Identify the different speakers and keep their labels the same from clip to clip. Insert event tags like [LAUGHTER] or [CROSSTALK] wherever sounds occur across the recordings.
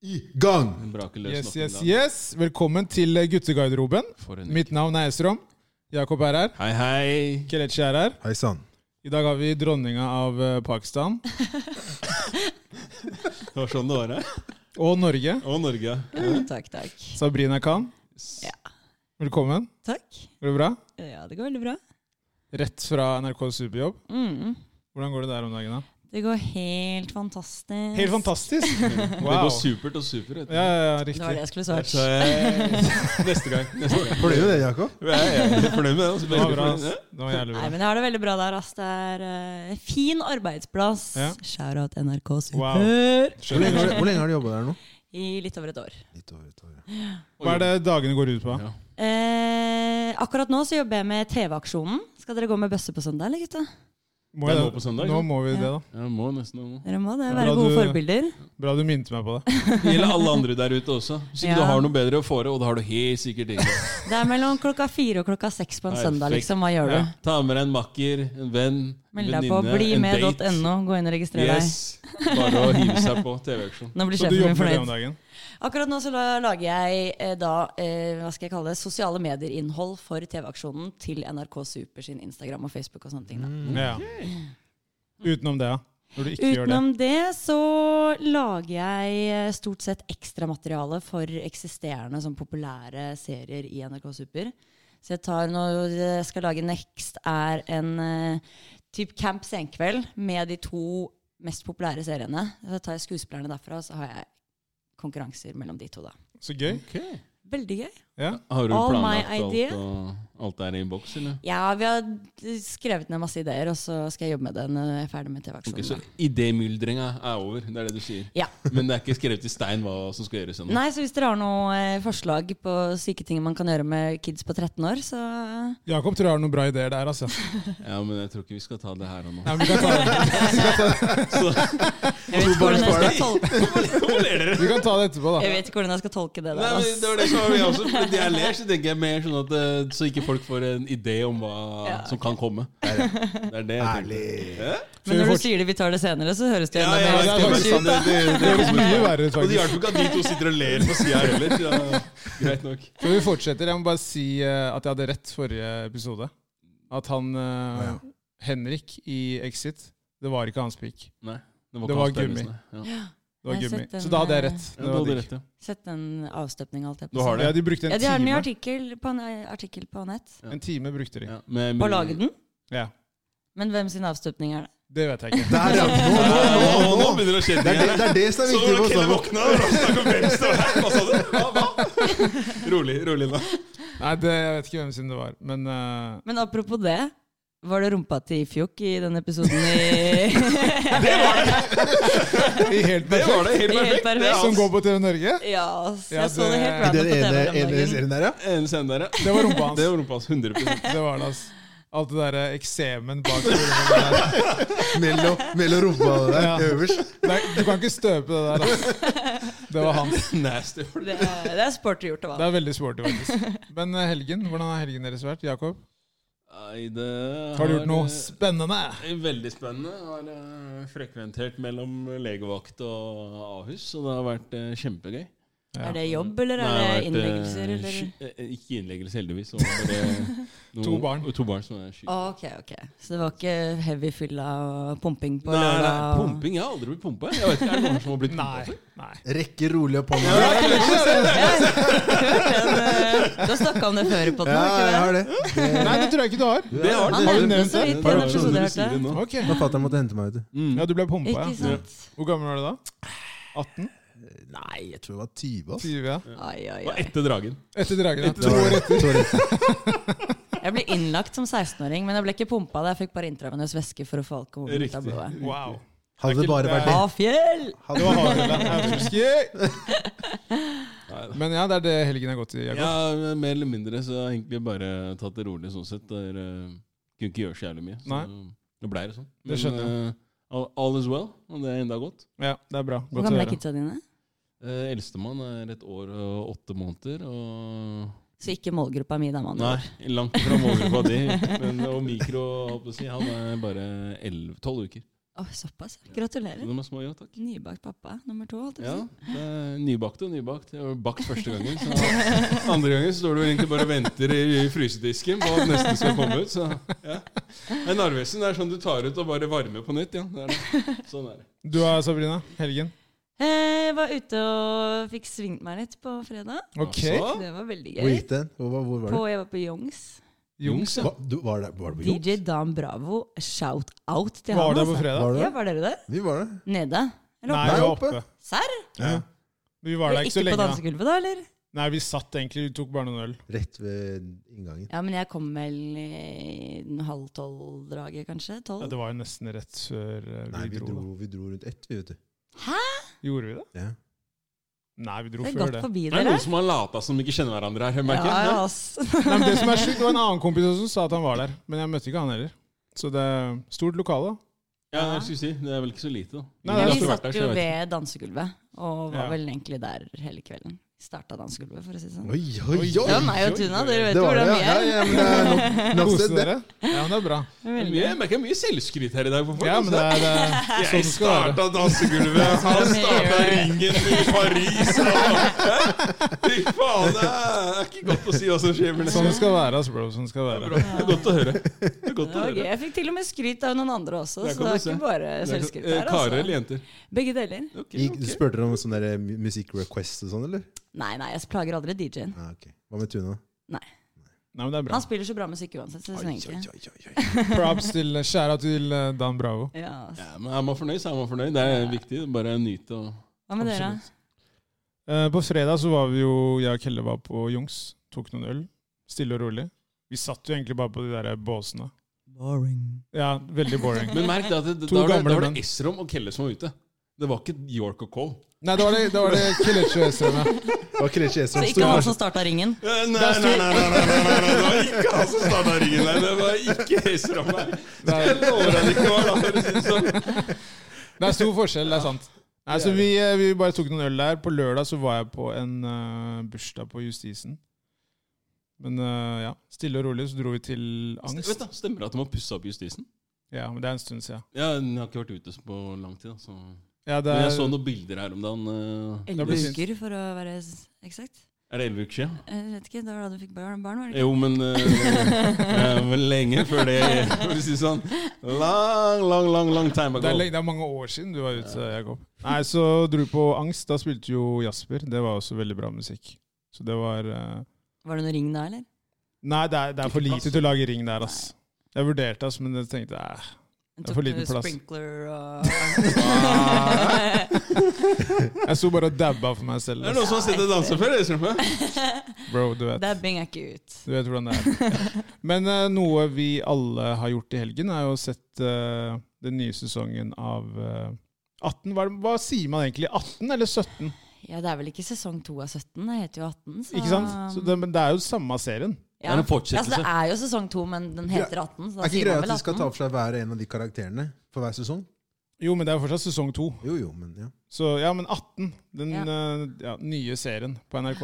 Speaker 1: i gang!
Speaker 2: Braker løs
Speaker 3: Yes,
Speaker 2: nok en
Speaker 3: yes,
Speaker 2: gang.
Speaker 3: yes. Velkommen til eh, guttegarderoben.
Speaker 2: For en
Speaker 3: Mitt navn er Esrom. Jakob er her.
Speaker 2: Hei, hei.
Speaker 3: Kelechi er her.
Speaker 1: Hei sann.
Speaker 3: I dag har vi dronninga av eh, Pakistan
Speaker 2: Det var sånn det var her.
Speaker 3: og Norge.
Speaker 2: Og Norge.
Speaker 4: Mm, takk, takk.
Speaker 3: Sabrina Khan.
Speaker 4: Ja.
Speaker 3: Velkommen.
Speaker 4: Takk.
Speaker 3: Går det bra?
Speaker 4: Ja, det går veldig bra.
Speaker 3: Rett fra NRK Superjobb.
Speaker 4: Mm.
Speaker 3: Hvordan går det der om dagen, da?
Speaker 4: Det går helt fantastisk.
Speaker 3: Helt
Speaker 4: [LAUGHS]
Speaker 3: fantastisk!
Speaker 2: Det
Speaker 3: Wow.
Speaker 2: går supert og supert.
Speaker 3: Ja, ja, ja,
Speaker 4: Det var det
Speaker 3: riktig.
Speaker 4: jeg skulle
Speaker 2: Så,
Speaker 3: [LAUGHS]
Speaker 4: svart.
Speaker 2: eh, neste gang. Neste gang.
Speaker 1: Ble du det, Jakob?
Speaker 2: Ja, jeg er fornøyd med det. Altså,
Speaker 3: Det var
Speaker 2: veldig
Speaker 3: bra. ass.
Speaker 2: fornøyd.
Speaker 3: Det var jævlig
Speaker 4: Nei,
Speaker 3: bra.
Speaker 4: men jeg har det veldig bra der, ass. Det er eh, en fin arbeidsplass.
Speaker 3: Ja.
Speaker 4: Shout-out NRK
Speaker 3: Wow.
Speaker 4: Super.
Speaker 1: Hvor lenge har du, hvor lenge har du jobba der nå?
Speaker 4: I litt over et år.
Speaker 1: Litt over et år. ja.
Speaker 3: Hva er det dagene går ut på?
Speaker 2: Ja.
Speaker 4: Eh, akkurat nå så jobber jeg med TV-aksjonen. Skal dere gå med bøsse på søndag, eller gutta?
Speaker 3: Må
Speaker 2: Det er
Speaker 3: jeg-
Speaker 2: nå på søndag,
Speaker 3: Nå
Speaker 2: ikke?
Speaker 3: må vi det, da.
Speaker 2: Jeg må nesten nå.
Speaker 4: Dere må det.
Speaker 3: Ja,
Speaker 4: Være
Speaker 3: da
Speaker 4: gode
Speaker 3: du-
Speaker 4: forbilder.
Speaker 3: Bra du minte meg på det.
Speaker 2: Det gjelder alle andre der ute også. Hvis ikke
Speaker 4: Ja.
Speaker 2: du har noe bedre å fore, og det har du helt sikkert ikke.
Speaker 4: Det er mellom klokka fire og klokka seks på en
Speaker 2: Perfekt.
Speaker 4: søndag, liksom. Hva gjør du?
Speaker 2: Ja. Ta med deg en makker, en venn, en
Speaker 4: Meld deg på
Speaker 2: venninne, en date.
Speaker 4: blimed.no. Gå inn og registrer
Speaker 2: Yes. Bare å hive seg på TV-auksjon.
Speaker 4: deg. Nå blir
Speaker 3: Så du
Speaker 4: sjefen min
Speaker 3: jobber med det
Speaker 4: fornøyd.
Speaker 3: om dagen?
Speaker 4: Akkurat nå så la- lager jeg eh, da eh, hva skal jeg kalle det, sosiale medier-innhold for TV-aksjonen til NRK Super sin Instagram og Facebook. og sånne ting. Da.
Speaker 3: Ja. Utenom det, ja. Når du Mm, ikke gjør det.
Speaker 4: Utenom det så lager jeg eh, stort sett ekstramateriale for eksisterende sånn populære serier i NRK Super. Så jeg tar nå, jeg skal lage next, er en eh, typ Camp Senkveld med de to mest populære seriene. Så tar jeg skuespillerne derfra, så har jeg konkurranser mellom de to. da.
Speaker 3: Så gøy.
Speaker 2: Ok.
Speaker 4: Veldig gøy.
Speaker 3: Ja.
Speaker 2: Har du
Speaker 4: All my
Speaker 2: planlagt alt,
Speaker 4: idea.
Speaker 2: og, alt der i boks, eller?
Speaker 4: Ja, vi har skrevet ned masse ideer, og så skal jeg jobbe med det når jeg er ferdig med
Speaker 2: Ok, så
Speaker 4: TV-aksjonen. da.
Speaker 2: idémyldringa er over, det er det du sier.
Speaker 4: Ja.
Speaker 2: Men det er ikke skrevet i stein hva som skal gjøres ennå.
Speaker 4: Nei, så hvis dere har noen eh, forslag på syke ting man kan gjøre med kids på 13 år, så
Speaker 3: Jakob tror jeg har noen bra ideer der, altså.
Speaker 2: Ja, men jeg tror ikke vi skal ta det her og nå.
Speaker 3: Nei, men vi, kan
Speaker 4: [LAUGHS]
Speaker 3: ta det.
Speaker 4: Jeg vet ikke hvordan jeg skal tolke,
Speaker 2: Hvorfor ler dere?
Speaker 3: vi kan ta det etterpå,
Speaker 4: jeg
Speaker 3: da.
Speaker 4: vet ikke hvordan jeg skal tolke det
Speaker 2: Nei,
Speaker 4: der.
Speaker 2: men
Speaker 4: ass.
Speaker 2: det var det som var vi også. Fordi jeg ler, så tenker jeg mer sånn at eh, Så ikke folk får en idé om hva
Speaker 4: Ja,
Speaker 2: som kan komme. Det er det jeg
Speaker 1: Ærlig.
Speaker 2: tenker.
Speaker 3: Skal
Speaker 4: Men
Speaker 3: vi
Speaker 4: når
Speaker 3: fort-
Speaker 4: du sier det, vi tar det senere, så høres det
Speaker 2: Ja, ja,
Speaker 4: enda
Speaker 2: det
Speaker 4: mer
Speaker 3: det
Speaker 2: er
Speaker 3: er
Speaker 2: faktisk sant. Det, det, det,
Speaker 3: Det høres mye verre ut,
Speaker 2: og det
Speaker 3: faktisk.
Speaker 2: hjelper ikke at de to sitter og ler på sida heller. Ja, greit nok.
Speaker 3: Før vi fortsetter, jeg må bare si eh, at jeg hadde rett forrige episode. At han eh,
Speaker 1: Ja.
Speaker 3: Henrik i Exit, det var ikke hans pikk.
Speaker 2: Nei,
Speaker 3: Det
Speaker 2: ikke
Speaker 3: var
Speaker 2: hans
Speaker 3: gummi.
Speaker 2: penis, nei. liksom. Ja.
Speaker 3: Det var
Speaker 4: Jeg har
Speaker 3: gummi.
Speaker 4: sett den, eh,
Speaker 3: Så da hadde jeg rett.
Speaker 2: Ja, du hadde rett, ja.
Speaker 4: Sett den avstøpninga, alt det
Speaker 2: Du har det.
Speaker 3: Ja, de brukte en
Speaker 4: Ja, de har den i
Speaker 3: time.
Speaker 4: artikkel på, en- eh, artikkel på nett.
Speaker 3: En time brukte de.
Speaker 2: ja. men-
Speaker 4: På å lage den.
Speaker 3: Ja,
Speaker 4: Men hvem sin avstøpning er det?
Speaker 3: Det vet
Speaker 4: [LAUGHS]
Speaker 3: jeg ikke.
Speaker 1: Der, ja. Nå,
Speaker 2: Ja,
Speaker 1: nå,
Speaker 2: Nå,
Speaker 1: nå,
Speaker 2: nå
Speaker 1: nå.
Speaker 2: begynner det å skje ting
Speaker 1: Det er
Speaker 2: her.
Speaker 1: det, det er det som er
Speaker 2: Så
Speaker 1: viktig for
Speaker 2: var
Speaker 1: oss.
Speaker 2: det Kelle
Speaker 1: da.
Speaker 2: våkna og snakka om hvem som var her. Hva sa du? Hva, hva? Rolig, rolig nå.
Speaker 3: Nei, det, Jeg vet ikke hvem sin det var. Men
Speaker 4: [LAUGHS]
Speaker 3: eh,
Speaker 4: Men apropos det, var det rumpa til Fjokk i den episoden
Speaker 2: [LAUGHS]
Speaker 4: i [LAUGHS]
Speaker 3: i helt
Speaker 2: Det
Speaker 3: perfekt
Speaker 2: var det. Helt perfekt.
Speaker 4: Helt
Speaker 2: Det er
Speaker 4: perfekt.
Speaker 3: som
Speaker 2: hans
Speaker 3: går på TV Norge.
Speaker 4: Ja, ass.
Speaker 3: Ja,
Speaker 4: jeg så det
Speaker 3: det-
Speaker 4: helt
Speaker 3: I
Speaker 1: I
Speaker 4: random
Speaker 1: den
Speaker 4: på
Speaker 1: ene,
Speaker 4: TV
Speaker 1: ene
Speaker 4: den dagen.
Speaker 1: serien der, ja.
Speaker 2: ene scenen der, ja.
Speaker 3: Det var rumpa hans.
Speaker 2: Det var rumpa hans. 100
Speaker 3: Det var det, altså. Alt det derre eksemen bak
Speaker 1: Mellom, mellom rumpa der
Speaker 3: Ja.
Speaker 1: øverst.
Speaker 3: Nei, Du kan ikke støpe det der, altså. Det var
Speaker 2: [LAUGHS]
Speaker 3: hans.
Speaker 2: Nasty.
Speaker 4: Det er, det er sporty gjort, det
Speaker 3: Det
Speaker 4: var.
Speaker 3: er veldig sporty, faktisk. Men eh, helgen, hvordan har helgen deres vært, Jakob?
Speaker 2: Nei, det
Speaker 3: Har du gjort noe
Speaker 2: eh,
Speaker 3: spennende?
Speaker 2: Veldig spennende. Jeg Har eh, frekventert mellom legevakt og Ahus, og det har vært eh, kjempegøy.
Speaker 3: Ja.
Speaker 4: Er det jobb, eller
Speaker 2: Nei,
Speaker 4: er
Speaker 2: det
Speaker 4: det
Speaker 2: har vært, eh,
Speaker 4: innleggelser, eller?
Speaker 2: sky- eh, Ikke innleggelse, heldigvis. Det var bare
Speaker 3: [LAUGHS]
Speaker 2: noen-
Speaker 3: To barn.
Speaker 2: To barn som er syke.
Speaker 4: Ok, ok. Så det var ikke heavy fylla og pumping på
Speaker 2: Nei, nei,
Speaker 4: lørdag? og- [LAUGHS]
Speaker 2: pumping? Jeg har aldri blitt pumpa. Jeg vet ikke, Er det noen som har blitt pumpa?
Speaker 3: Nei. Nei.
Speaker 1: Rekker rolig opp hånda.
Speaker 3: Ja, det er kanskje det.
Speaker 4: Ja, eh, jeg har hørt den, eh, Du har snakka om det før på den,
Speaker 1: Ja,
Speaker 4: har
Speaker 1: jeg
Speaker 4: ikke
Speaker 1: har
Speaker 4: det?
Speaker 1: det.
Speaker 3: Nei, det tror jeg ikke du har.
Speaker 2: Det har
Speaker 4: Han
Speaker 3: Har du
Speaker 4: nevnte det
Speaker 3: nevnt
Speaker 4: så
Speaker 3: det?
Speaker 4: vidt i
Speaker 2: Par
Speaker 4: en
Speaker 2: år siden
Speaker 4: episode
Speaker 2: du
Speaker 4: jeg
Speaker 2: sier Mm. det
Speaker 4: hørte.
Speaker 2: nå.
Speaker 3: Ok.
Speaker 1: Da fatter'n måtte hente meg, vet du.
Speaker 3: Ja, du ble pumpa,
Speaker 4: Ikke
Speaker 3: ja.
Speaker 4: sant?
Speaker 3: Hvor gammel var du da? 18?
Speaker 1: Nei, jeg tror det var 20. ass.
Speaker 3: 20, ja.
Speaker 4: Ai, ai,
Speaker 2: Det var
Speaker 4: ai.
Speaker 2: etter dragen.
Speaker 3: Etter dragen. ja.
Speaker 1: Det var det. To år etter.
Speaker 4: Jeg ble innlagt som 16-åring, men jeg ble ikke pumpa. da. Jeg fikk bare intravenøs væske for å få alkohol ut av
Speaker 2: Riktig.
Speaker 4: blodet.
Speaker 3: Wow.
Speaker 1: Hadde det bare vært det.
Speaker 4: Avfjell!
Speaker 3: Det var Hadeland. Haugeski.
Speaker 2: Nei, da.
Speaker 3: Men ja, det er det helgen har gått i, Jakob.
Speaker 2: Ja, men mer eller mindre så har jeg egentlig bare tatt det rolig sånn sett. Der, eh, kunne ikke gjøre så jævlig mye. Så Det blei det sånn.
Speaker 3: Det skjønner
Speaker 2: jeg. all, all is well, og det er enda godt.
Speaker 3: Ja, det er bra.
Speaker 4: Hvor
Speaker 3: Godt å
Speaker 4: gamle er
Speaker 3: høre.
Speaker 4: kidsa dine?
Speaker 2: Uh, Eldstemann er et år og åtte måneder. Og
Speaker 4: Så ikke målgruppa mi, da, mann.
Speaker 2: Nei, langt fra målgruppa di. Men, og mikro, holdt på å si, han er bare elleve- tolv uker.
Speaker 4: Å, såpass. ja. Gratulerer.
Speaker 2: De er små, ja, takk.
Speaker 4: Nybakt pappa nummer to. holdt jeg
Speaker 2: Ja,
Speaker 4: på å si.
Speaker 2: det er nybakt og nybakt. Jeg var bakt første gangen. Så [LAUGHS] andre gangen står du egentlig bare og venter i frysedisken på at neste skal komme ut. Så ja. Men Narvesen er sånn du tar ut og bare varmer på nytt. Ja. Det er det. Sånn er det.
Speaker 3: Du da, Sabrina? Helgen?
Speaker 4: Eh, Jeg var ute og fikk svingt meg litt på fredag.
Speaker 3: Ok.
Speaker 2: Altså,
Speaker 4: Det var veldig
Speaker 1: Hvor
Speaker 4: gøy.
Speaker 1: gikk den? Hvor, var- hvor var
Speaker 4: På,
Speaker 1: du?
Speaker 4: jeg var på Youngs.
Speaker 2: Jungs, ja.
Speaker 1: Hva, du var, der, var du på jobb?
Speaker 4: DJ Dan Bravo, shout out til
Speaker 3: Var
Speaker 4: han.
Speaker 3: det på
Speaker 4: altså.
Speaker 3: fredag?
Speaker 1: Var du
Speaker 4: Ja,
Speaker 1: der?
Speaker 4: var dere der?
Speaker 1: Vi var der.
Speaker 4: Nede? Eller
Speaker 3: Nei,
Speaker 4: oppe?
Speaker 3: vi var
Speaker 1: oppe.
Speaker 3: oppe.
Speaker 4: Serr?
Speaker 1: Ja.
Speaker 3: Vi var der ikke så
Speaker 4: Ikke på
Speaker 3: lenge. da.
Speaker 4: dansegulvet, da? eller?
Speaker 3: Nei, vi satt egentlig, vi tok bare noen øl.
Speaker 1: Rett ved inngangen.
Speaker 4: Ja, men jeg kom vel i den halv tolv-draget, kanskje?
Speaker 3: Ja,
Speaker 4: Tolv?
Speaker 3: det var jo nesten rett før eh, vi,
Speaker 1: Nei, vi
Speaker 3: dro.
Speaker 1: dro, vi dro rundt ett, vi, vet du.
Speaker 3: da. Gjorde vi det?
Speaker 1: Ja.
Speaker 3: Nei, vi dro
Speaker 4: Det er
Speaker 3: før
Speaker 4: gått
Speaker 3: det.
Speaker 4: forbi
Speaker 2: Det er
Speaker 4: dere.
Speaker 2: noen som har lata som de ikke kjenner hverandre her.
Speaker 4: Ja,
Speaker 2: merker jeg.
Speaker 4: ja,
Speaker 2: Ja.
Speaker 4: ass.
Speaker 3: Nei, men det som er sjukt, det var en annen kompis også som sa at han var der, men jeg møtte ikke han heller. Så det er stort lokale. da.
Speaker 2: Ja, jeg skulle si, Det er vel ikke så lite, da. Men
Speaker 3: Nei, det
Speaker 2: jeg
Speaker 3: er
Speaker 4: [LAUGHS] Vi
Speaker 2: har ikke vært
Speaker 4: satt
Speaker 2: der, så
Speaker 4: jo
Speaker 2: jeg vet ikke.
Speaker 4: ved dansegulvet, og var
Speaker 3: Ja.
Speaker 4: vel egentlig der hele kvelden. Starta dansegulvet, for å si det sånn.
Speaker 1: Oi, oi, oi!
Speaker 4: Det var meg og Tuna, dere vet jo
Speaker 1: var det,
Speaker 4: hvordan
Speaker 1: ja.
Speaker 4: vi
Speaker 1: Ja,
Speaker 4: er.
Speaker 1: ja, men eh, det er
Speaker 4: [LAUGHS]
Speaker 1: nok- nok
Speaker 3: Koste
Speaker 1: sted, det.
Speaker 3: dere? Ja, men det er bra.
Speaker 4: Veldig.
Speaker 2: Mye- Jeg merker mye selvskryt her i dag. for folk. altså.
Speaker 3: Ja, men det er, det er sånn
Speaker 2: Jeg
Speaker 3: det skal være.
Speaker 2: starta dansegulvet, han starta ringen i [LAUGHS] Paris og- Fy faen, det er ikke godt å si hva som skjer. Men det
Speaker 3: Sånn det skal være, ass, bro. Sånn det skal
Speaker 2: er
Speaker 3: være.
Speaker 2: bra. Det er godt å høre. Det er godt
Speaker 4: Det
Speaker 2: å
Speaker 4: var gøy.
Speaker 2: høre.
Speaker 4: Jeg fikk til og med skryt av noen andre også,
Speaker 2: Der kan
Speaker 4: så det
Speaker 2: du
Speaker 4: er
Speaker 2: se.
Speaker 4: ikke bare
Speaker 2: Det er godt.
Speaker 4: selvskryt
Speaker 2: Eh,
Speaker 4: her.
Speaker 2: Karer eller
Speaker 4: Altså.
Speaker 2: jenter?
Speaker 4: Begge deler.
Speaker 2: Ok,
Speaker 1: Gikk,
Speaker 2: ok.
Speaker 1: spurte dere om sånn der mu- musikk request og sånn, eller?
Speaker 4: Nei, nei, jeg plager aldri DJ-en.
Speaker 1: Ah, ok. Hva med Tuna?
Speaker 3: Nei, men det er bra.
Speaker 4: Han spiller så bra musikk uansett, så det er sånn egentlig.
Speaker 1: oi, oi.
Speaker 3: Props til Skjæra til eh, Dan Bravo.
Speaker 4: Ja, altså. ass.
Speaker 2: Ja, men Er man fornøyd, så er man fornøyd. Det er viktig. Bare nyte og
Speaker 4: Hva med dere?
Speaker 3: Absolutt. Eh, På fredag så var vi jo, jeg og Kelle var på Jungs, tok noen øl, stille og rolig. Vi satt jo egentlig bare på de der båsene. Boring. Ja, veldig
Speaker 2: [LAUGHS]
Speaker 3: boring.
Speaker 2: Men merk det at det, da
Speaker 3: To
Speaker 2: var det,
Speaker 3: gamle
Speaker 2: da var
Speaker 3: menn.
Speaker 2: det Esrom og Kelle som var ute. Det var ikke York og Cole.
Speaker 3: Nei, da var det, da var det Kelechi Østrøm, ja.
Speaker 1: Var ikke det Kjeser
Speaker 4: Så
Speaker 1: som
Speaker 4: ikke han
Speaker 1: sto
Speaker 4: som starta ringen?
Speaker 2: Eh, Nei, nei, nei, nei, nei, nei, nei, nei, det var ikke han som starta ringen der. Det var ikke Esrom her. Jeg lover at det ikke var da, for å si det sånn.
Speaker 3: Det er stor forskjell, det er sant. Nei, så vi, eh, vi bare tok noen øl der. På lørdag så var jeg på en eh, bursdag på Justisen. Men eh, ja, stille og rolig så dro vi til
Speaker 2: Vet
Speaker 3: Angst.
Speaker 2: du, Stemmer det at de har pussa opp Justisen?
Speaker 3: Ja, men det er en stund siden.
Speaker 2: Ja, Den har ikke vært ute på lang tid. da, Så.
Speaker 3: Ja, det
Speaker 2: Men
Speaker 3: er,
Speaker 2: jeg så noen bilder her om dagen. eh,
Speaker 4: Elleve
Speaker 3: blir-
Speaker 4: uker, for å være s- eksakt.
Speaker 2: Er det elleve uker siden?
Speaker 4: Jeg vet ikke, det var da du fikk barn, barn var det ikke?
Speaker 2: Jo, men eh, eh, men lenge før det For å si det sånn. Lang, lang, lang lang time
Speaker 3: det, er,
Speaker 2: ago.
Speaker 3: lenge- det er mange år siden du var ute, Jakob. Nei, så dro vi på Angst. Da spilte jo Jasper. Det var også veldig bra musikk. Så det var eh,
Speaker 4: Var det noen ring da, eller?
Speaker 3: Nei, det er, det er for lite til å lage ring der, ass. Jeg vurderte, ass, men jeg tenkte eh,
Speaker 4: En
Speaker 3: Det er for liten plass.
Speaker 4: sprinkler og
Speaker 3: Jeg sto bare og dabba for meg selv.
Speaker 2: Det er
Speaker 3: Ass.
Speaker 2: noen som har sett deg danse før? Jeg, tror jeg.
Speaker 3: Bro, du vet.
Speaker 4: [LAUGHS] Dabbing er ikke ut.
Speaker 3: Du vet hvordan det er. [LAUGHS] Men eh, noe vi alle har gjort i helgen, er jo sett eh, den nye sesongen av eh, 18. Hva, er det- hva sier man egentlig? 18 eller 17?
Speaker 4: Ja, det er vel ikke sesong to av 17, det heter jo 18. Så,
Speaker 3: Ikke sant? Så det, men det er jo samme serien.
Speaker 4: ja.
Speaker 2: Det er en fortsettelse.
Speaker 4: Altså, det er jo sesong to, men den heter 18. Så da
Speaker 1: Er ikke
Speaker 4: sier
Speaker 1: greia
Speaker 4: man
Speaker 1: at
Speaker 4: vel
Speaker 1: de skal ta
Speaker 4: 18.
Speaker 1: for seg hver en av de karakterene for hver sesong?
Speaker 3: Jo, men det er jo fortsatt sesong to.
Speaker 1: Jo, jo, men ja.
Speaker 3: Så ja, men 18. Den
Speaker 4: Ja.
Speaker 3: eh, ja, nye serien på NRK.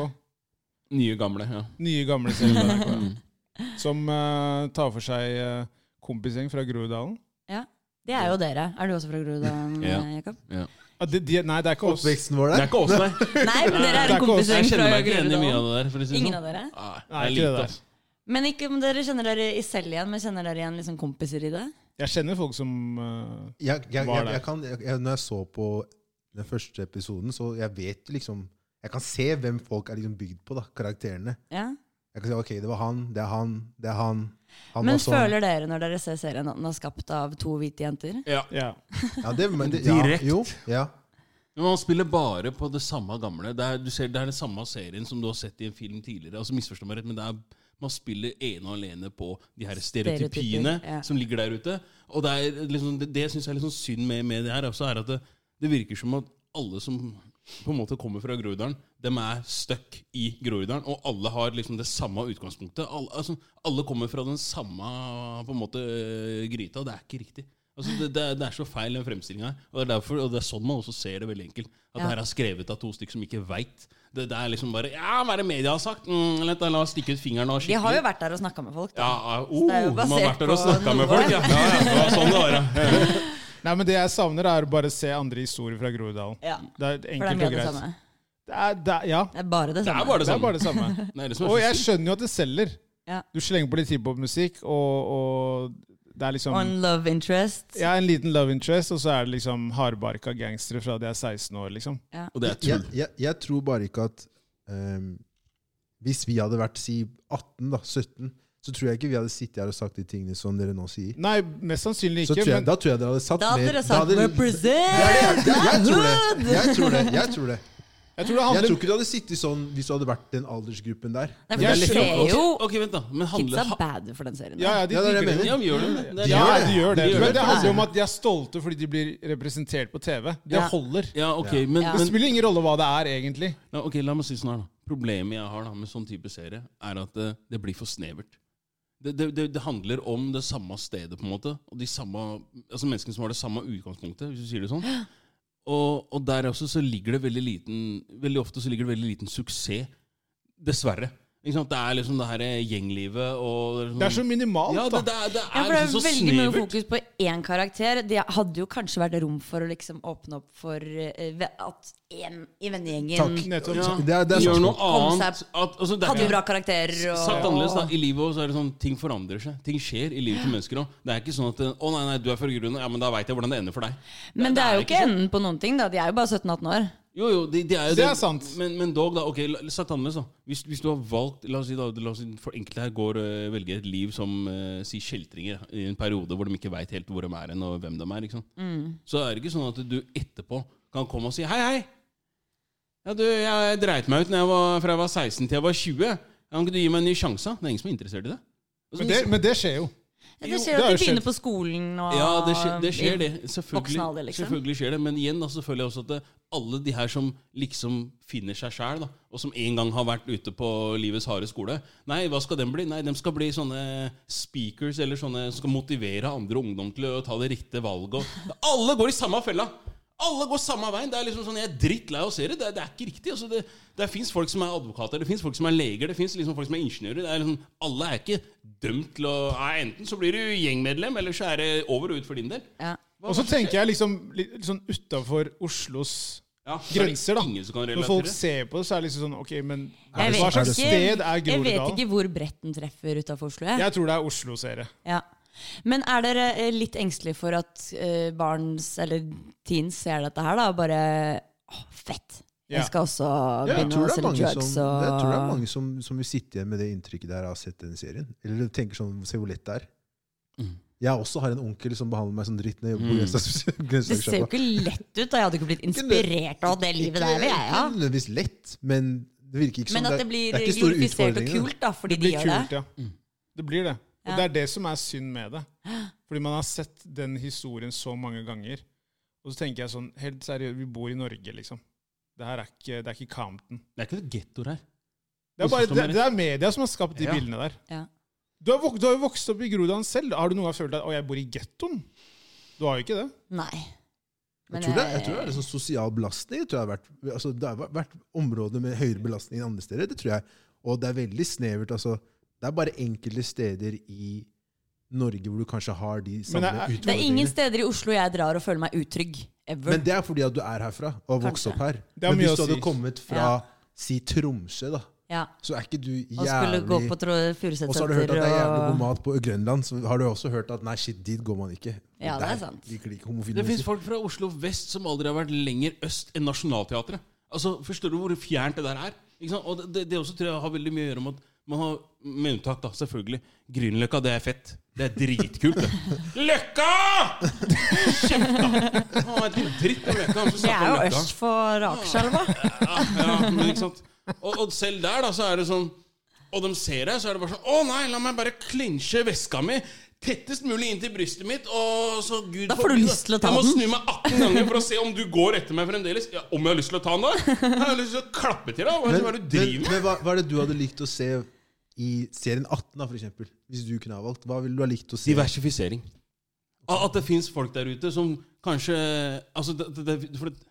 Speaker 2: Nye, gamle. ja.
Speaker 3: Nye, gamle serien på
Speaker 2: Mm.
Speaker 3: NRK.
Speaker 4: Mm.
Speaker 3: Som eh, tar for seg eh, kompisgjeng fra Groruddalen.
Speaker 4: Det er jo dere. Er du også fra Groruddalen,
Speaker 2: Ja.
Speaker 4: eh, Jakob?
Speaker 3: Ah, de, de, nei, det er ikke oss.
Speaker 1: Oppveksten vår
Speaker 2: Det
Speaker 1: der?
Speaker 2: er ikke oss, nei.
Speaker 4: Nei,
Speaker 2: [LAUGHS]
Speaker 4: men dere er
Speaker 3: Det er
Speaker 4: en
Speaker 3: ikke oss.
Speaker 4: kompisgjeng
Speaker 2: Jeg
Speaker 4: fra
Speaker 2: kjenner meg ikke igjen i mye av
Speaker 4: Groruddalen.
Speaker 2: det der. for å si det
Speaker 4: Ingen
Speaker 2: sånn.
Speaker 4: av dere?
Speaker 2: Nei, det
Speaker 3: Nei,
Speaker 2: er
Speaker 3: ikke
Speaker 2: lite,
Speaker 3: det der.
Speaker 2: altså.
Speaker 4: Men ikke om dere kjenner dere i selv igjen, men kjenner dere igjen liksom kompiser i det?
Speaker 3: Jeg kjenner folk som eh,
Speaker 1: Jeg, jeg,
Speaker 3: Var
Speaker 1: jeg,
Speaker 3: det.
Speaker 1: jeg kan, jeg, jeg, når jeg så på den første episoden, så jeg vet liksom Jeg kan se hvem folk er liksom bygd på, da, karakterene.
Speaker 4: Ja.
Speaker 1: Jeg kan si ok, det var han, det er han, det er han. han
Speaker 4: Men
Speaker 1: var sånn.
Speaker 4: føler dere når dere ser serien at den er skapt av to hvite jenter?
Speaker 2: Ja.
Speaker 3: ja.
Speaker 1: ja, det, men det, ja,
Speaker 2: Direkt.
Speaker 1: Jo, ja.
Speaker 2: Men man spiller bare på det samme gamle. Det er, du ser, det er den samme serien som du har sett i en film tidligere. Altså misforstå meg rett, men det er, Man spiller ene og alene på de her stereotypiene
Speaker 4: Stereotyper, ja.
Speaker 2: som ligger der ute. Og Det, er liksom, det, det syns jeg er litt sånn synd med, med det her. Også er at det, det virker som at alle som på en måte kommer fra Groruddalen, dem er stuck i Groruddalen. Og alle har liksom det samme utgangspunktet. Alle, altså, alle kommer fra den samme på en måte øh, gryta. Det er ikke riktig. Altså, det, det, er- det er så feil, den fremstillinga her. Og det, er derfor, og det er sånn man også ser det veldig enkelt. At
Speaker 4: Ja.
Speaker 2: det her er skrevet av to stykker som ikke veit. Det, det er liksom bare Ja, hva er det media har sagt? Mm, la, la oss stikke ut fingeren og
Speaker 4: De
Speaker 2: skikkelig.
Speaker 4: har jo vært der og snakka med folk,
Speaker 2: ja,
Speaker 4: da.
Speaker 2: ja, oh,
Speaker 4: det er jo
Speaker 2: De har
Speaker 4: basert
Speaker 2: vært der og
Speaker 4: på
Speaker 2: snakka med
Speaker 4: noe.
Speaker 2: folk, ja. ja, ja. Det var sånn det var, ja.
Speaker 3: Nei, men Det jeg savner, er å bare se andre historier fra Groruddalen.
Speaker 4: Ja,
Speaker 3: Det er
Speaker 4: for det er
Speaker 3: enkelt
Speaker 4: mye
Speaker 3: og
Speaker 4: det
Speaker 3: greit.
Speaker 4: samme.
Speaker 3: Det er, det er, ja,
Speaker 4: Det er bare [LAUGHS] sånn. det
Speaker 2: Det
Speaker 4: samme.
Speaker 2: er bare det
Speaker 3: det er
Speaker 2: samme.
Speaker 3: bare det samme.
Speaker 2: Nei, [LAUGHS] det som er
Speaker 3: Og
Speaker 2: så
Speaker 3: jeg
Speaker 2: sykt.
Speaker 3: skjønner jo at det selger.
Speaker 4: Ja.
Speaker 3: Du slenger på litt hiphop-musikk, og, og det er liksom
Speaker 4: Og en love interest.
Speaker 3: Jeg er en liten love interest, og så er det liksom hardbarka gangstere fra de er 16 år, liksom.
Speaker 2: Og det er
Speaker 1: Jeg,
Speaker 2: tull.
Speaker 1: jeg, jeg tror bare ikke at ehm, Hvis vi hadde vært si 18, da, 17, så tror jeg ikke vi hadde sittet her og sagt de tingene som dere nå sier.
Speaker 3: Nei, mest sannsynlig
Speaker 1: Så
Speaker 3: ikke,
Speaker 1: tror jeg,
Speaker 3: men
Speaker 1: da tror jeg dere hadde satt
Speaker 4: Da hadde
Speaker 1: mer-
Speaker 4: dere
Speaker 1: da
Speaker 4: sagt
Speaker 1: hadde-
Speaker 4: 'represent'!
Speaker 1: Det er det jeg- jeg tror det.
Speaker 4: Hood!
Speaker 1: Jeg tror det. Jeg tror det.
Speaker 3: jeg tror det
Speaker 1: Jeg
Speaker 3: handler
Speaker 1: tror ikke du hadde sittet sånn hvis du hadde vært den aldersgruppen der.
Speaker 4: Nei,
Speaker 1: Men
Speaker 4: for
Speaker 1: det er
Speaker 4: jeg
Speaker 1: lett-
Speaker 4: ser
Speaker 2: sånn, Ok,
Speaker 4: jo
Speaker 2: ok, vent da. Men
Speaker 4: Kids
Speaker 2: handler
Speaker 4: er bad for den serien.
Speaker 3: Ja, ja, de
Speaker 1: Ja, det er det jeg
Speaker 3: liker
Speaker 1: mener.
Speaker 2: Ja, men gjør det. Det er-
Speaker 3: Ja,
Speaker 1: gjør
Speaker 3: de gjør det.
Speaker 2: De gjør
Speaker 3: Men
Speaker 2: det.
Speaker 3: det handler jo om at de er stolte fordi de blir representert på TV. Det
Speaker 4: Ja.
Speaker 3: holder.
Speaker 2: Ja, ok, men,
Speaker 4: Ja.
Speaker 3: Det
Speaker 2: men
Speaker 3: spiller ingen rolle hva det er, egentlig.
Speaker 2: ja, ok, La meg si sånn her, da. Problemet jeg har da med sånn type serie, er at det, det blir for snevert. Det, det, det, det handler om det samme stedet, på en måte. Og de samme, altså menneskene som har det samme utgangspunktet, hvis du sier det
Speaker 4: [GASPS]
Speaker 2: sånn. Og, og der også så ligger det veldig liten Veldig ofte så ligger det veldig liten suksess. Dessverre. Ikke sant? Det er liksom det her gjenglivet og liksom-
Speaker 3: Det er så minimalt,
Speaker 2: ja, det,
Speaker 3: da.
Speaker 2: det, er- det
Speaker 4: Ja,
Speaker 2: er
Speaker 4: for det er
Speaker 2: liksom så
Speaker 4: veldig mye
Speaker 2: snevert.
Speaker 4: fokus på én karakter. Det hadde jo kanskje vært rom for å liksom åpne opp for eh, ve- at én i vennegjengen
Speaker 1: Takk.
Speaker 3: Nettopp.
Speaker 2: Ja.
Speaker 1: Det er, det er
Speaker 2: Gjør
Speaker 1: sant.
Speaker 2: noe
Speaker 4: Kom seg-
Speaker 2: annet. At, altså, det er ikke-
Speaker 4: hadde jo bra karakterer. Og,
Speaker 2: Sagt annerledes da, I livet også er det sånn ting forandrer seg. Ting skjer i livet til mennesker òg. Det er ikke sånn at Å nei, nei, du er fra grunnen, ja, men da veit jeg hvordan det ender for deg.
Speaker 4: Men det er jo ikke
Speaker 2: sånn.
Speaker 4: enden på noen ting. da De er jo bare 17-18 år.
Speaker 2: Jo, jo, de, de er jo
Speaker 3: Det er sant.
Speaker 2: Men, men dog, da. ok, la- Sagt annerledes, da. Hvis, hvis du har valgt La oss si, da, la oss si for enkelte her går eh, velger et liv som eh, si kjeltringer i en periode hvor de ikke veit helt hvor de er hen, og hvem de er. Ikke sant? Så er det ikke sånn at du etterpå kan komme og si hei, hei. Ja, du, jeg dreit meg ut når jeg var, fra jeg var 16 til jeg var 20. Kan ikke du gi meg en ny sjanse? da? Det er ingen som er interessert i det. Sånn- Og så-
Speaker 3: Men det, men det skjer jo.
Speaker 4: Ja,
Speaker 3: Jo,
Speaker 4: Det skjer
Speaker 3: det
Speaker 4: jo
Speaker 3: har
Speaker 4: at de
Speaker 3: jo
Speaker 4: begynner
Speaker 3: skjedd.
Speaker 4: på skolen og
Speaker 2: Ja, det skjer det. Skjer det.
Speaker 4: voksen
Speaker 2: Selvfølgelig,
Speaker 4: alder, liksom.
Speaker 2: selvfølgelig skjer det. Men igjen da, selvfølgelig også at det, alle de her som liksom finner seg sjæl, og som en gang har vært ute på livets harde skole Nei, hva skal dem bli? Nei, dem skal bli sånne speakers eller sånne som skal motivere andre ungdom til å ta det riktige valget. Og, alle går i samme fella! Alle går samme veien. Det er liksom sånn, Jeg er drittlei av å se det. Det er, det er ikke riktig. Altså, det det fins folk som er advokater, det fins folk som er leger, det fins liksom folk som er ingeniører. Det er liksom, alle er ikke dømt til å nei, Enten så blir du gjengmedlem, eller så er det over og ut for din del.
Speaker 4: Ja.
Speaker 3: Og så tenker jeg liksom litt litt sånn utafor Oslos
Speaker 2: Ja, så er det
Speaker 3: grenser, da.
Speaker 2: Ingen som kan
Speaker 3: Når folk
Speaker 2: relatere.
Speaker 3: ser på det, så er det liksom sånn Ok, men
Speaker 4: Jeg
Speaker 3: hva
Speaker 4: vet,
Speaker 3: slags
Speaker 4: ikke,
Speaker 3: sted er
Speaker 4: jeg vet
Speaker 3: Groruddalen?
Speaker 4: ikke hvor bredt den treffer utafor Oslo. Jeg.
Speaker 3: Jeg tror det er Oslo-serie.
Speaker 4: Ja. Men er dere eh, litt engstelige for at eh, barns eller teens ser dette her, da? Og bare Å, fett!
Speaker 3: Ja.
Speaker 4: Jeg skal også
Speaker 1: Jeg
Speaker 4: begynne
Speaker 1: tror
Speaker 4: å
Speaker 1: det er
Speaker 4: selge
Speaker 1: mange,
Speaker 4: drugs
Speaker 1: som,
Speaker 4: og
Speaker 1: jeg tror det er mange som, som vil sitte igjen med det inntrykket der av å ha sett denne serien. Eller tenker sånn Se hvor lett det er.
Speaker 2: Mm.
Speaker 1: Jeg også har en onkel som behandler meg som dritt når jeg bor
Speaker 2: Mm.
Speaker 1: i [LAUGHS] Grenstad-
Speaker 4: Det ser jo
Speaker 1: grensestasjonen.
Speaker 4: ikke lett ut. da Jeg hadde ikke blitt inspirert av det livet der. vil jeg,
Speaker 1: Ikke
Speaker 4: ja.
Speaker 1: nødvendigvis lett, men det virker ikke som
Speaker 4: Men at det blir glorifisert og kult da fordi
Speaker 3: Det
Speaker 4: de
Speaker 3: blir
Speaker 4: gjør
Speaker 3: kult,
Speaker 4: det.
Speaker 3: ja.
Speaker 2: Mm.
Speaker 3: Det blir det. Og
Speaker 4: Ja.
Speaker 3: det er det som er synd med
Speaker 4: [GASPS]
Speaker 3: det. Fordi man har sett den historien så mange ganger. Og så tenker jeg sånn, helt seriøst, vi bor i Norge, liksom. Det her er ikke, det er ikke Compton.
Speaker 2: Det er ikke noe gettoer her.
Speaker 3: Det er, bare,
Speaker 2: Misforstå
Speaker 3: det,
Speaker 2: meg rett.
Speaker 3: det er media som har skapt de
Speaker 2: Ja.
Speaker 3: bildene der.
Speaker 4: Ja.
Speaker 3: Du har, vok- du har jo vokst opp i Groruddalen selv. Har du noen gang følt at 'å, jeg bor i gettoen'? Du har jo ikke det.
Speaker 4: Nei.
Speaker 1: Jeg tror det, jeg tror det er en sånn sosial belastning. Jeg tror jeg har vært, altså, det har vært områder med høyere belastning enn andre steder. det tror jeg. Og det er veldig snevert. altså. Det er bare enkelte steder i Norge hvor du kanskje har de samme
Speaker 3: er-
Speaker 1: utfordringene.
Speaker 4: det er ingen steder i Oslo jeg drar og føler meg utrygg. Ever.
Speaker 1: Men det er fordi at du er herfra og har vokst
Speaker 4: Kanskje.
Speaker 1: opp her.
Speaker 3: Det har
Speaker 1: Men
Speaker 3: mye å
Speaker 1: hvis du hadde
Speaker 3: si.
Speaker 1: kommet fra
Speaker 4: Ja.
Speaker 1: si Tromsø, da,
Speaker 4: ja.
Speaker 1: så er ikke du
Speaker 4: Og skulle gå
Speaker 1: jævlig
Speaker 4: på Trå- Furuset
Speaker 1: Og så har du hørt at det er jævlig god mat på Grønland, så har du også hørt at nei, shit, dit går man ikke.
Speaker 4: Ja, det er
Speaker 1: Der
Speaker 4: sant.
Speaker 1: Liker de ikke homofile
Speaker 2: Det fins
Speaker 1: mennesker.
Speaker 2: folk fra Oslo vest som aldri har vært lenger øst enn Nationaltheatret. Altså, forstår du hvor fjernt det der er? Ikke sant? Og det, det også tror jeg har veldig mye å gjøre med at man har, med unntak, da, selvfølgelig Grünerløkka, det er fett. Det er dritkult. Det. [LAUGHS] Løkka! Kjeft, da! Han vet ikke dritt om Løkka. Han som
Speaker 4: Det er
Speaker 2: snakker om
Speaker 4: jo
Speaker 2: Løkka.
Speaker 4: øst for Akerselva.
Speaker 2: Ja, ja, men ikke sant og, og selv der da, så er det sånn Og de ser deg, så er det bare sånn Å nei, la meg bare klinsje veska mi Tettest mulig inn til brystet mitt Og så Gud
Speaker 4: Da får du
Speaker 2: forby det.
Speaker 4: lyst til å ta
Speaker 2: Jeg må
Speaker 4: den.
Speaker 2: snu meg 18 ganger for å se om du går etter meg fremdeles ja, Om jeg har lyst til å ta den da Jeg har lyst til å klappe til deg Hva er det hva er det du driver med?
Speaker 1: men hva, hva er det du hadde likt å se i serien 18, da, for eksempel? Hvis du kunne ha valgt. Hva ville du ha likt å se?
Speaker 2: Diversifisering. At at det fins folk der ute som kanskje Altså, det, det, det, for det,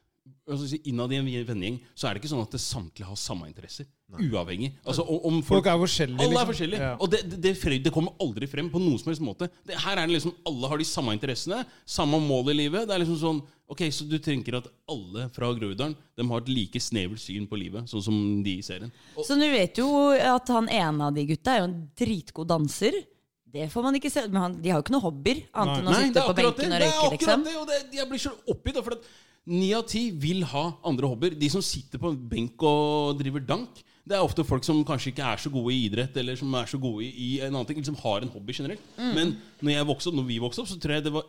Speaker 2: altså, si, innad i en vennegjeng så er det ikke sånn at det samtlige har samme interesser. Uavhengig. Altså, om, om folk,
Speaker 3: Folk er forskjellige.
Speaker 2: alle er
Speaker 3: liksom.
Speaker 2: forskjellige.
Speaker 3: Ja.
Speaker 2: Og det, det, det, fre- det kommer aldri frem på noen som helst måte. Det, her er det liksom Alle har de samme interessene, samme mål i livet. Det er liksom sånn Ok, Så du tenker at alle fra Groruddalen de har et like snevert syn på livet, sånn som de i serien? Og,
Speaker 4: Så du vet jo at han ene av de gutta er jo en dritgod danser. Det får man ikke se. Men han, de har jo ikke noen hobbyer, annet enn å
Speaker 2: nei, det
Speaker 4: sitte
Speaker 2: er
Speaker 4: på
Speaker 2: akkurat det!
Speaker 4: benken og
Speaker 2: det, er
Speaker 4: røyke,
Speaker 2: akkurat
Speaker 4: liksom.
Speaker 2: det og det, jeg blir så oppgitt. da, For at ni av ti vil ha andre hobbyer. De som sitter på en benk og driver dank, det er ofte folk som kanskje ikke er så gode i idrett, eller som er så gode i i en annen ting, liksom har en hobby generelt. Men når, jeg vokste opp, når vi vokste opp, så tror jeg det var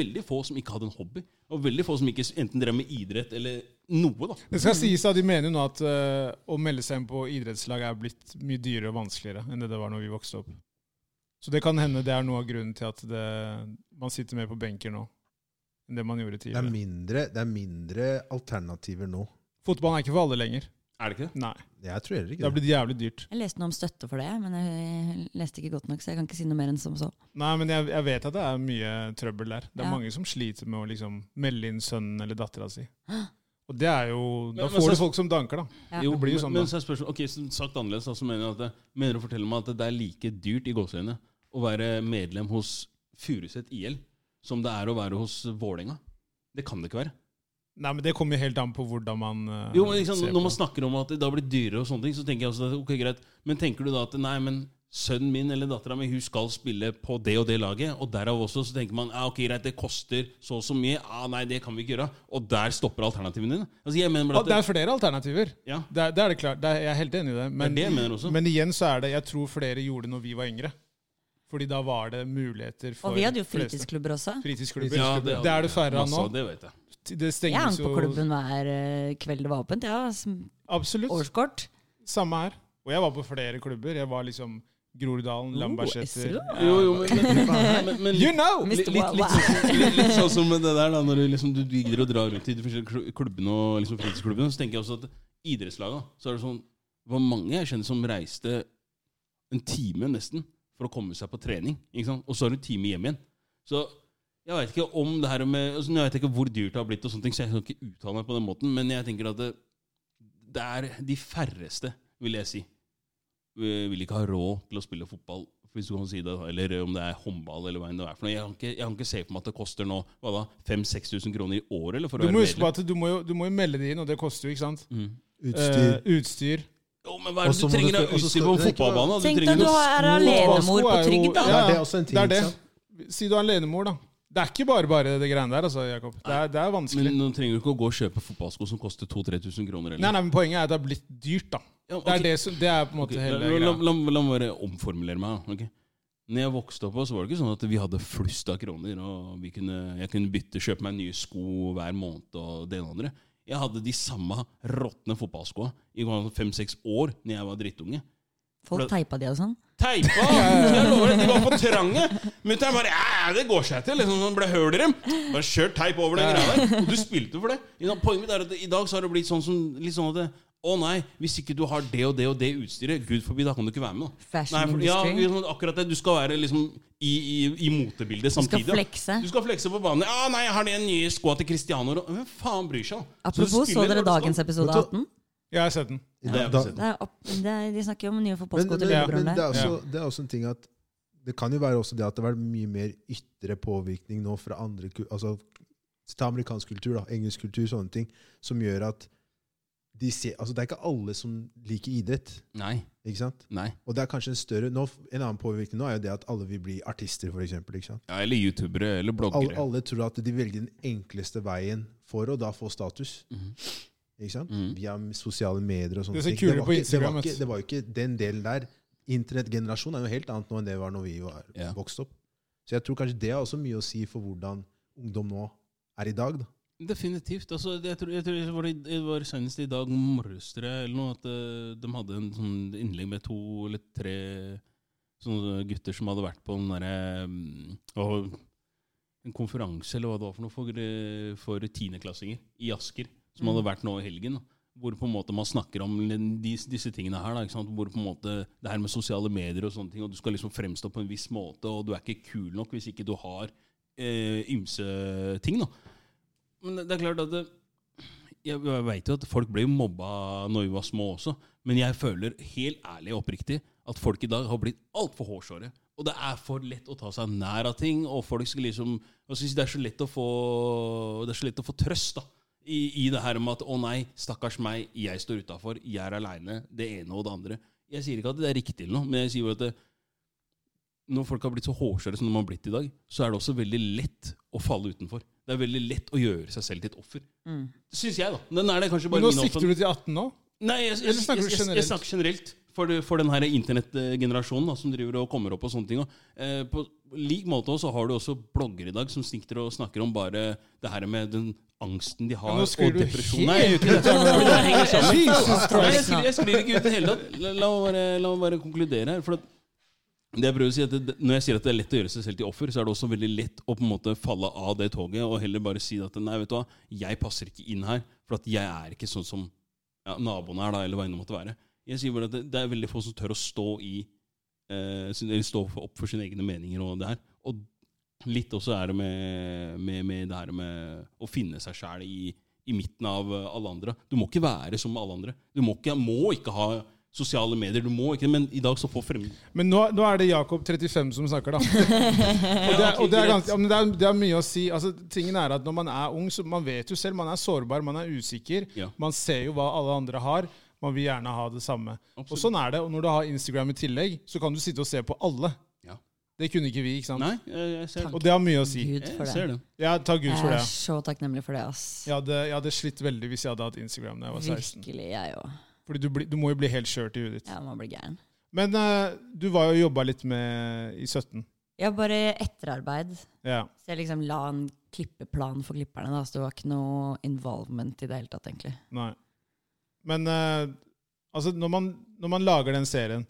Speaker 2: veldig få som ikke hadde en hobby. Og veldig få som ikke s- enten drev med idrett eller noe, da.
Speaker 3: Det skal sies at de mener jo nå at eh, å melde seg inn på idrettslag er blitt mye dyrere og vanskeligere enn det det var når vi vokste opp. Så det kan hende det er noe av grunnen til at det, man sitter mer på benker nå enn det man gjorde
Speaker 1: Det er
Speaker 3: tidligere.
Speaker 1: mindre, det er mindre alternativer nå.
Speaker 3: Fotballen er ikke for alle lenger.
Speaker 2: Er det ikke det?
Speaker 3: Nei.
Speaker 1: Jeg tror heller
Speaker 3: Det
Speaker 1: ikke
Speaker 3: har
Speaker 1: det.
Speaker 3: blitt jævlig dyrt.
Speaker 4: Jeg leste noe om støtte for det, men jeg leste ikke godt nok, så jeg kan ikke si noe mer enn som så.
Speaker 3: Nei, men jeg, jeg vet at det er mye trøbbel der. Det er
Speaker 4: Ja.
Speaker 3: mange som sliter med å liksom melde inn sønnen eller dattera si. Og det er jo Da
Speaker 2: Men- men
Speaker 3: får
Speaker 2: så-
Speaker 3: du folk som danker, da.
Speaker 4: Ja.
Speaker 2: Jo,
Speaker 3: Det blir jo sånn,
Speaker 2: men, men
Speaker 3: da.
Speaker 2: så er spørsmålet Ok, så sagt annerledes, da, så mener jeg at det, mener du å fortelle meg at det er like dyrt i gåseøynene å være medlem hos Furuset IL som det er å være hos Vålerenga? Det kan det ikke være.
Speaker 3: Nei, men det kommer jo helt an på hvordan man eh,
Speaker 2: Jo, men liksom,
Speaker 3: ser
Speaker 2: Når
Speaker 3: på
Speaker 2: man snakker om at det da blir dyrere og sånne ting, så tenker jeg også at ok, greit. Men tenker du da at nei, men sønnen min eller dattera mi hun skal spille på det og det laget, og derav også så tenker man ja, ok, greit, det koster så og så mye, ja, nei, det kan vi ikke gjøre, og der stopper alternativene dine? Altså, jeg mener
Speaker 3: det.
Speaker 2: bare
Speaker 3: Ah,
Speaker 2: at
Speaker 3: det
Speaker 2: det,
Speaker 3: er flere alternativer.
Speaker 2: ja,
Speaker 3: Det er, det er det klart. Det er, jeg er helt enig i
Speaker 2: det
Speaker 3: det.
Speaker 2: er
Speaker 3: Men,
Speaker 2: det jeg mener også.
Speaker 3: men igjen så er det Jeg tror flere gjorde det når vi var yngre. Fordi da var det muligheter for
Speaker 4: Og vi hadde jo
Speaker 3: fleste.
Speaker 4: fritidsklubber også.
Speaker 3: Fritidsklubber.
Speaker 2: Ja,
Speaker 3: det, er det færre av
Speaker 2: masse
Speaker 3: nå.
Speaker 2: Det vet jeg.
Speaker 3: Det
Speaker 4: Jeg hang
Speaker 3: stenges
Speaker 4: på
Speaker 3: jo
Speaker 4: klubben hver eh, kveld det var åpent. Ja, som
Speaker 3: Absolutt.
Speaker 4: årskort.
Speaker 3: Samme her. Og jeg var på flere klubber. Jeg var liksom Groruddalen,
Speaker 4: Oh,
Speaker 3: Lambertseter
Speaker 4: Esra.
Speaker 3: Ja.
Speaker 2: Jo, jo, men, men, men, men
Speaker 3: You know!
Speaker 4: Mr.
Speaker 2: litt, litt, litt, sånn- litt, litt sånn som det der, da, når du, liksom, du gidder å dra rundt i de forskjellige klu- klubbene og liksom, fritidsklubbene, så tenker jeg også at idrettslaga Så er det sånn Det var mange jeg kjenner som reiste en time nesten for å komme seg på trening, ikke sant? og så har du en time hjem igjen. Så jeg veit ikke om det her med altså, Jeg vet ikke hvor dyrt det har blitt, og sånne ting, så jeg kan ikke uttale meg på den måten, men jeg tenker at det, det er de færreste, vil jeg si, eh, vil ikke ha råd til å spille fotball. Hvis du kan si det, da, eller om det er håndball eller hva enn det er. for noe. Jeg kan ikke, jeg kan ikke se for meg at det koster nå hva da, 5000-6000 kroner i året eller for
Speaker 3: Du
Speaker 2: å
Speaker 3: må
Speaker 2: være
Speaker 3: huske på
Speaker 2: medlem.
Speaker 3: at du må, jo, du må jo melde det inn, og det koster jo, ikke sant?
Speaker 2: Mm.
Speaker 1: Utstyr.
Speaker 3: Eh, utstyr.
Speaker 2: Jo, men hva er
Speaker 1: Også må
Speaker 2: det du trenger
Speaker 1: du-
Speaker 2: av
Speaker 1: og så
Speaker 2: utstyr
Speaker 1: skal-
Speaker 2: på en
Speaker 1: det er ikke bare-
Speaker 2: fotballbane? da? Du
Speaker 4: Tenk
Speaker 2: trenger
Speaker 4: deg du
Speaker 2: noe
Speaker 4: er
Speaker 3: sko-
Speaker 4: alenemor
Speaker 3: sko
Speaker 4: på
Speaker 3: er jo-
Speaker 4: Trygd, da.
Speaker 1: Ja, det er også en ting,
Speaker 3: Det er
Speaker 1: ikke
Speaker 3: det. Si du er alenemor, da. Det er ikke bare bare det greiene der, altså, Jakob. Det er, det er vanskelig.
Speaker 2: Men nå trenger du ikke å gå og kjøpe fotballsko som koster 2000-3000 kroner.
Speaker 3: Nei,
Speaker 2: Eller.
Speaker 3: nei, men Poenget er at det har blitt dyrt, da.
Speaker 2: Ja,
Speaker 3: Det
Speaker 2: ok.
Speaker 3: er, det, som, det er på en måte
Speaker 2: Ok, la,
Speaker 3: hele
Speaker 2: la, la,
Speaker 3: greia.
Speaker 2: la, la meg bare omformulere meg. da, ok? Når jeg vokste opp, så var det ikke sånn at vi hadde flust av kroner. og vi kunne, Jeg kunne bytte, kjøpe meg nye sko hver måned og det ene og det andre. Jeg hadde de samme råtne fotballskoa i fem-seks år når jeg var drittunge.
Speaker 4: Folk teipa de og sånn.
Speaker 2: Teipa! Jeg lover deg, De var for trange! Mutter'n bare ja, ja, 'Det går seg til.' Liksom sånn ble høl i dem. Bare kjør teip over den greia der. Og du spilte for det. Ikke sant? Poenget mitt er at i dag så har det blitt sånn som litt sånn at det, å nei, hvis ikke du har det og det og det utstyret, gud forbi, da kan du ikke være med. da.
Speaker 4: Fashion
Speaker 2: Nei, for, ja,
Speaker 4: industry.
Speaker 2: liksom, akkurat det. Du skal være liksom i, i, i motebildet
Speaker 4: skal
Speaker 2: samtidig. da.
Speaker 4: flekse.
Speaker 2: Du skal flekse på banen. Ja, nei, jeg har de nye skoa til Cristiano Ro- Hvem faen bryr seg? da? du
Speaker 4: Apropos, så
Speaker 2: spiller når
Speaker 4: dere
Speaker 2: du skal.
Speaker 4: dagens episode
Speaker 1: Vet
Speaker 4: 18?
Speaker 3: Jeg har sett den.
Speaker 1: I
Speaker 2: Ja,
Speaker 1: dag- da-
Speaker 2: jeg har sett
Speaker 4: Det er opp, det er, de snakker jo om nye
Speaker 1: Men,
Speaker 4: fotballsko
Speaker 1: men,
Speaker 4: til
Speaker 1: men
Speaker 4: lillebroren
Speaker 1: det, er
Speaker 4: der.
Speaker 1: også, det er også en ting at det kan jo være også det at det har vært mye mer ytre påvirkning nå fra andre ku- altså ta amerikansk kultur, da, engelsk kultur, sånne ting, som gjør at de ser, altså det er ikke alle som liker idrett.
Speaker 2: Nei.
Speaker 1: ikke sant?
Speaker 2: nei.
Speaker 1: Og det er kanskje en større, nå, En annen påvirkning nå er jo det at alle vil bli artister, for eksempel, ikke sant?
Speaker 2: Ja, eller youtubere
Speaker 1: Alle,
Speaker 2: eller bloggere.
Speaker 1: alle tror at de velger den enkleste veien for å da få status.
Speaker 2: Mhm.
Speaker 1: ikke sant?
Speaker 2: Mhm.
Speaker 1: Via sosiale medier og sånne
Speaker 3: Det er så
Speaker 1: ting.
Speaker 3: kulere
Speaker 1: var
Speaker 3: på
Speaker 1: ikke-
Speaker 3: Instagram,
Speaker 1: Det var,
Speaker 3: vet
Speaker 1: ikke,
Speaker 3: du.
Speaker 1: det var jo ikke den delen der. Internettgenerasjonen er jo helt annet nå enn det var når vi var
Speaker 2: Ja.
Speaker 1: vokst opp. Så jeg tror kanskje det har også mye å si for hvordan ungdom nå er i dag. da.
Speaker 2: Definitivt. Altså, jeg tror, jeg tror det, var, i- det var senest i dag morges tror jeg, eller noe, at eh, de hadde en sånn innlegg med to eller tre sånne gutter som hadde vært på den derre mm, hva- En konferanse eller hva det var for noe for, eh, for tiendeklassinger i Asker, som hadde vært nå i helgen. da. Hvor på en måte man snakker om disse, disse tingene her. Da, ikke sant? Hvor på en måte det her med sosiale medier og sånne ting, og du skal liksom fremstå på en viss måte, og du er ikke kul nok hvis ikke du har eh, ymse ting. da. Men det, det er klart at det, jeg, jeg vet jo at folk ble jo mobba når vi var små også, men jeg føler helt ærlig og oppriktig at folk i dag har blitt altfor hårsåre. Og det er for lett å ta seg nær av ting, og folk skal liksom jeg synes det, er så lett å få, det er så lett å få trøst da, i, i det her med at 'å nei, stakkars meg, jeg står utafor, jeg er aleine', det ene og det andre. Jeg sier ikke at det er riktig, eller noe, men jeg sier bare at det, når folk har blitt så hårsåre som de har blitt i dag, så er det også veldig lett å falle utenfor. Det er veldig lett å gjøre seg selv til et offer.
Speaker 4: Mm.
Speaker 2: Syns jeg, da. Den er det kanskje bare
Speaker 3: Men nå
Speaker 2: min
Speaker 3: sikter
Speaker 2: oppfatning.
Speaker 3: du til 18 nå?
Speaker 2: Nei, jeg, jeg,
Speaker 3: Eller
Speaker 2: jeg,
Speaker 3: snakker du
Speaker 2: jeg, jeg,
Speaker 3: generelt?
Speaker 2: snakker generelt. For, det- for den her internettgenerasjonen da, som driver og kommer opp og sånne ting. da. Eh, på lik måte også har du også blogger i dag som sikter og snakker om bare det her med den angsten de har,
Speaker 3: nå skyr
Speaker 2: og
Speaker 3: du
Speaker 2: depresjon. Nei, jeg gjør ikke det.
Speaker 3: [LAUGHS]
Speaker 4: helt ut.
Speaker 2: Det henger sammen.
Speaker 3: Jesus
Speaker 2: Nei, jeg,
Speaker 3: Christ!
Speaker 2: sklir, jeg sklir ikke ut i det hele tatt. La, la, meg bare, la meg bare konkludere her. For at det jeg prøver å si er at det, Når jeg sier at det er lett å gjøre seg selv til offer, så er det også veldig lett å på en måte falle av det toget og heller bare si at nei, vet du hva, jeg passer ikke inn her, for at jeg er ikke sånn som ja, naboen er, da, eller hva enn det måtte være. Jeg sier bare at det, det er veldig få som tør å stå i eh, sin- eller stå for- opp for sine egne meninger og det her. Og litt også er det med, med, med det her med å finne seg sjæl i, i midten av eh, alle andre. Du må ikke være som alle andre. Du må ikke, må ikke ha sosiale medier, du må ikke Men i dag så får
Speaker 3: [LAUGHS]
Speaker 2: frem...
Speaker 3: Men nå, nå er det Jakob 35 som snakker, da. Og det er, og det er, ganske, ja, men det er, det er mye å si. Altså, tingen er at Når man er ung, så man vet jo selv. Man er sårbar, man er usikker.
Speaker 2: Ja.
Speaker 3: Man ser jo hva alle andre har. Man vil gjerne ha det samme. Og
Speaker 2: Absolutt.
Speaker 3: sånn er det. Og når du har Instagram i tillegg, så kan du sitte og se på alle.
Speaker 2: Ja.
Speaker 3: Det kunne ikke vi, ikke sant?
Speaker 2: Nei, jeg, jeg ser det.
Speaker 3: Og det har mye å si.
Speaker 4: Gud
Speaker 2: Jeg
Speaker 4: for det.
Speaker 2: ser det.
Speaker 3: Ja, takk Gud for
Speaker 4: Jeg
Speaker 3: det.
Speaker 4: er så takknemlig for det, ass.
Speaker 3: Jeg hadde, jeg hadde slitt veldig hvis jeg hadde hatt Instagram da jeg var 16.
Speaker 4: Virkelig, jeg òg.
Speaker 3: Fordi du, blir- du må jo bli helt skjørt i huet ditt.
Speaker 4: Jeg må bli gæren.
Speaker 3: Men eh, du var jo og jobba litt med i 17.
Speaker 4: Jeg har bare etterarbeid.
Speaker 3: Ja.
Speaker 4: Så jeg liksom la en klippeplan for klipperne. da, Så det var ikke noe involvement i det hele tatt, egentlig.
Speaker 3: Nei. Men eh, altså, når man, når man lager den serien,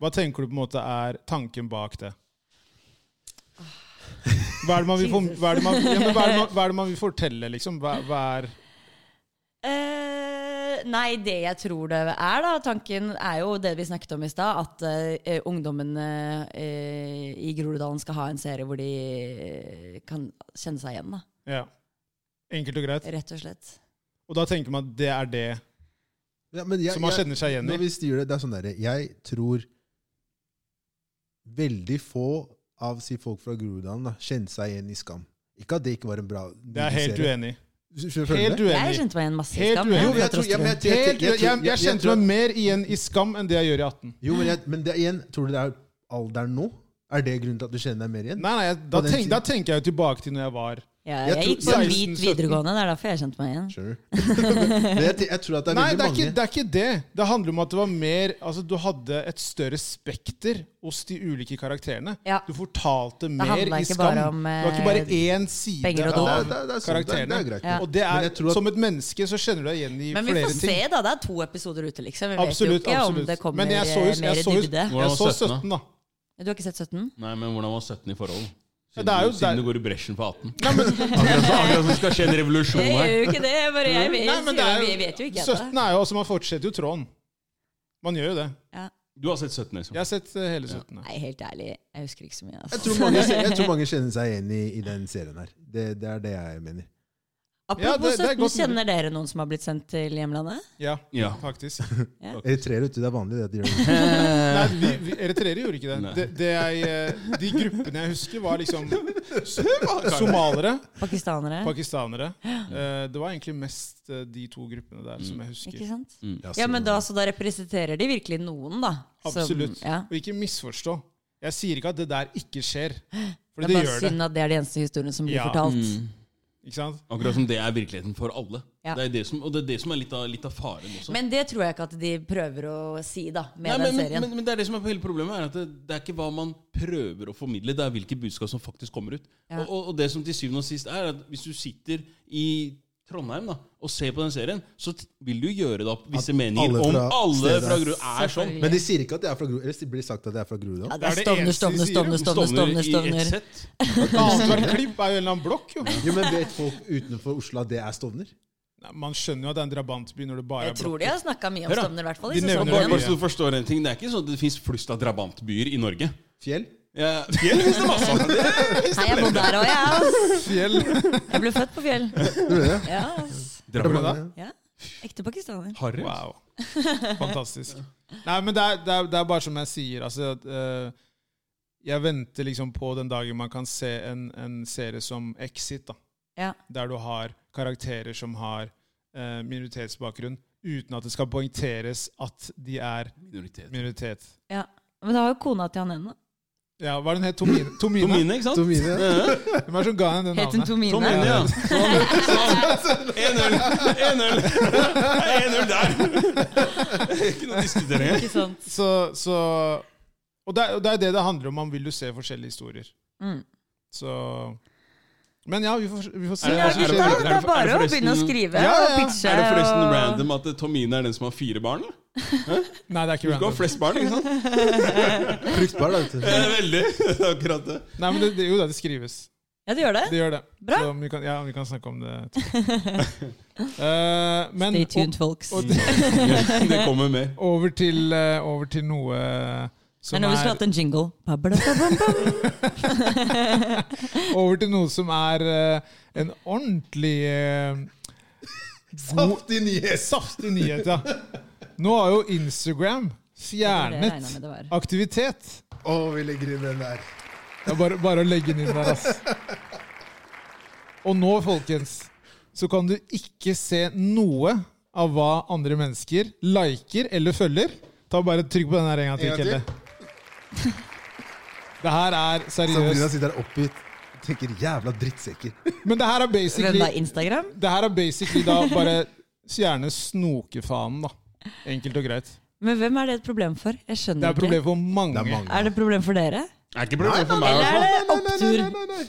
Speaker 3: hva tenker du på en måte er tanken bak det? Hva er det man vil, for, hva er det man, ja, men hva er det man, hva er det man vil fortelle, liksom? Hva, hva er
Speaker 4: Eh, nei, det jeg tror det er, da, tanken er jo det vi snakket om i stad. At eh, ungdommene eh, i Groruddalen skal ha en serie hvor de eh, kan kjenne seg igjen, da.
Speaker 3: Ja. Enkelt og greit.
Speaker 4: Rett og slett.
Speaker 3: Og da tenker man at det er det
Speaker 1: Ja, men jeg,
Speaker 3: som man
Speaker 1: jeg,
Speaker 3: kjenner seg igjen
Speaker 1: Når
Speaker 3: i.
Speaker 1: vi styrer det, det er sånn derre Jeg tror veldig få av si folk fra Groruddalen da, kjente seg igjen i Skam. Ikke at det ikke var en bra
Speaker 3: Det er helt uenig i.
Speaker 1: uenig.
Speaker 3: Helt uenig
Speaker 4: Jeg
Speaker 3: i.
Speaker 4: kjente meg igjen masse i
Speaker 3: Helt
Speaker 4: Skam.
Speaker 3: uenig.
Speaker 4: jeg.
Speaker 1: Jo, men jeg tror- ja, men jeg- jeg-
Speaker 3: Helt
Speaker 1: jeg-
Speaker 3: uenig. Jeg, jeg
Speaker 1: jeg- jeg
Speaker 3: kjente
Speaker 1: tror-
Speaker 3: meg mer igjen i Skam enn det jeg gjør i 18.
Speaker 1: Jo, men, jeg, men det, er igjen, tror du det er alderen nå? Er det grunnen til at du kjenner deg mer igjen?
Speaker 3: Nei, nei, jeg, da,
Speaker 1: På den
Speaker 3: tenk,
Speaker 1: tiden.
Speaker 3: da tenker jeg jo tilbake til når jeg var
Speaker 4: Ja,
Speaker 1: Jeg
Speaker 4: jeg,
Speaker 1: tror-
Speaker 4: gikk på en
Speaker 3: 16,
Speaker 4: hvit
Speaker 3: 17.
Speaker 4: videregående, det er derfor jeg kjente meg igjen.
Speaker 1: Skjønner du? [LAUGHS] Men jeg, jeg tror at det er
Speaker 3: Nei,
Speaker 1: veldig
Speaker 3: det er,
Speaker 1: mange
Speaker 3: ikke, det er ikke det. Det handler om at det var mer Altså, du hadde et større spekter hos de ulike karakterene.
Speaker 4: Ja.
Speaker 3: Du fortalte mer
Speaker 4: handler
Speaker 3: i
Speaker 4: ikke
Speaker 3: skam.
Speaker 4: bare om,
Speaker 3: det var ikke bare
Speaker 4: eh,
Speaker 3: én side
Speaker 4: penger og
Speaker 1: Ja,
Speaker 3: av
Speaker 1: det, er- det, er sant, det, er-
Speaker 3: karakterene.
Speaker 1: det er greit.
Speaker 4: Ja.
Speaker 3: Og det
Speaker 1: Men
Speaker 3: er,
Speaker 1: jeg tror at-
Speaker 3: som et menneske så kjenner du deg igjen i
Speaker 4: Men vi
Speaker 3: flere
Speaker 4: får se,
Speaker 3: ting.
Speaker 4: da. Det er to episoder ute, liksom. Vi vet
Speaker 3: Absolutt.
Speaker 4: jo ikke
Speaker 3: absolutt.
Speaker 4: om det kommer
Speaker 3: Men jeg så, jo-
Speaker 4: eh, mer
Speaker 3: jeg så, jo-
Speaker 4: dybde.
Speaker 3: jeg så
Speaker 2: Hvordan var
Speaker 3: 17, da.
Speaker 4: Du har ikke sett 17?
Speaker 2: Nei, men hvordan var 17 i forhold?
Speaker 3: Ja,
Speaker 2: Siden,
Speaker 3: det er jo
Speaker 2: du-
Speaker 3: der-
Speaker 2: siden du går i bresjen på 18. akkurat, så, akkurat som det skal skje en revolusjon
Speaker 4: Jeg
Speaker 2: her.
Speaker 4: gjør jo ikke det. Bare jeg
Speaker 3: [LAUGHS]
Speaker 4: vet,
Speaker 3: Nei, men det er
Speaker 4: vi vet jo ikke ennå.
Speaker 3: 17 er jo altså Man fortsetter jo tråden. Man gjør jo det.
Speaker 2: Du har sett 17, liksom?
Speaker 3: Jeg har sett eh, hele 17.
Speaker 4: Nei, helt ærlig, jeg husker ikke så mye.
Speaker 1: Jeg
Speaker 4: Altså.
Speaker 1: tror mange, jeg tror mange kjenner seg igjen i, i den serien her. Det, det er det jeg mener.
Speaker 3: Ja, det-
Speaker 4: Apropos
Speaker 3: det er
Speaker 4: 17,
Speaker 3: godt mulig.
Speaker 4: kjenner dere noen som har blitt sendt til hjemlandet?
Speaker 3: Ja,
Speaker 2: Ja. [LAUGHS]
Speaker 3: faktisk.
Speaker 1: Eritreere, vet du, det er vanlig det at de gjør det.
Speaker 3: Nei, vi, vi, Eritreere gjorde ikke det.
Speaker 2: Nei.
Speaker 3: det, det jeg, eh, de gruppene jeg husker, var
Speaker 2: [LAUGHS]
Speaker 3: liksom somalere,
Speaker 4: Pakistanere?
Speaker 3: pakistanere. Eh, Det var egentlig mest eh, de to gruppene der
Speaker 2: Mm.
Speaker 3: som jeg husker.
Speaker 4: Ikke sant?
Speaker 1: Ja,
Speaker 4: [LAUGHS] Ja,
Speaker 1: så-
Speaker 4: men da, så da representerer de virkelig noen, da. Som-
Speaker 3: Absolutt.
Speaker 4: ja.
Speaker 3: Og ikke misforstå. Jeg sier ikke at det der ikke [GASPS] skjer, for
Speaker 4: Det
Speaker 3: det
Speaker 4: er bare
Speaker 3: gjør det.
Speaker 4: synd at det er de eneste historiene som blir
Speaker 3: Ja. Mm.
Speaker 4: fortalt.
Speaker 3: Ikke sant?
Speaker 2: Akkurat som det er virkeligheten for alle.
Speaker 4: Ja.
Speaker 2: Det er det som, og det er det som er litt av, litt av faren også.
Speaker 4: Men det tror jeg ikke at de prøver å si, da, med
Speaker 2: Nei,
Speaker 4: den
Speaker 2: men, men,
Speaker 4: serien.
Speaker 2: men, men det er det som er hele problemet, er at det, det er ikke hva man prøver å formidle, det er hvilke budskap som faktisk kommer ut.
Speaker 4: Ja.
Speaker 2: Og, og, og det som til syvende og sist er, at hvis du sitter i Trondheim da, og ser på den serien, så t- vil du gjøre deg opp visse meninger
Speaker 1: alle
Speaker 2: om
Speaker 1: fra
Speaker 2: alle
Speaker 1: stedet.
Speaker 2: fra grunn er sånn.
Speaker 4: Selvfølgelig.
Speaker 1: Men de sier ikke at jeg er fra Gro... Eller det blir sagt at jeg er fra Groruddalen.
Speaker 4: ja, det er
Speaker 3: det
Speaker 4: stovner,
Speaker 3: eneste de
Speaker 4: stovner,
Speaker 3: sier.
Speaker 4: stovner, stovner, stovner,
Speaker 2: i E ett
Speaker 4: stovner.
Speaker 2: sett.
Speaker 3: Annethvert [LAUGHS] klipp er jo en eller annen blokk, jo.
Speaker 1: Jo, men Vet folk utenfor Oslo at det er Stovner?
Speaker 3: Nei, Man skjønner jo at det er en drabantby når det bare
Speaker 4: Jeg
Speaker 3: er
Speaker 4: tror de
Speaker 3: blokk.
Speaker 4: har snakka mye om
Speaker 2: Hør da.
Speaker 4: stovner, i hvert fall.
Speaker 3: De
Speaker 4: i sesong
Speaker 3: nevner det
Speaker 2: Bare,
Speaker 4: én.
Speaker 2: bare så du forstår en ting, det er ikke sånn at det fins flust av drabantbyer i Norge.
Speaker 1: Fjell?
Speaker 2: Ja, fjell finnes [LAUGHS] det masse av.
Speaker 4: Nei, jeg bor der òg, jeg. ass. [LAUGHS]
Speaker 3: Fjell.
Speaker 4: Jeg ble født på fjell.
Speaker 1: Tror du det?
Speaker 4: Ja, ass.
Speaker 3: Drar du
Speaker 2: Drammen.
Speaker 3: da?
Speaker 4: Ekte pakistaner.
Speaker 2: Harry.
Speaker 3: Wow. Fantastisk. Nei, men det er, det er, det er bare som jeg sier. Altså, at, eh, jeg venter liksom på den dagen man kan se en, en serie som Exit, da.
Speaker 4: Ja.
Speaker 3: der du har karakterer som har eh, minoritetsbakgrunn, uten at det skal poengteres at de er
Speaker 2: Minoritet.
Speaker 3: minoritet.
Speaker 4: Men det har jo kona til han ene.
Speaker 3: Ja, Var det hun het Tomine? Tomine?
Speaker 2: Tomine, ikke sant?
Speaker 1: Tomine.
Speaker 3: Hvem er det som ga henne det
Speaker 4: Het hun
Speaker 3: navnet?
Speaker 4: Tomine?
Speaker 2: Tomine, ja. Sånn,
Speaker 4: [LAUGHS]
Speaker 2: sånn. 1-0. 1-0 Det er 1-0 der. Ikke noe å diskutere.
Speaker 4: Ikke sant?
Speaker 3: Så, så, og, det er, og det er det det handler om. Man vil jo se forskjellige historier.
Speaker 4: Mm.
Speaker 3: Så Men ja, vi får, vi får se
Speaker 2: Er det-
Speaker 4: Ja,
Speaker 3: hva som
Speaker 2: er det-
Speaker 4: gutta,
Speaker 3: skjer
Speaker 2: er
Speaker 4: det
Speaker 3: videre.
Speaker 4: er bare å
Speaker 2: forresten-
Speaker 4: begynne å skrive
Speaker 3: Ja, ja, ja.
Speaker 4: og pitche.
Speaker 2: Er det forresten
Speaker 4: og-
Speaker 2: random at Tomine er den som har fire barn? da?
Speaker 3: Nei, det
Speaker 2: Du
Speaker 3: er ikke
Speaker 2: skal ha
Speaker 3: random.
Speaker 2: flest barn,
Speaker 4: [LAUGHS]
Speaker 2: ikke sant?
Speaker 1: Fruktbar, da. vet
Speaker 2: Ja,
Speaker 1: du.
Speaker 2: Veldig. [LAUGHS] Det er Akkurat det.
Speaker 3: Nei, men det, det, jo da, det skrives.
Speaker 4: Ja, det gjør det.
Speaker 3: Det gjør det.
Speaker 4: Bra.
Speaker 3: Så vi kan, ja, vi kan snakke om det
Speaker 4: [LAUGHS]
Speaker 3: etterpå. Eh, men
Speaker 4: Stay tuned, folks.
Speaker 3: og-
Speaker 2: Det kommer mer.
Speaker 3: o- over, til, eh, over til noe eh,
Speaker 4: Det er
Speaker 3: som
Speaker 4: når vi
Speaker 3: er
Speaker 4: skulle hatt en jingle. Babadababam.
Speaker 3: Over til noe som er eh, en ordentlig eh, god,
Speaker 1: Saftig nyhet!
Speaker 3: saftig nyhet,
Speaker 4: [LAUGHS]
Speaker 3: ja. Nå har jo Instagram
Speaker 4: Det regner jeg med
Speaker 3: fjernet
Speaker 4: det var.
Speaker 3: aktivitet.
Speaker 1: Å, vi legger inn den der.
Speaker 3: Det er bare, bare å legge den inn der, ass. Og nå, folkens, så kan du ikke se noe av hva andre mennesker liker eller følger. Ta bare Trykk på den her en gang til,
Speaker 1: En gang til.
Speaker 3: Kelle. Det her er
Speaker 1: Sabrina
Speaker 3: seriøst.
Speaker 1: sitter der oppgitt. Tenker jævla drittsekker.
Speaker 3: Men det her er
Speaker 4: Hvem
Speaker 3: basically
Speaker 4: er Instagram?
Speaker 3: Det her er basically da bare Gjerne snokefanen, da. Enkelt og greit.
Speaker 4: Men hvem er det et problem for? Jeg
Speaker 3: Det
Speaker 4: skjønner
Speaker 3: er et problem
Speaker 4: ikke.
Speaker 3: for mange.
Speaker 1: Det er mange.
Speaker 4: Er det et problem for dere?
Speaker 2: Er ikke problemet for meg, i hvert
Speaker 4: Eller
Speaker 2: fall.
Speaker 4: er det opptur?
Speaker 1: nei, nei, nei.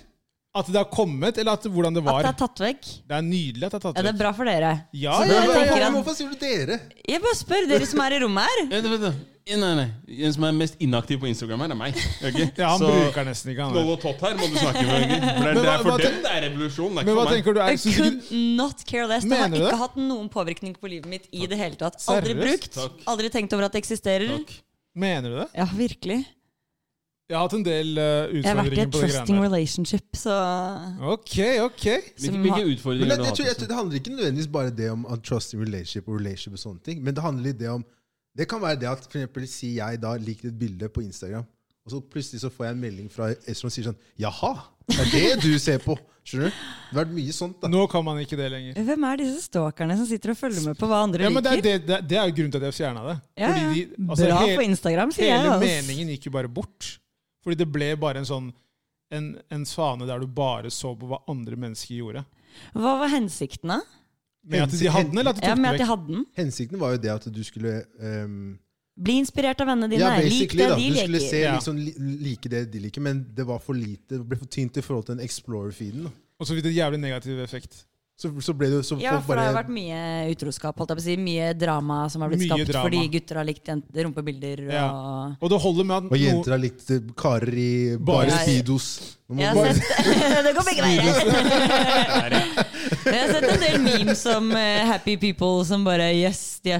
Speaker 3: At det har kommet, eller at hvordan det
Speaker 4: At
Speaker 3: var.
Speaker 4: det er tatt vekk?
Speaker 3: Det er nydelig at det er tatt
Speaker 4: Ja, det er
Speaker 3: vekk.
Speaker 4: bra for dere.
Speaker 3: Ja,
Speaker 4: Så
Speaker 3: ja,
Speaker 4: dere
Speaker 3: ja,
Speaker 1: Hvorfor-
Speaker 4: tenker at
Speaker 1: Hvorfor sier du dere?
Speaker 4: Jeg bare spør dere som er i rommet her.
Speaker 2: Vent, vent, vent. Nei, nei. En som er mest inaktiv på Instagram her, er meg. ok?
Speaker 3: Ja, han
Speaker 2: Så
Speaker 3: bruker nesten ikke han.
Speaker 2: Skål og tott her må du snakke med. egentlig. For det er, det
Speaker 3: Men
Speaker 2: er
Speaker 3: hva- hva
Speaker 2: for dem
Speaker 3: tenk-
Speaker 2: det er revolusjon. Det er
Speaker 3: Men
Speaker 2: ikke
Speaker 3: hva
Speaker 2: for meg.
Speaker 3: tenker du? [LAUGHS] Er
Speaker 4: I
Speaker 3: det
Speaker 4: could
Speaker 3: ikke,
Speaker 4: not care less. Det har
Speaker 3: Mener du
Speaker 4: ikke
Speaker 3: det?
Speaker 4: hatt noen påvirkning på livet mitt i det hele tatt. Aldri
Speaker 3: Seriøst?
Speaker 4: brukt, aldri tenkt over at det eksisterer.
Speaker 2: Takk.
Speaker 3: mener du det?
Speaker 4: Ja, virkelig.
Speaker 3: Jeg har hatt en del eh,
Speaker 4: Jeg har vært
Speaker 3: utfordringer
Speaker 4: i et
Speaker 3: på det
Speaker 4: trusting
Speaker 3: greiene der.
Speaker 4: relationship, så
Speaker 3: Ok, ok.
Speaker 2: Hvilke,
Speaker 4: som har-
Speaker 2: hvilke
Speaker 1: Men
Speaker 2: utfordringer
Speaker 1: det,
Speaker 2: har du
Speaker 1: jeg tror, jeg
Speaker 2: hatt?
Speaker 1: tror,
Speaker 2: liksom?
Speaker 1: det handler ikke nødvendigvis bare det om at trust in relationship og relationship og sånne ting. Men det handler litt det om Det kan være det at for eksempel si jeg da liker et bilde på Instagram, og så plutselig så får jeg en melding fra en som sier sånn Jaha, det er det du ser på? Skjønner du? Det har vært mye sånt, da.
Speaker 3: Nå kan man ikke det lenger.
Speaker 4: Hvem er disse stalkerne som sitter og følger med på hva andre
Speaker 3: Ja, men det, er,
Speaker 4: liker?
Speaker 3: det, det, det er jo grunnen til at jeg fjerna det.
Speaker 4: Ja, ja.
Speaker 3: Fordi de- altså,
Speaker 4: Bra
Speaker 3: hele-
Speaker 4: på Instagram, sier jeg.
Speaker 3: Hele
Speaker 4: ass.
Speaker 3: meningen gikk jo bare bort. Fordi det ble bare en sånn en, en fane der du bare så på hva andre mennesker gjorde.
Speaker 4: Hva var hensikten, da?
Speaker 3: Med at de hadde den, eller at de
Speaker 4: Ja,
Speaker 3: tok
Speaker 4: med
Speaker 3: den
Speaker 4: at jeg
Speaker 3: vekk?
Speaker 4: hadde den.
Speaker 1: Hensikten var jo det at du skulle ehm,
Speaker 4: Bli inspirert av vennene dine.
Speaker 1: Ja,
Speaker 4: Lik
Speaker 1: basically,
Speaker 4: det
Speaker 1: da.
Speaker 4: de
Speaker 1: Du skulle
Speaker 4: leker.
Speaker 1: se
Speaker 3: Ja.
Speaker 1: liksom, li- like det de liker, men det var for lite. Det ble for tynt i forhold til den Explorer-feeden. da.
Speaker 3: Og så fikk det en jævlig negativ effekt.
Speaker 1: Så, så ble det jo så
Speaker 4: Ja,
Speaker 1: folk
Speaker 4: for det har
Speaker 1: bare
Speaker 4: vært mye utroskap. Holdt jeg på å si. Mye drama som har blitt
Speaker 3: Mye
Speaker 4: skapt
Speaker 3: drama.
Speaker 4: fordi gutter har likt jent- rumpebilder. Og...
Speaker 3: Ja. Og det holder med at
Speaker 1: Og
Speaker 3: noen-
Speaker 1: jenter har likt eh, karer i
Speaker 3: Bare-
Speaker 1: bare speedos. Nå må
Speaker 4: Jeg
Speaker 1: bare-
Speaker 4: har sett [LAUGHS] Det går begge veier! [LAUGHS] Jeg har sett en del memes om eh, happy people som bare Yes, de er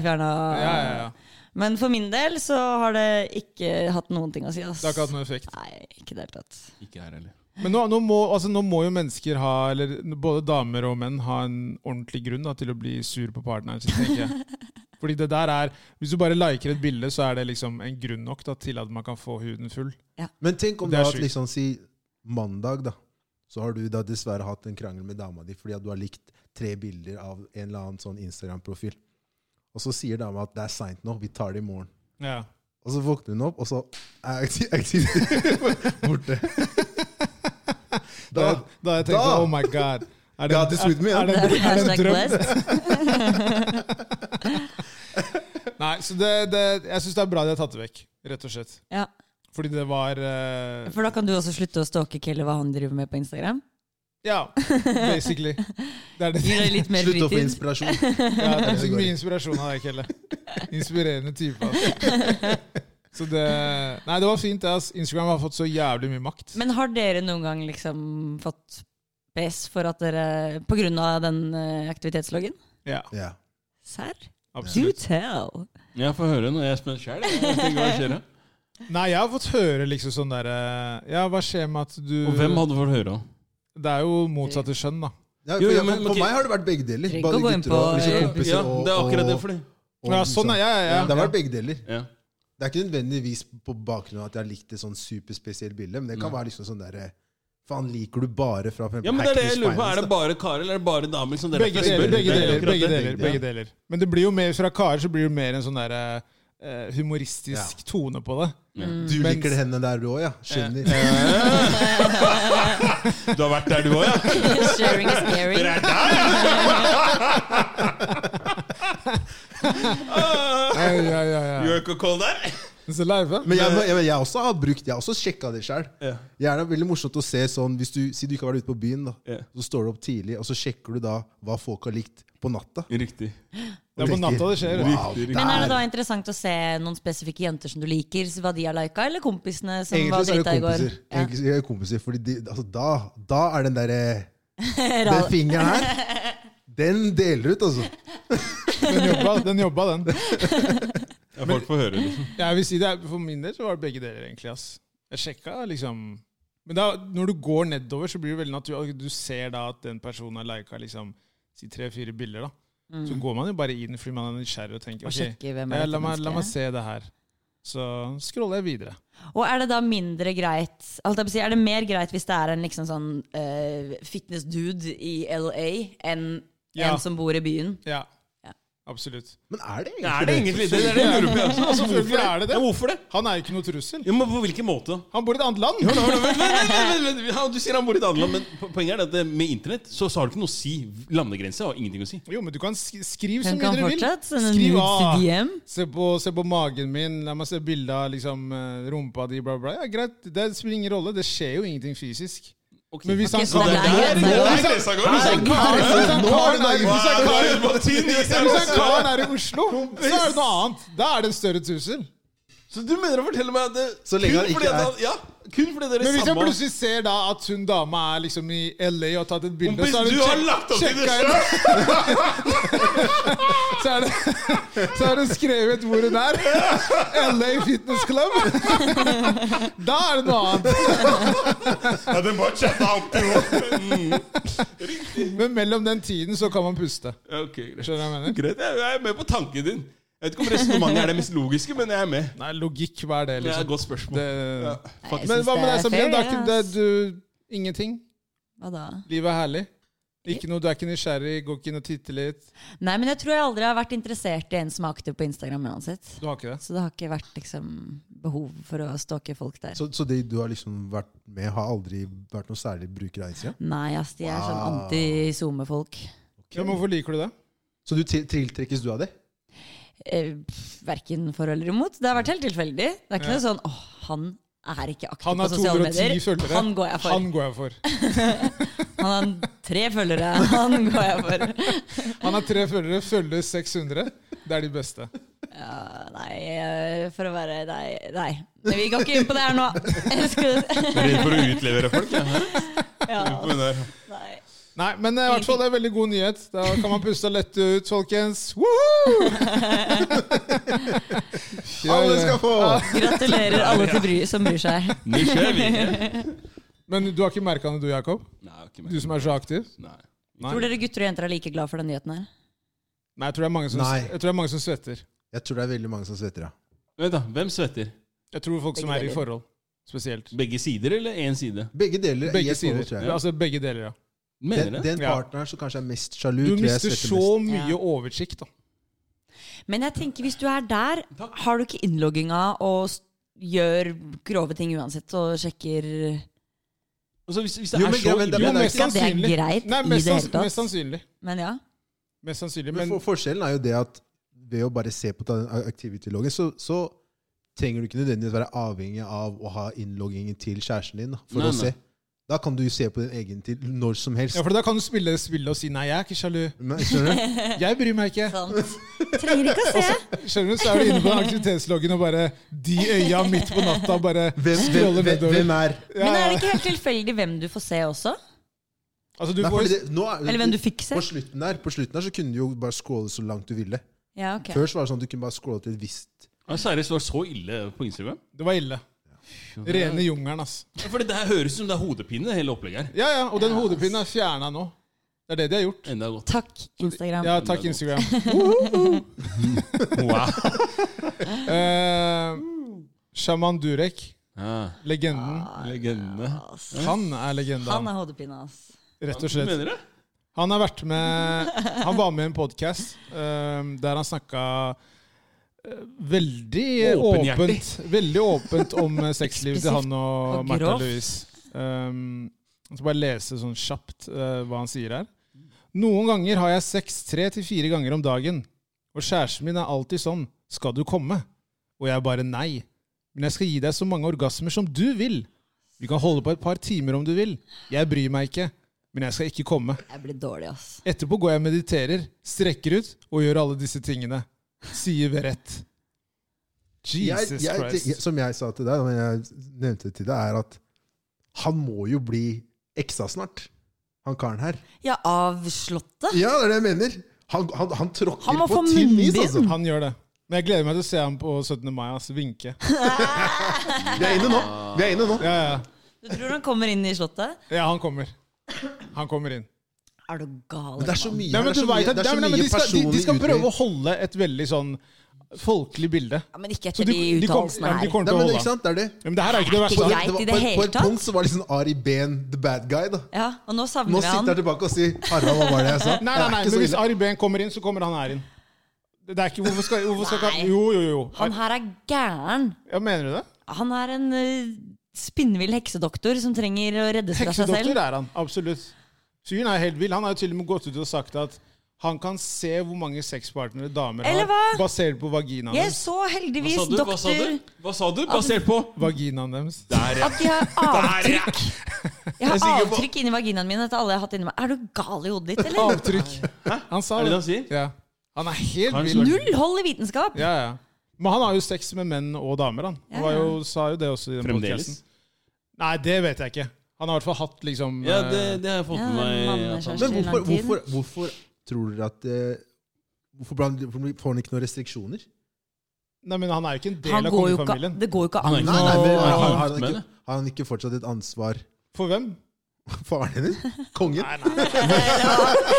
Speaker 3: ja,
Speaker 4: fjerna.
Speaker 3: ja, ja.
Speaker 4: Men for min del så har det ikke hatt noen ting å si. Ass.
Speaker 3: Det har ikke hatt noen effekt.
Speaker 4: Nei, ikke i det hele tatt.
Speaker 2: Ikke her heller.
Speaker 3: Men nå, nå, må, altså, nå må jo mennesker ha, eller både damer og menn, ha en ordentlig grunn da, til å bli sur på partneren sin, tenker jeg.
Speaker 4: [LAUGHS]
Speaker 3: Fordi det der er, Hvis du bare liker et bilde, så er det liksom en grunn nok da, til at man kan få huden full.
Speaker 1: Men tenk om
Speaker 3: Det
Speaker 1: da
Speaker 3: er
Speaker 1: at
Speaker 3: sjukt.
Speaker 1: liksom si mandag, da. Så har du da dessverre hatt en krangel med dama di fordi at du har likt tre bilder av en eller annen sånn Instagram-profil. Og så sier dama at det er seint nå, vi tar det i morgen.
Speaker 3: Ja.
Speaker 1: Og så våkner hun opp, og så er akti- aktiviteten [LAUGHS] borte.
Speaker 3: Da,
Speaker 1: Da,
Speaker 3: da har jeg tenkt
Speaker 1: da-
Speaker 3: oh my god. Er
Speaker 1: God is with me, ja.
Speaker 3: er, det, en- er det en
Speaker 4: Hashtag
Speaker 3: drøm?
Speaker 4: blessed.
Speaker 3: Nei, så det, det, jeg syns det er bra de har tatt det vekk, rett og slett.
Speaker 4: Ja.
Speaker 3: Fordi det var eh,
Speaker 4: For da kan du også slutte å stalke Kelle hva han driver med på Instagram.
Speaker 3: Ja, basically. Det
Speaker 4: [LAUGHS]
Speaker 3: er det.
Speaker 4: Gir
Speaker 3: [LAUGHS]
Speaker 4: deg litt mer
Speaker 1: slutt å få
Speaker 4: fritid.
Speaker 1: inspirasjon.
Speaker 4: [LAUGHS]
Speaker 3: Ja, det er
Speaker 1: Det
Speaker 3: så
Speaker 1: går
Speaker 3: mye
Speaker 1: ikke.
Speaker 3: inspirasjon av deg, Kelle. Inspirerende type. Altså. Så det Nei, det var fint. det, ass. Instagram har fått så jævlig mye makt.
Speaker 4: Men har dere noen gang liksom fått PS for at dere På grunn av den eh, aktivitetsloggen?
Speaker 3: Ja,
Speaker 1: Ja.
Speaker 4: Serr? Do
Speaker 3: absolutt.
Speaker 4: tell! [LAUGHS]
Speaker 2: Jeg får høre når jeg er spent sjøl. [LAUGHS] Og
Speaker 3: Nei, jeg har fått høre liksom sånn derre Ja, hva skjer med at du
Speaker 2: hvem hadde fått høre?
Speaker 3: Det er jo motsatte skjønn, da.
Speaker 1: Ja, for,
Speaker 2: Jo, jo,
Speaker 1: jeg-
Speaker 2: men-
Speaker 1: for
Speaker 2: men-
Speaker 1: meg har det vært begge deler.
Speaker 4: Trenger ikke
Speaker 1: Både
Speaker 4: å gå inn
Speaker 1: gutter og
Speaker 4: på-
Speaker 1: liksom
Speaker 4: Ja,
Speaker 1: kompiser.
Speaker 2: Ja,
Speaker 1: og,
Speaker 2: det er akkurat det.
Speaker 1: og-
Speaker 2: Fordi.
Speaker 1: og
Speaker 3: Ja, sånn,
Speaker 1: liksom.
Speaker 3: er- ja, ja, ja.
Speaker 1: Det har vært begge deler.
Speaker 2: Ja.
Speaker 1: Det er ikke nødvendigvis på bakgrunn av at jeg har likt et sånn superspesielt bilde, men det kan være liksom sånn derre Faen, liker du bare fra for eksempel
Speaker 2: ja, men det er det jeg
Speaker 1: Hackney
Speaker 2: lurer på.
Speaker 1: Spirals,
Speaker 2: Er det
Speaker 1: da?
Speaker 2: bare karer, eller er det bare damer? Liksom, Dere
Speaker 3: Begge
Speaker 2: spør.
Speaker 3: deler,
Speaker 2: Det
Speaker 3: begge
Speaker 2: er
Speaker 3: deler.
Speaker 2: akkurat
Speaker 3: begge
Speaker 2: det.
Speaker 3: deler, begge deler. Men det blir jo mer fra karer så blir det jo mer en sånn der, eh, humoristisk tone på det.
Speaker 1: Du
Speaker 3: Mens-
Speaker 1: liker det henne der du òg, ja? Skjønner.
Speaker 2: Du har vært der, du òg, ja?
Speaker 4: Sharing is caring.
Speaker 2: Dere er der, ja? Ah!
Speaker 3: Ja, ja, ja, ja.
Speaker 2: York og Cole der?
Speaker 3: Så live,
Speaker 1: [LAUGHS] Men jeg, jeg, jeg, også har brukt, jeg har også sjekka det sjøl.
Speaker 2: Ja.
Speaker 1: Det er veldig morsomt å se sånn hvis du, Si du ikke har vært ute på byen, da.
Speaker 2: Ja.
Speaker 1: Så står du opp tidlig, og så sjekker du da hva folk har likt på natta.
Speaker 2: Riktig.
Speaker 3: Det er på natta det skjer.
Speaker 1: Wow,
Speaker 2: Riktig, riktig.
Speaker 4: Men er det
Speaker 1: der.
Speaker 4: da interessant å se noen spesifikke jenter som du liker, hva de har lika, eller kompisene som
Speaker 1: Egentlig
Speaker 4: var
Speaker 1: så er det
Speaker 4: drita i går?
Speaker 1: kompiser.
Speaker 4: [LAUGHS]
Speaker 1: Egentlig så er det kompiser Fordi de, altså, da, da er den derre
Speaker 4: Ja.
Speaker 1: Den fingeren her,
Speaker 4: [LAUGHS]
Speaker 1: den deler ut, altså.
Speaker 3: Den jobba, den. jobba den.
Speaker 2: Ja, folk får høre, liksom.
Speaker 3: Jeg vil si det, er- For min del så var det begge deler, egentlig. ass. Jeg sjekka liksom Men da, når du går nedover, så blir det veldig naturlig. Altså, Du ser da at den personen har lika liksom, si tre-fire bilder. da. Så går man jo bare inn fordi man er nysgjerrig og tenker
Speaker 4: Mm. Og
Speaker 3: ok,
Speaker 4: sjekke hvem
Speaker 3: ja,
Speaker 4: er
Speaker 3: la,
Speaker 4: dette
Speaker 3: meg, la meg
Speaker 4: mennesket.
Speaker 3: se det her. Så scroller jeg videre.
Speaker 4: Og er det da mindre greit alt jeg vil si, Er det mer greit hvis det er en liksom sånn eh, fitness-dude i LA enn
Speaker 3: Ja.
Speaker 4: en som bor i byen?
Speaker 3: Ja,
Speaker 4: Ja.
Speaker 3: absolutt.
Speaker 1: Men er det
Speaker 2: Er det
Speaker 1: egentlig
Speaker 2: egentlig det? Det er det jeg lurer på. Altså, altså,
Speaker 3: Selvfølgelig er det det.
Speaker 2: Ja, hvorfor det?
Speaker 3: Han er jo ikke noe trussel.
Speaker 2: Ja, men på hvilken måte?
Speaker 3: Han bor i et annet land.
Speaker 2: Hør nå, hør nå, vent, vent, vent, vent, vent. Ja, Du sier han bor i et annet land, men po- poenget er at det- med internett så, så har du ikke noe å si. Landegrense har ingenting å si.
Speaker 3: Jo, men du kan sk skrive så
Speaker 4: Hun
Speaker 3: mye
Speaker 4: kan
Speaker 3: dere vil.
Speaker 4: fortsatt sende
Speaker 3: Skriv
Speaker 4: nudes
Speaker 3: av.
Speaker 4: til DM.
Speaker 3: Se på, se på magen min, la meg se bilde av liksom, eh, rumpa di, bla, bla. Ja, greit, det spiller ingen rolle. Det skjer jo ingenting fysisk. Men hvis han
Speaker 4: Ok, så det er
Speaker 3: der-
Speaker 4: greit.
Speaker 3: nå-
Speaker 4: Det er
Speaker 3: hvis han-
Speaker 2: greit, så går det.
Speaker 3: hvis han-
Speaker 4: Nå er det
Speaker 3: hvis
Speaker 1: greit.
Speaker 3: han karen er- hvis han karen- hvis han
Speaker 2: Så
Speaker 3: karen er i Oslo, så er det noe annet. Da er det en større trussel.
Speaker 2: du mener å fortelle meg at det,
Speaker 1: Så lenge han ikke
Speaker 2: fordi at
Speaker 1: er-
Speaker 2: han- Ja, kun fordi dere
Speaker 3: Men hvis jeg
Speaker 2: samme-
Speaker 3: plutselig ser da at hun dama er liksom i LA og har tatt et bilde
Speaker 2: Kompis,
Speaker 3: så er hun
Speaker 2: du har
Speaker 3: sjek-
Speaker 2: lagt opp til det
Speaker 3: sjekka
Speaker 2: selv!
Speaker 3: henne. [LAUGHS] så, er det, så er det skrevet hvor hun er. LA Fitness Club. da er det noe annet.
Speaker 2: Ja, den bare chatta opp Mm. til henne.
Speaker 3: Men mellom den tiden så kan man puste.
Speaker 2: Ok, greit.
Speaker 3: Skjønner du hva jeg mener?
Speaker 2: Greit, jeg jeg er med på tanken din. Jeg vet ikke om resonnementet er det mest logiske, men jeg er med.
Speaker 3: Nei, logikk, hva er det,
Speaker 2: Det er et
Speaker 3: liksom?
Speaker 2: godt spørsmål.
Speaker 3: Det,
Speaker 2: Ja.
Speaker 4: Nei, jeg
Speaker 3: men
Speaker 4: synes
Speaker 3: hva med
Speaker 4: det
Speaker 3: deg,
Speaker 4: er
Speaker 3: Samir?
Speaker 4: fair,
Speaker 3: Det er ikke, det,
Speaker 4: ass.
Speaker 3: du, ingenting?
Speaker 4: Hva da?
Speaker 3: Livet er herlig? Ikke noe, Du er ikke nysgjerrig, går ikke inn og titter litt?
Speaker 4: Nei, men jeg tror jeg aldri har vært interessert i en som er aktiv på Instagram uansett.
Speaker 3: Du har ikke det?
Speaker 4: Så det har ikke vært liksom, behov for å stalke folk der.
Speaker 1: Så, så de du har liksom vært med, har aldri vært noe særlig bruker av Instagram?
Speaker 4: Nei, ass, de er sånn
Speaker 1: Wow.
Speaker 4: anti-SoMe-folk.
Speaker 3: Ja, men hvorfor liker du det?
Speaker 1: Så du til- tiltrekkes du av det?
Speaker 4: Eh, Verken for eller imot. Det har vært helt tilfeldig. Det er ikke
Speaker 3: Ja.
Speaker 4: noe sånn åh, han er ikke aktiv
Speaker 3: Han
Speaker 4: på
Speaker 3: har
Speaker 4: sosiale
Speaker 3: 210
Speaker 4: medier.
Speaker 3: følgere.
Speaker 4: Han går jeg for.
Speaker 3: Han går jeg for.
Speaker 4: Han har tre følgere.
Speaker 3: [LAUGHS]
Speaker 4: Han går jeg for.
Speaker 3: Han har tre følgere, følger 600. Det er de beste.
Speaker 4: Ja, nei, eh, for å være Nei. nei. Men vi går ikke inn på det her nå. Jeg skulle-
Speaker 2: Redd for å utlevere folk, ja.
Speaker 4: [LAUGHS] Ja,
Speaker 2: Men, eh,
Speaker 4: nei.
Speaker 3: Nei, men eh, i hvert fall det er veldig god nyhet. Da kan man puste lett ut, folkens. Woohoo! [LAUGHS] Ja,
Speaker 1: Alle
Speaker 3: ja.
Speaker 1: skal få!
Speaker 4: Gratulerer alle til bry, som bryr seg.
Speaker 2: Nå kjører vi. Nei,
Speaker 3: Men du har ikke merka det, du, Jakob?
Speaker 2: jeg har ikke
Speaker 3: Du
Speaker 2: merket
Speaker 3: som er så aktiv?
Speaker 2: det. Nei.
Speaker 4: Tror dere gutter og jenter er like glad for den nyheten her?
Speaker 3: Nei, jeg tror det er mange som,
Speaker 1: Nei.
Speaker 3: jeg tror det er mange som svetter.
Speaker 1: Jeg tror det er veldig mange som svetter, ja.
Speaker 2: Vent, da. Hvem svetter?
Speaker 3: Jeg tror folk som
Speaker 4: Begge
Speaker 3: er i
Speaker 4: deler.
Speaker 3: forhold. Spesielt.
Speaker 2: Begge sider eller én side?
Speaker 1: Begge deler. i
Speaker 3: Begge
Speaker 1: et forhold,
Speaker 3: sider.
Speaker 1: tror jeg.
Speaker 3: Altså begge deler, ja.
Speaker 2: Mener
Speaker 1: Den,
Speaker 2: det?
Speaker 1: den
Speaker 3: Ja.
Speaker 1: partneren som kanskje er mest sjalu,
Speaker 3: Du
Speaker 1: tror jeg
Speaker 3: mister
Speaker 1: svetter
Speaker 3: så
Speaker 1: mest.
Speaker 3: mye
Speaker 4: Ja.
Speaker 3: oversikt, da.
Speaker 4: Men jeg tenker hvis du er der, har du ikke innlogginga og s- gjør grove ting uansett og sjekker
Speaker 2: Altså, hvis, hvis det
Speaker 1: Jo,
Speaker 2: er
Speaker 1: men
Speaker 2: så
Speaker 1: jeg- men det-
Speaker 2: ille
Speaker 1: men det-
Speaker 4: Ikke at det er greit
Speaker 3: Nei,
Speaker 4: i det
Speaker 3: mest,
Speaker 4: hele
Speaker 3: sanns-
Speaker 4: tatt.
Speaker 3: mest sannsynlig. [LAUGHS]
Speaker 4: Men ja.
Speaker 3: Mest sannsynlig.
Speaker 1: Men
Speaker 3: Men
Speaker 1: for, forskjellen er jo det at ved å bare se på den aktivityloggen, så, så trenger du ikke nødvendigvis være avhengig av å ha innloggingen til kjæresten din da, for
Speaker 2: Nei,
Speaker 1: å
Speaker 2: nei.
Speaker 1: se. Da kan du jo se på din egen til når som helst.
Speaker 3: ja, for da kan du spille spillet og si 'nei, jeg er ikke sjalu'.
Speaker 1: Men, skjønner
Speaker 3: [LAUGHS]
Speaker 1: du?
Speaker 3: Jeg bryr meg
Speaker 4: [LAUGHS]
Speaker 3: ikke.
Speaker 4: Sant. Trenger ikke å
Speaker 3: Altså,
Speaker 4: se.
Speaker 3: Skjønner du, så er du inne på den aktivitetsloggen og bare De øya midt på natta bare
Speaker 1: Hvem, hvem,
Speaker 3: scroller
Speaker 1: hvem,
Speaker 3: nedover.
Speaker 1: hvem er
Speaker 3: Ja,
Speaker 4: Men er
Speaker 3: ja.
Speaker 4: det ikke helt tilfeldig hvem du får se også?
Speaker 3: Altså, du
Speaker 1: Nei,
Speaker 3: får,
Speaker 1: fordi det, nå er,
Speaker 4: Eller hvem du fikk se?
Speaker 1: på slutten, der, på slutten der så kunne du jo bare scrolle så langt du ville.
Speaker 4: Ja, ok.
Speaker 1: Før så var det sånn at du kunne bare scrolle til et visst
Speaker 2: Ja, Seriøst, det var så ille på Instagram?
Speaker 3: det var ille. Rene jungelen, ass.
Speaker 2: For det her høres ut som det er hodepine, det hele opplegget her.
Speaker 3: Ja, ja, og den hodepinen er fjerna nå. Det er det de har gjort.
Speaker 2: Enda godt.
Speaker 4: Takk, Instagram.
Speaker 3: Ja, takk, Instagram.
Speaker 2: [LAUGHS] Wow.
Speaker 3: Eh, Shaman Durek,
Speaker 2: Ja.
Speaker 3: legenden.
Speaker 2: Legende.
Speaker 4: Ass.
Speaker 3: Han er legenda,
Speaker 4: Ah. Han er hodepine, ass.
Speaker 3: rett og slett.
Speaker 2: Mener du?
Speaker 3: Han har vært med Han var med i en podkast der han snakka eh, veldig
Speaker 2: Åpenhjertig.
Speaker 3: åpent Veldig åpent om eh, sexlivet til han og,
Speaker 4: og
Speaker 3: Martha
Speaker 4: grovt.
Speaker 3: Louise. Um, jeg skal bare lese sånn kjapt eh, hva han sier her. Noen ganger har jeg sex tre til fire ganger om dagen. Og kjæresten min er alltid sånn 'Skal du komme?' Og jeg bare nei. Men jeg skal gi deg så mange orgasmer som du vil. Vi kan holde på et par timer om du vil. Jeg bryr meg ikke. Men jeg skal ikke komme.
Speaker 4: Jeg blir dårlig, ass.
Speaker 3: Etterpå går jeg og mediterer, strekker ut og gjør alle disse tingene. Sier Verrett. Jesus
Speaker 1: jeg, jeg,
Speaker 3: Christ.
Speaker 1: jeg- Som jeg sa til deg, men jeg nevnte det til deg, er at han må jo bli eksa snart, han karen her.
Speaker 4: Ja, avslåtte?
Speaker 1: Ja, det er det jeg mener! Han, han, han tråkker
Speaker 4: Han må
Speaker 1: på
Speaker 4: få
Speaker 1: tynn is,
Speaker 4: munnbind.
Speaker 1: altså.
Speaker 3: Han gjør det. Men jeg gleder meg til å se ham på 17. mai. Altså, vinke.
Speaker 1: Vi er inne nå! Vi er inne nå.
Speaker 3: Ja, ja.
Speaker 4: Du tror han kommer inn i slottet?
Speaker 3: ja, han kommer. Han kommer inn.
Speaker 4: Er du gal?
Speaker 1: Men det er så mye
Speaker 3: Nei, men
Speaker 1: det er
Speaker 3: du
Speaker 1: så
Speaker 3: vet
Speaker 1: mye,
Speaker 3: at,
Speaker 1: det er
Speaker 3: nei,
Speaker 1: så
Speaker 3: men- nei, men
Speaker 1: mye
Speaker 3: de, skal, de, de skal
Speaker 1: personlig
Speaker 3: prøve
Speaker 1: uttrykk.
Speaker 3: å holde et veldig sånn folkelig bilde.
Speaker 4: Ja, men ikke
Speaker 3: Så
Speaker 4: etter de,
Speaker 3: de kommer,
Speaker 4: uttalelsene
Speaker 3: ja, men de
Speaker 4: her.
Speaker 3: kommer
Speaker 1: Nei,
Speaker 3: til å
Speaker 1: men
Speaker 3: holde
Speaker 1: ikke
Speaker 3: ham.
Speaker 1: sant, det er det.
Speaker 3: Ja, Men det her er ikke det
Speaker 4: ikke
Speaker 3: verste.
Speaker 4: greit i
Speaker 1: var,
Speaker 4: det
Speaker 1: på, et- på
Speaker 4: hele
Speaker 1: et
Speaker 4: tatt.
Speaker 1: punkt så var liksom Ari Behn the bad guy, da.
Speaker 4: Ja, og nå savner
Speaker 1: Nå
Speaker 4: vi
Speaker 1: sitter
Speaker 4: han.
Speaker 1: jeg tilbake og sier 'Harald, hva var det jeg sa?'
Speaker 3: Nei,
Speaker 1: Det
Speaker 3: nei,
Speaker 1: er
Speaker 3: nei,
Speaker 1: ikke så
Speaker 3: men hvis
Speaker 1: ille.
Speaker 3: Ari Behn kommer inn, så kommer han her inn. Det er ikke, hvorfor skal, hvorfor skal
Speaker 4: Nei.
Speaker 3: ikke- Jo, jo, jo.
Speaker 4: Han her er gæren.
Speaker 3: Ja, mener du det?
Speaker 4: Han er en eh, spinnvill heksedoktor som trenger å reddes fra seg
Speaker 3: Heksedoktor
Speaker 4: selv.
Speaker 3: er han, absolutt. Fyren er helt vill. Han har jo til og med gått ut og sagt at han kan se hvor mange sexpartnere damer
Speaker 4: Eller
Speaker 3: har,
Speaker 4: hva?
Speaker 3: basert på vaginaen
Speaker 4: Jeg
Speaker 3: deres.
Speaker 4: så
Speaker 2: Hva
Speaker 4: heldigvis
Speaker 2: sa du? Hva sa
Speaker 4: doktor
Speaker 2: du? Hva sa du? Basert på
Speaker 3: Vaginaen deres.
Speaker 2: Der, ja.
Speaker 4: at de har
Speaker 2: Der,
Speaker 4: avtrykk.
Speaker 2: ja.
Speaker 4: Jeg har
Speaker 2: Jeg er sikker på-
Speaker 4: avtrykk inni vaginaen min etter alle jeg har hatt inni meg. Er du gal i hodet ditt, eller?
Speaker 3: Avtrykk. Han sa
Speaker 2: Er det det han sier?
Speaker 3: Ja. Han er helt
Speaker 2: Har han
Speaker 3: vill.
Speaker 4: Null hold i vitenskap!
Speaker 3: Ja, ja. Men han har jo sex med menn og damer, han. Han
Speaker 4: Ja,
Speaker 3: var
Speaker 4: ja.
Speaker 3: jo, sa jo det også i den
Speaker 2: Fremdeles?
Speaker 3: podcasten. Nei, det vet jeg ikke. Han har i hvert fall hatt liksom
Speaker 2: Ja,
Speaker 3: eh,
Speaker 2: det, det har jeg fått
Speaker 4: Ja,
Speaker 2: med meg. altså.
Speaker 4: mann-
Speaker 2: at han-
Speaker 4: Men
Speaker 1: Men
Speaker 4: i lang
Speaker 1: hvorfor,
Speaker 4: tid.
Speaker 1: hvorfor, hvorfor tror dere at eh, Hvorfor blir han- hvorfor får han ikke noen restriksjoner?
Speaker 3: Nei, men han er jo ikke en del
Speaker 4: Han
Speaker 3: av
Speaker 4: går jo ikke,
Speaker 3: kongefamilien.
Speaker 4: det går jo ikke
Speaker 2: Han er
Speaker 4: an
Speaker 2: ikke
Speaker 1: Nei, nei, men, har, har,
Speaker 4: å
Speaker 1: har, han
Speaker 2: Men-
Speaker 1: ikke, har han ikke fortsatt et ansvar [LAUGHS]
Speaker 3: For hvem?
Speaker 1: for faren hennes? Kongen?
Speaker 3: Nei, nei.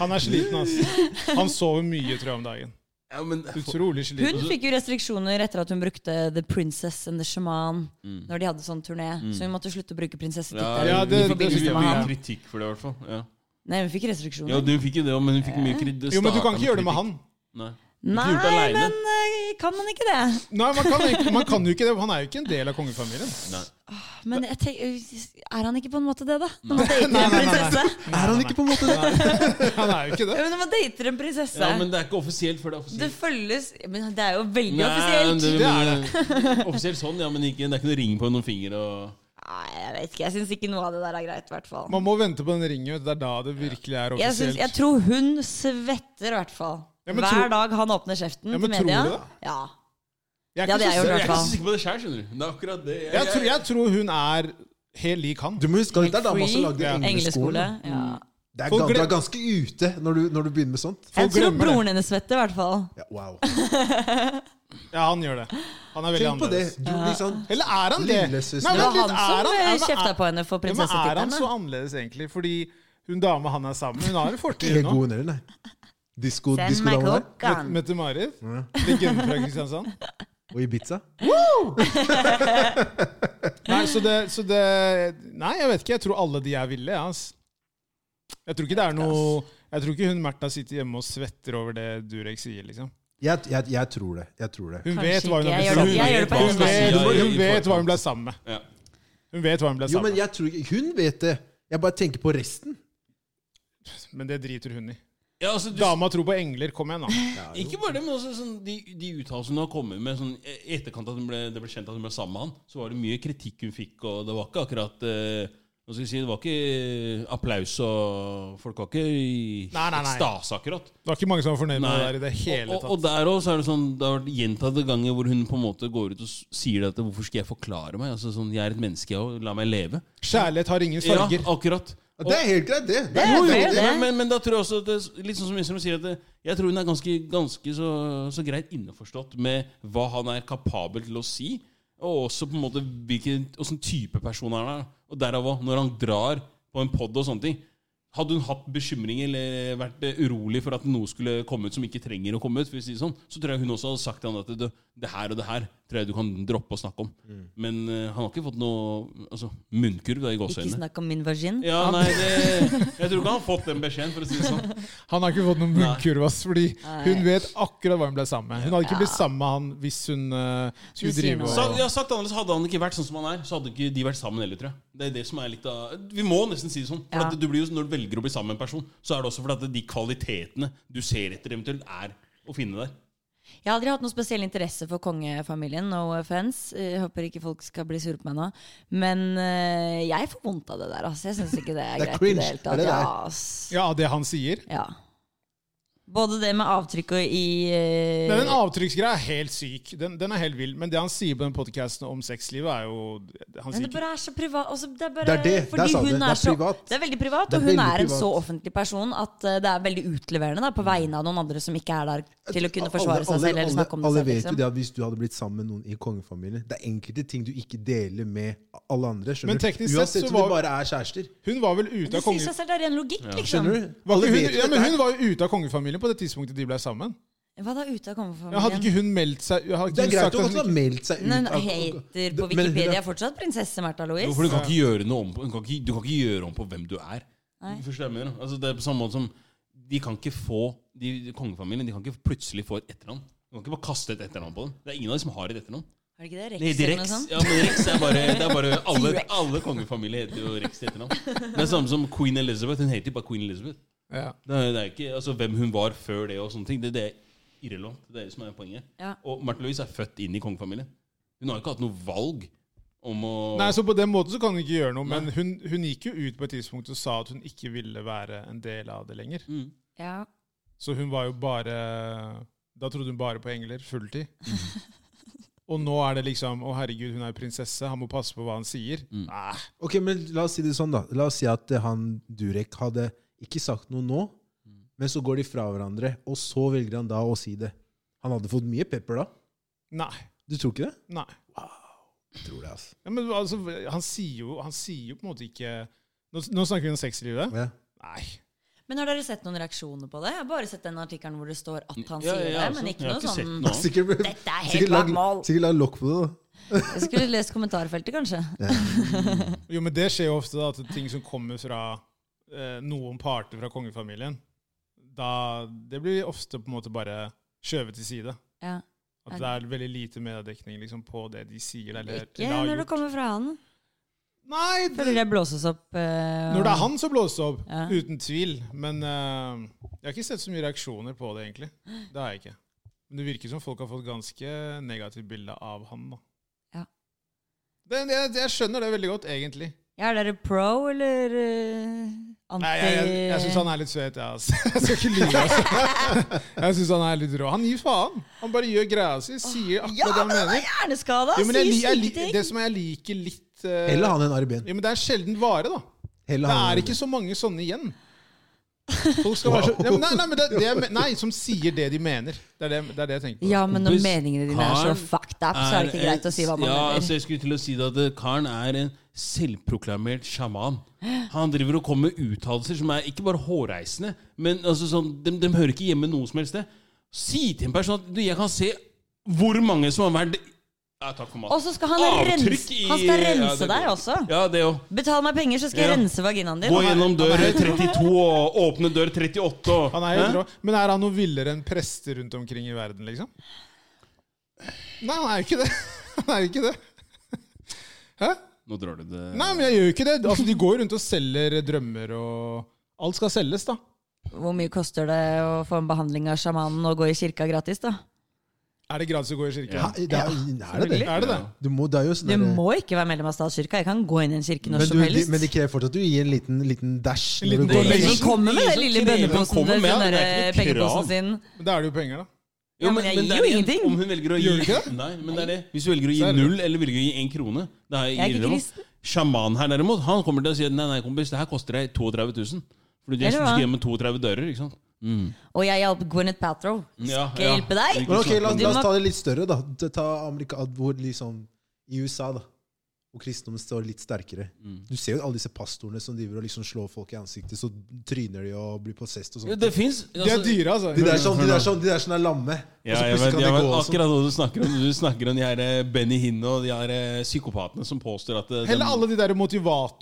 Speaker 3: han er sliten, ass. Han sover mye, tror jeg, om dagen.
Speaker 2: Ja, men
Speaker 3: Utrolig sliten.
Speaker 4: Hun fikk jo restriksjoner etter at hun brukte The Princess and the Shaman når de hadde sånn turné, så hun måtte slutte å bruke prinsessetittelen
Speaker 3: Mm. Ja, det-
Speaker 4: i
Speaker 2: hun fikk
Speaker 3: det-
Speaker 4: forbindelse
Speaker 2: mye-
Speaker 4: med
Speaker 2: mye
Speaker 4: han.
Speaker 2: kritikk for det, i hvert fall. Ja.
Speaker 4: Nei, hun fikk
Speaker 2: ja,
Speaker 4: restriksjoner.
Speaker 2: du fikk jo det, men hun fikk mye kritikk.
Speaker 3: Jo, men du kan ikke gjøre det med han.
Speaker 2: Nei.
Speaker 4: Nei,
Speaker 2: gjort det alene.
Speaker 4: men eh, kan man ikke det?
Speaker 3: Nei, man kan, ikke- man kan jo ikke det. Han er jo ikke en del av kongefamilien.
Speaker 2: Nei.
Speaker 4: Men jeg tenk, er han ikke på en måte det, da?
Speaker 3: [LAUGHS]
Speaker 4: Når man dater
Speaker 3: Nei,
Speaker 4: en
Speaker 3: nei, nei, nei.
Speaker 4: prinsesse?
Speaker 1: Er han ikke på en måte det?
Speaker 3: Han er jo ikke
Speaker 4: Ja,
Speaker 3: det.
Speaker 4: men når man dater en prinsesse
Speaker 2: Ja, men det er ikke offisielt før det er offisielt.
Speaker 4: Det følges Men det er jo veldig
Speaker 2: Nei,
Speaker 4: offisielt!
Speaker 2: det-
Speaker 3: Det er
Speaker 2: men- [LAUGHS] Offisielt sånn, ja, men ikke, det er ikke noe ring på noen finger og
Speaker 4: Nei, jeg vet ikke. Jeg syns ikke noe av det der er greit, i hvert fall.
Speaker 3: Man må vente på den ringen. vet du. Det er da det virkelig er
Speaker 4: Jeg, syns- jeg
Speaker 3: offisielt.
Speaker 4: tror hun svetter, i hvert fall.
Speaker 3: Ja, men tror-
Speaker 4: Hver dag han åpner kjeften
Speaker 3: Ja, men
Speaker 4: til
Speaker 3: tror
Speaker 4: media.
Speaker 3: du det?
Speaker 4: Ja.
Speaker 3: Jeg
Speaker 4: Ja,
Speaker 3: er ikke
Speaker 4: det
Speaker 3: så
Speaker 4: er jo
Speaker 2: Jeg er
Speaker 4: hvert
Speaker 2: ikke
Speaker 4: fall.
Speaker 2: så sikker på det sjøl, skjønner du. Det er akkurat det. Jeg-
Speaker 3: Jeg tror, jeg tror hun er helt lik han.
Speaker 1: Du må huske at det er dama som lagde
Speaker 3: Ja.
Speaker 4: Engleskole.
Speaker 1: engleskolen.
Speaker 4: Ja.
Speaker 3: Mm.
Speaker 1: Det er,
Speaker 3: Folk
Speaker 1: gan- det
Speaker 3: glem-
Speaker 1: er ganske ute når du, når du begynner med sånt.
Speaker 4: Jeg tror
Speaker 3: glemmer det.
Speaker 4: broren hennes svetter, i hvert fall.
Speaker 1: Ja, wow.
Speaker 3: Ja, han gjør det. Han er veldig
Speaker 1: Tenk på det.
Speaker 3: annerledes.
Speaker 1: Du, liksom,
Speaker 3: Eller er han det?
Speaker 1: Lillesøster.
Speaker 3: Nei,
Speaker 4: Det
Speaker 3: vent
Speaker 4: var
Speaker 3: litt,
Speaker 4: han
Speaker 3: er
Speaker 4: som
Speaker 3: ja,
Speaker 4: eh,
Speaker 3: men er-
Speaker 4: kjefta på henne for
Speaker 3: Ja, men er han så
Speaker 4: prinsessetittelen. da.
Speaker 3: annerledes, egentlig? Fordi hun dame han er sammen med, hun har en fortid
Speaker 1: Ikke
Speaker 3: nå.
Speaker 1: god under, nei. Disko,
Speaker 4: Send
Speaker 1: disko
Speaker 4: meg
Speaker 1: der.
Speaker 3: Met-
Speaker 4: klokka'n.
Speaker 3: Mette-Marit. Legenden fra Kristiansand.
Speaker 1: Og Ibiza.
Speaker 3: Nei, så det, så det Nei, jeg vet ikke. Jeg tror alle de er ville, jeg, ass. Jeg tror ikke det er noe Jeg tror ikke hun Märtha sitter hjemme og svetter over det Durek sier, liksom.
Speaker 1: Jeg, jeg, jeg tror det. Jeg tror det.
Speaker 3: Hun
Speaker 4: Kanskje
Speaker 3: vet hva hun
Speaker 4: ikke.
Speaker 3: har
Speaker 4: Jeg
Speaker 3: blitt sammen med.
Speaker 4: gjør det- jeg gjør det på
Speaker 3: Hun
Speaker 4: hennes
Speaker 3: vet-
Speaker 2: vegne.
Speaker 3: Hun vet hva hun ble sammen med.
Speaker 2: Ja.
Speaker 3: Hun vet hva hun ble
Speaker 1: Jo, men
Speaker 3: sammen med.
Speaker 1: jeg tror ikke Hun vet det. Jeg bare tenker på resten.
Speaker 3: Men det driter hun i.
Speaker 2: Ja, altså, du,
Speaker 3: Dama tror på engler. Kom igjen, da.
Speaker 2: ikke bare det, men også sånn, de, de uttalelsene hun har kommet med sånn, i etterkant at hun ble, det ble kjent at hun ble sammen med han, så var det mye kritikk hun fikk, og det var ikke akkurat eh, hva skal jeg si, Det var ikke eh, applaus, og folk var ikke i
Speaker 3: Nei, nei, nei.
Speaker 2: ekstase, akkurat.
Speaker 3: Det var ikke mange som var fornøyd med det
Speaker 2: Nei.
Speaker 3: der i det hele
Speaker 2: og, og, og
Speaker 3: tatt.
Speaker 2: der også er det sånn Det har vært gjentatte ganger hvor hun på en måte går ut og s- sier det at hvorfor skal jeg forklare meg? Altså sånn, Jeg er et menneske, jeg òg. La meg leve.
Speaker 3: Kjærlighet har ingen
Speaker 2: Ja,
Speaker 3: farger.
Speaker 2: akkurat.
Speaker 1: Ja, Det er helt greit, det. Det
Speaker 4: er
Speaker 1: er helt
Speaker 4: det,
Speaker 1: greit,
Speaker 4: det
Speaker 1: det.
Speaker 2: Men, men, men da tror jeg også at det, litt sånn som Ystrøm sier at det, Jeg tror hun er ganske, ganske så, så greit innforstått med hva han er kapabel til å si, og også på en måte hvilken åssen type person han er. Og derav òg, når han drar på en pod og sånne ting Hadde hun hatt bekymringer eller vært eh, urolig for at noe skulle komme ut som ikke trenger å komme ut, for å si det sånn, så tror jeg hun også hadde sagt til han at det, det her og det her tror jeg du kan droppe å snakke om.
Speaker 4: Mm.
Speaker 2: Men eh, han har ikke fått noe altså, munnkurv da, i
Speaker 4: Ikke
Speaker 2: gåseøynene.
Speaker 4: snakk om min vagin.
Speaker 2: Ja, nei, det, jeg tror ikke han har fått den beskjeden, for å si det sånn. [LAUGHS]
Speaker 3: Han har ikke fått noen munnkurv, ass, fordi
Speaker 4: Nei.
Speaker 3: hun vet akkurat hva hun ble sammen med. Hun hadde ikke
Speaker 4: Ja.
Speaker 3: blitt sammen med han hvis hun eh, skulle
Speaker 4: Hvis hun
Speaker 3: drive
Speaker 2: Så,
Speaker 3: og
Speaker 2: ja, sagt annerledes Hadde han ikke vært sånn som han er, så hadde ikke de vært sammen heller. tror jeg Det er det som er litt av Vi må nesten si det sånn. For
Speaker 4: Ja.
Speaker 2: at du blir jo, Når du velger å bli sammen med en person, så er det også fordi at de kvalitetene du ser etter, eventuelt er å finne der.
Speaker 4: Jeg har aldri hatt noen spesiell interesse for kongefamilien. No offense. Jeg håper ikke folk skal bli sure på meg nå. Men eh, jeg får vondt av det der. Altså. Jeg syns ikke det er
Speaker 1: Det er
Speaker 4: greit. i
Speaker 1: cringe,
Speaker 4: det hele
Speaker 1: det er
Speaker 4: tatt.
Speaker 1: det det er.
Speaker 4: Ja, ass.
Speaker 3: Ja, det han sier.
Speaker 4: Ja. Både det med avtrykket i eh,
Speaker 3: Men Den avtrykksgreia er helt syk. Den, den er helt vill. Men det han sier på den podkasten om sexlivet, er jo Han sier
Speaker 4: Men det
Speaker 3: ikke
Speaker 4: bare er så privat. Altså, det, er bare,
Speaker 1: Det er det. Der
Speaker 4: Fordi
Speaker 1: sa du
Speaker 4: hun
Speaker 1: det. Det er
Speaker 4: så,
Speaker 1: privat.
Speaker 4: Det er veldig privat,
Speaker 1: Det er
Speaker 4: og hun
Speaker 1: veldig
Speaker 4: er en
Speaker 1: privat.
Speaker 4: så offentlig person at eh, det er veldig utleverende da, på vegne av noen andre som ikke er der til å kunne forsvare seg selv eller snakke om det
Speaker 1: alle
Speaker 4: selv.
Speaker 1: vet jo
Speaker 4: Liksom.
Speaker 1: det at hvis du hadde blitt sammen med noen i kongefamilien Det er enkelte ting du ikke deler med alle andre. skjønner
Speaker 3: Men
Speaker 1: du?
Speaker 3: teknisk sett
Speaker 1: Uansett
Speaker 3: så
Speaker 1: om de
Speaker 3: var-
Speaker 1: bare er kjærester.
Speaker 3: Hun var vel ute
Speaker 4: Det
Speaker 3: av
Speaker 4: sier
Speaker 3: konge...
Speaker 4: seg selv, det er ren logikk, liksom.
Speaker 1: Skjønner du?
Speaker 3: Var
Speaker 1: Alle
Speaker 3: ikke
Speaker 1: vet
Speaker 3: hun,
Speaker 1: jo
Speaker 3: ja,
Speaker 1: dette
Speaker 3: men
Speaker 1: her.
Speaker 3: hun var jo ute av kongefamilien på det tidspunktet de ble sammen.
Speaker 4: Hva da, ute av
Speaker 3: Ja, hadde
Speaker 4: kongefamilien?
Speaker 3: ikke hun meldt seg hadde ikke
Speaker 1: Det er
Speaker 3: hun
Speaker 1: greit at
Speaker 3: sagt at
Speaker 1: hun
Speaker 3: hun
Speaker 1: har meldt seg ut.
Speaker 4: Hun
Speaker 1: av-
Speaker 4: hater på
Speaker 1: Men hun er-
Speaker 4: Wikipedia fortsatt prinsesse Märtha Louise.
Speaker 2: Jo, for du kan ikke gjøre noe om Du kan ikke, du kan ikke gjøre om på hvem du er.
Speaker 4: Nei.
Speaker 2: Forstår du hva jeg mener? Altså, det er på samme måte som De kan ikke få de, Kongefamilien De kan ikke plutselig få et etternavn. Du kan ikke bare kaste et etternavn på dem. Det er ingen av de som har et etternavn.
Speaker 4: Har du ikke det? Rex
Speaker 2: Nei,
Speaker 4: eller
Speaker 2: det er
Speaker 4: noe
Speaker 2: Rex.
Speaker 4: sånt?
Speaker 2: Ja, men Rex er bare, det er
Speaker 4: [LAUGHS]
Speaker 2: bare alle,
Speaker 4: T-rex.
Speaker 2: alle kongefamilier heter jo Rex til etternavn. Det er samme som Queen Elizabeth. Hun heter jo bare Queen Elizabeth.
Speaker 3: ja.
Speaker 2: Det er, det er ikke, altså Hvem hun var før det og sånne ting, det, det er irrelevant. Det er det som er poenget.
Speaker 4: Ja.
Speaker 2: Og Martha Louise er født inn i kongefamilien. Hun har ikke hatt noe valg om å
Speaker 3: Nei, så På den måten så kan hun ikke gjøre noe, men hun, hun gikk jo ut på et tidspunkt og sa at hun ikke ville være en del av det lenger.
Speaker 2: mm.
Speaker 4: Ja.
Speaker 3: Så hun var jo bare Da trodde hun bare på engler
Speaker 4: [LAUGHS]
Speaker 3: fulltid. Og nå er det liksom Å, herregud, hun er jo prinsesse, han må passe på hva han sier. Ah,
Speaker 2: Mm.
Speaker 3: Nei,
Speaker 1: Ok, men La oss si det sånn, da. La oss si at eh, han Durek hadde ikke sagt noe nå, men så går de fra hverandre, og så velger han da å si det. Han hadde fått mye pepper da.
Speaker 3: nei.
Speaker 1: Du tror ikke det?
Speaker 3: nei.
Speaker 1: Jeg tror det, altså.
Speaker 3: Ja, men altså, han sier jo, han sier jo på en måte ikke Nå, nå snakker vi om sexlivet.
Speaker 1: Ja. [LAUGHS]
Speaker 3: Nei.
Speaker 4: Men har dere sett noen reaksjoner på det? Jeg har bare sett den artikkelen hvor det står at han
Speaker 2: Ja,
Speaker 4: sier
Speaker 2: ja,
Speaker 4: det,
Speaker 2: altså.
Speaker 4: men ikke
Speaker 2: Jeg har
Speaker 4: noe
Speaker 2: ikke sett
Speaker 4: sånn
Speaker 2: noe annet.
Speaker 1: Sikkert,
Speaker 4: Dette er helt
Speaker 1: sikkert, lag,
Speaker 4: bak mål!
Speaker 1: sikkert lag lokk på det, da.
Speaker 4: Jeg skulle lest kommentarfeltet, kanskje.
Speaker 3: Jo, men det skjer jo ofte da, at ting som kommer fra eh, noen parter fra kongefamilien, da Det blir ofte på en måte bare skjøvet til side.
Speaker 4: Ja.
Speaker 3: At det er veldig lite mediedekning liksom, på det de sier. Eller,
Speaker 4: Ikke
Speaker 3: eller har
Speaker 4: når det
Speaker 3: gjort.
Speaker 4: kommer fra han.
Speaker 3: Nei, det,
Speaker 4: Føler jeg blåses opp. eh,
Speaker 3: når det er han som blåser opp,
Speaker 4: Ja.
Speaker 3: uten tvil. Men eh, jeg har ikke sett så mye reaksjoner på det, egentlig. Det har jeg ikke. Men det virker som folk har fått ganske negativt bilde av han, da.
Speaker 4: Ja.
Speaker 3: Det, jeg, jeg skjønner det veldig godt, egentlig.
Speaker 4: Ja, er dere pro eller eh, anti
Speaker 3: Nei, jeg jeg, jeg syns han er litt søt, jeg, altså. [LAUGHS] Jeg skal ikke lyve.
Speaker 4: [LAUGHS]
Speaker 3: Altså. Jeg syns han er litt rå. Han gir faen. Han bare gjør greia si. Sier
Speaker 4: Ja,
Speaker 3: akkurat det han
Speaker 4: han er
Speaker 3: mener.
Speaker 4: hjerneskada!
Speaker 3: Jo, men jeg,
Speaker 4: Sier
Speaker 3: li- jeg,
Speaker 4: syke
Speaker 3: li-
Speaker 4: ting!
Speaker 3: det som jeg liker litt eh,
Speaker 1: Heller han enn Arben.
Speaker 3: jo, men Det er sjelden vare, da.
Speaker 1: Heller
Speaker 3: Det
Speaker 1: han enn
Speaker 3: er ikke
Speaker 1: Arben.
Speaker 3: så mange sånne igjen. Folk skal være så, nei, men nei, nei, men det, det, jeg men- nei, som sier det de mener. Det er det, det, er det jeg tenker på.
Speaker 4: Ja, men når
Speaker 2: Hvis
Speaker 4: meningene dine er så
Speaker 2: Karen
Speaker 4: fucked up, så er det ikke
Speaker 2: en-
Speaker 4: greit å si hva man
Speaker 2: eh, ja,
Speaker 4: mener.
Speaker 2: Altså, jeg skulle til å si det at eh, Karen er en selvproklamert sjaman. Han driver og kommer med uttalelser som er ikke bare hårreisende, men altså, sånn, de, de hører ikke hjemme noe som helst sted. Si til en person at du, jeg kan se hvor mange som har vært ja, Takk for
Speaker 4: Og
Speaker 2: maten.
Speaker 4: så skal han rense,
Speaker 2: i-
Speaker 4: han skal
Speaker 2: Ja,
Speaker 4: rense
Speaker 2: det-
Speaker 4: deg også.
Speaker 2: Ja, det òg.
Speaker 4: Betal meg penger, så skal
Speaker 2: Ja.
Speaker 4: jeg rense vaginaen din.
Speaker 2: Gå
Speaker 4: Han er-
Speaker 2: gjennom dør
Speaker 4: han er-
Speaker 2: 32 og åpne dør 38 og
Speaker 3: Han er helt
Speaker 2: Hæ?
Speaker 3: rå. Men er han noe villere enn prester rundt omkring i verden, liksom? Nei, han er jo ikke det. [LAUGHS] Han er jo ikke det. Hæ?
Speaker 2: Nå drar du det
Speaker 3: Nei, men jeg gjør jo ikke det. Altså, De går jo rundt og selger drømmer og Alt skal selges, da.
Speaker 4: Hvor mye koster det å få en behandling av sjamanen og gå i kirka gratis, da?
Speaker 3: Er det gratis å gå i kirken?
Speaker 2: Ja.
Speaker 1: Hæ? Det er, er det det?
Speaker 3: Er det det?
Speaker 1: Du må, det er jo sånn
Speaker 4: Du
Speaker 1: der-
Speaker 4: må ikke være medlem av statskirka. Jeg kan gå inn i en kirke når
Speaker 1: men, du,
Speaker 4: som
Speaker 1: de,
Speaker 4: helst.
Speaker 1: men det krever fortsatt at du gir en liten, liten dash. når
Speaker 3: En liten
Speaker 1: du går
Speaker 3: dash.
Speaker 1: langs.
Speaker 4: Ingen kommer med
Speaker 2: Ingen
Speaker 4: den
Speaker 2: som
Speaker 4: lille
Speaker 2: krever-
Speaker 4: bønneposen
Speaker 2: kommer
Speaker 4: den
Speaker 2: med, det er
Speaker 4: der,
Speaker 2: ikke noe krav.
Speaker 4: pengeposen sin.
Speaker 3: Men da er det jo penger, da.
Speaker 4: Ja, men jeg
Speaker 2: det
Speaker 4: gir jo
Speaker 2: er igjen
Speaker 4: ingenting.
Speaker 2: Om hun velger å gi
Speaker 3: Gjør du ikke det?
Speaker 2: Nei, men det er det. Hvis du velger å
Speaker 3: Så
Speaker 2: gi
Speaker 3: er det-
Speaker 2: null eller velger å gi én krone det er
Speaker 4: Jeg er ikke
Speaker 2: irrelevant.
Speaker 4: kristen.
Speaker 2: Sjaman her derimot, han kommer til å si nei, nei, kompis, det her koster deg 32 000. Fordi du
Speaker 4: Eller hva?
Speaker 2: skal hjem med 32 dører, ikke sant? Mm.
Speaker 4: Og jeg hjalp Gwyneth Paltrow.
Speaker 2: Ja,
Speaker 4: Skal jeg
Speaker 2: ja.
Speaker 4: hjelpe deg?
Speaker 2: Ikke
Speaker 1: Men ok,
Speaker 2: snakke
Speaker 1: la,
Speaker 2: om
Speaker 1: oss-
Speaker 2: det.
Speaker 1: la oss ta det litt større, da. Ta Amerika, hvor liksom, I USA, da. Og kristendommen står litt sterkere.
Speaker 2: Mm.
Speaker 1: Du ser jo alle disse pastorene som driver og liksom slår folk i ansiktet, så tryner de og blir possessed og sånt.
Speaker 2: Det fins
Speaker 3: De er dyre, altså.
Speaker 1: De der som, de der som, de der som er lamme. og så
Speaker 2: Ja, jeg
Speaker 1: plutselig
Speaker 2: vet,
Speaker 1: kan
Speaker 2: jeg
Speaker 1: de
Speaker 2: vet
Speaker 1: gå og sånn.
Speaker 2: akkurat hva du snakker om. Du snakker om de her eh, Benny Hinn og de her eh, psykopatene som påstår at eh, de-
Speaker 3: Heller alle de der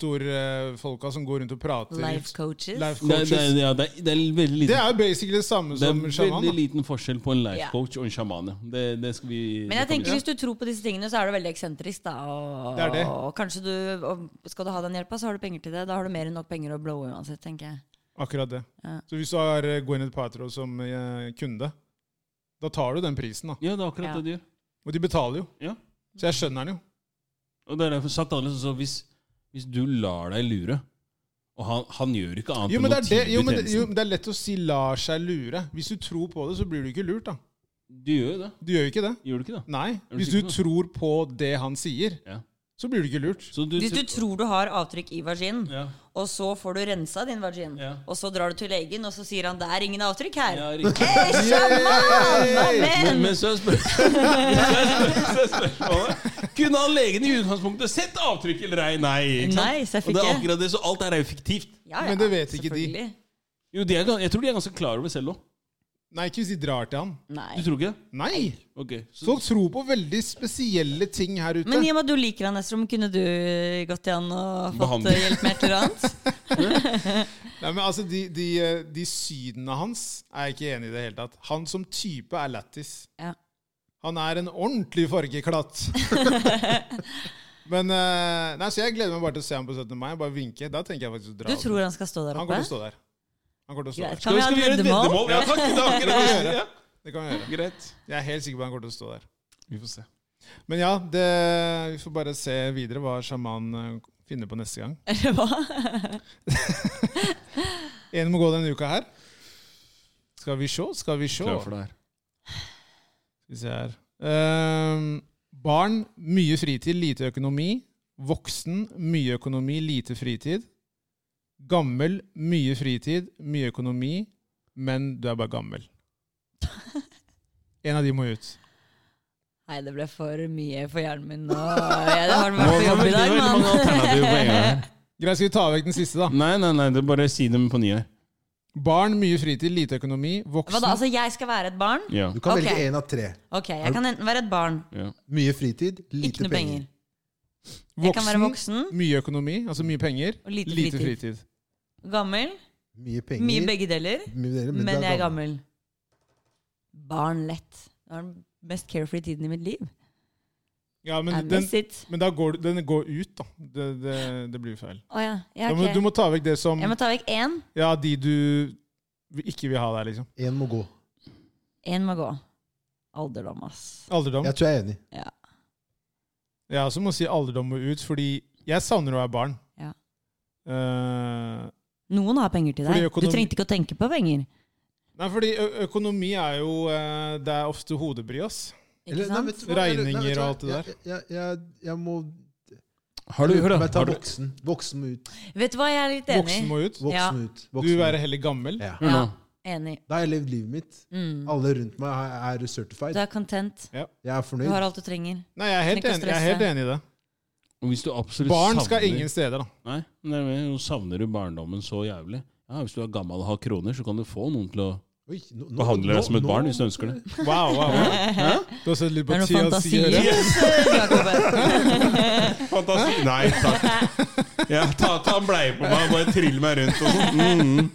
Speaker 3: motivatorfolka som går rundt og prater.
Speaker 4: Life coaches.
Speaker 3: Life
Speaker 2: det, er- det,
Speaker 3: coaches.
Speaker 2: er- ja, det, er- det er veldig
Speaker 3: Det
Speaker 2: liten,
Speaker 3: er jo basically det samme
Speaker 2: det
Speaker 3: som
Speaker 2: er
Speaker 3: sjaman.
Speaker 2: veldig
Speaker 3: da.
Speaker 2: liten forskjell på en life
Speaker 4: Ja.
Speaker 2: coach og en sjaman. ja. Det, det skal vi
Speaker 4: Men jeg
Speaker 2: det kommer
Speaker 4: tenker hvis du tror på disse tingene, så er du veldig eksentrisk. da Og,
Speaker 3: Det er det.
Speaker 4: og kanskje du og Skal du ha den hjelpa, så har du penger til det. Da har du mer enn nok penger å blowe uansett, tenker jeg.
Speaker 3: Akkurat det.
Speaker 4: Ja.
Speaker 3: Så hvis du har eh, Gwyneth Paltrow som eh, kunde, da tar du den prisen, da.
Speaker 2: til. Ja, det er akkurat
Speaker 4: Ja.
Speaker 2: det du gjør.
Speaker 3: Og de betaler jo.
Speaker 2: Ja.
Speaker 3: Så jeg skjønner den jo.
Speaker 2: Og det er derfor sagt annerledes. Så hvis, hvis du lar deg lure Og han, han gjør ikke annet
Speaker 3: Jo, men
Speaker 2: enn
Speaker 3: det
Speaker 2: å
Speaker 3: er, det,
Speaker 2: tilby
Speaker 3: jo, men det, jo,
Speaker 2: tjenesten.
Speaker 3: men det er lett å si 'lar seg lure'. Hvis du tror på det, så blir du ikke lurt, da.
Speaker 2: Du gjør jo det.
Speaker 3: Du gjør jo ikke det.
Speaker 2: Gjør du ikke det?
Speaker 3: Nei.
Speaker 2: du
Speaker 3: Hvis du
Speaker 2: sikker på det?
Speaker 3: tror på det han sier,
Speaker 2: Ja.
Speaker 3: så blir du ikke lurt.
Speaker 2: Så du,
Speaker 4: Hvis du tror du har avtrykk i vaginen,
Speaker 2: ja.
Speaker 4: og så får du rensa din vagin,
Speaker 2: Ja.
Speaker 4: og så drar du til legen, og så sier han 'det er ingen avtrykk her'.
Speaker 2: ja, riktig.
Speaker 4: Hei, sjaman!
Speaker 2: Men,
Speaker 4: Amen!
Speaker 2: men så er spør-
Speaker 4: [LAUGHS]
Speaker 2: så er spør- så er spørsmålet Kunne han legen i utgangspunktet sett avtrykk eller ei? Nei. ikke sant? Og
Speaker 4: Nei,
Speaker 2: det
Speaker 4: selvfølgelig
Speaker 2: er
Speaker 4: ikke.
Speaker 2: akkurat det, så alt er jo fiktivt.
Speaker 4: Ja,
Speaker 3: Men det vet ikke de.
Speaker 4: selvfølgelig.
Speaker 2: Jo, de er, gans- jeg tror de er ganske klar over selv òg.
Speaker 3: Nei, ikke hvis de drar til han.
Speaker 4: Nei.
Speaker 2: Du tror ikke det?
Speaker 3: Nei!
Speaker 2: Ok. Så,
Speaker 3: Folk tror på veldig spesielle ting her ute.
Speaker 4: Men i og med at du liker han, Estrom, kunne du eh, gått igjen og fått
Speaker 2: Behandling.
Speaker 4: eh, hjelp med et eller annet?
Speaker 3: Nei, men altså, de, de, eh, de synene hans er jeg ikke enig i det hele tatt. Han som type er lættis.
Speaker 4: Ja.
Speaker 3: Han er en ordentlig
Speaker 4: [LAUGHS]
Speaker 3: fargeklatt. men eh, Nei, så jeg gleder meg bare til å se ham på 17. mai. Bare vinke. Da tenker jeg faktisk å dra.
Speaker 4: Du
Speaker 3: opp.
Speaker 4: tror han skal stå der
Speaker 3: Han
Speaker 4: oppe?
Speaker 3: kommer til å stå der. Han kommer til å stå
Speaker 4: Greit.
Speaker 3: der.
Speaker 4: Kan vi ha
Speaker 2: skal
Speaker 4: et
Speaker 2: vi gjøre et
Speaker 4: veddemål?
Speaker 2: veddemål? Ja, takk. Det er akkurat det.
Speaker 3: Ja.
Speaker 2: Ja.
Speaker 3: Det kan vi gjøre.
Speaker 2: Greit.
Speaker 3: Jeg er helt sikker på at han kommer til å stå der.
Speaker 2: Vi får se.
Speaker 3: Men ja, det, vi får bare se videre hva sjaman eh, finner på neste gang.
Speaker 4: Eller hva? [LAUGHS]
Speaker 3: En må gå denne uka her. Skal vi sjå, skal vi sjå.
Speaker 2: Klar for det her.
Speaker 3: Skal vi se her. Ehm, barn, mye fritid, lite økonomi. Voksen, mye økonomi, lite fritid. Gammel, mye fritid, mye økonomi, men du er bare gammel. En av de må ut.
Speaker 4: Nei, det ble for mye for hjernen min nå. Jeg har
Speaker 2: Det
Speaker 4: vært på
Speaker 2: var
Speaker 4: jobb i
Speaker 2: veldig-
Speaker 4: dag,
Speaker 2: veldig mange
Speaker 4: mann.
Speaker 2: alternativer på en gang her.
Speaker 3: Greit, skal vi ta vekk den siste, da?
Speaker 2: Nei, nei, nei. Det er bare si dem på ny her.
Speaker 3: Barn, mye fritid, lite økonomi.
Speaker 4: [LAUGHS] Hva da,
Speaker 3: Voksen
Speaker 4: altså jeg skal være et barn?
Speaker 2: Ja.
Speaker 1: Du kan
Speaker 4: Ok.
Speaker 1: velge én av tre.
Speaker 4: Ok, jeg kan enten være et barn,
Speaker 2: ja.
Speaker 1: Mye fritid, lite
Speaker 4: ikke noe penger.
Speaker 1: penger.
Speaker 4: Jeg kan være voksen,
Speaker 3: Mye økonomi, altså mye penger.
Speaker 4: Og lite fritid.
Speaker 3: fritid.
Speaker 4: gammel,
Speaker 1: Mye penger.
Speaker 4: mye begge deler,
Speaker 1: mye deler,
Speaker 4: men
Speaker 1: du
Speaker 4: jeg er gammel. Barn lett. Det var den mest carefree tiden i mitt liv.
Speaker 3: Ja,
Speaker 4: I
Speaker 3: men, den,
Speaker 4: miss it.
Speaker 3: men da går du- den går ut, da. Det, det, det blir feil.
Speaker 4: Å ja.
Speaker 3: Ja,
Speaker 4: ja
Speaker 3: men du
Speaker 4: ok.
Speaker 3: må ta vekk det som
Speaker 4: Jeg må ta vekk én.
Speaker 3: Ja, de du ikke vil ha der, liksom.
Speaker 1: Én må gå.
Speaker 4: Én må gå. Alderdom, ass.
Speaker 3: Alderdom.
Speaker 1: Jeg tror jeg er enig.
Speaker 4: Ja.
Speaker 3: Jeg også må si alderdom må ut, fordi jeg savner å være barn.
Speaker 4: Ja.
Speaker 3: Eh,
Speaker 4: Noen har penger til
Speaker 3: Fordi
Speaker 4: deg. Du
Speaker 3: økonomi-
Speaker 4: trengte ikke å tenke på penger.
Speaker 3: nei, fordi ø- økonomi er jo eh, Det er ofte hodebry, ass.
Speaker 4: Ikke
Speaker 1: nei,
Speaker 4: sant?
Speaker 1: vet du hva? Eller, nei,
Speaker 3: Regninger
Speaker 1: vet du hva?
Speaker 3: og alt det der.
Speaker 1: Jeg, jeg, jeg, jeg må
Speaker 2: Har du, hør da,
Speaker 1: Men ta
Speaker 2: har du,
Speaker 1: voksen. Voksen må ut.
Speaker 4: Vet du hva, jeg er litt enig.
Speaker 3: Voksen må ut.
Speaker 1: Voksen
Speaker 4: Ja.
Speaker 1: må ut.
Speaker 3: Du
Speaker 1: Voksen
Speaker 3: vil
Speaker 1: må
Speaker 3: være
Speaker 1: ut.
Speaker 3: heller gammel.
Speaker 1: Ja.
Speaker 2: hør nå.
Speaker 4: Ja. Enig.
Speaker 1: Da har jeg levd livet mitt.
Speaker 4: Mm.
Speaker 1: Alle rundt meg er- er
Speaker 4: Du
Speaker 1: certified.
Speaker 4: er content.
Speaker 1: Jeg er
Speaker 4: Du
Speaker 1: fornøyd.
Speaker 4: har alt du trenger.
Speaker 3: Nei, jeg er helt,
Speaker 4: Trenger ikke å
Speaker 3: enig, jeg er helt enig i det.
Speaker 2: Og hvis du absolutt
Speaker 3: Barn skal
Speaker 2: savner-
Speaker 3: ingen
Speaker 2: [LAUGHS]
Speaker 3: steder, da.
Speaker 2: Nei, men det er jo- nå savner du barndommen så jævlig. Ja, Hvis du er gammel og har kroner, så kan du få noen til å
Speaker 1: Oi, nå- nå-
Speaker 2: behandle deg som et
Speaker 1: nå-
Speaker 2: barn hvis du ønsker det.
Speaker 3: Wow, wow, wow. Du har sett litt på
Speaker 4: Det er noen
Speaker 3: TLC å gjøre.
Speaker 4: fantasier. Jakob.
Speaker 2: Fantasi. Nei, takk. Ja, ta, ta en bleie på meg og bare trill meg rundt og sånn. Mm.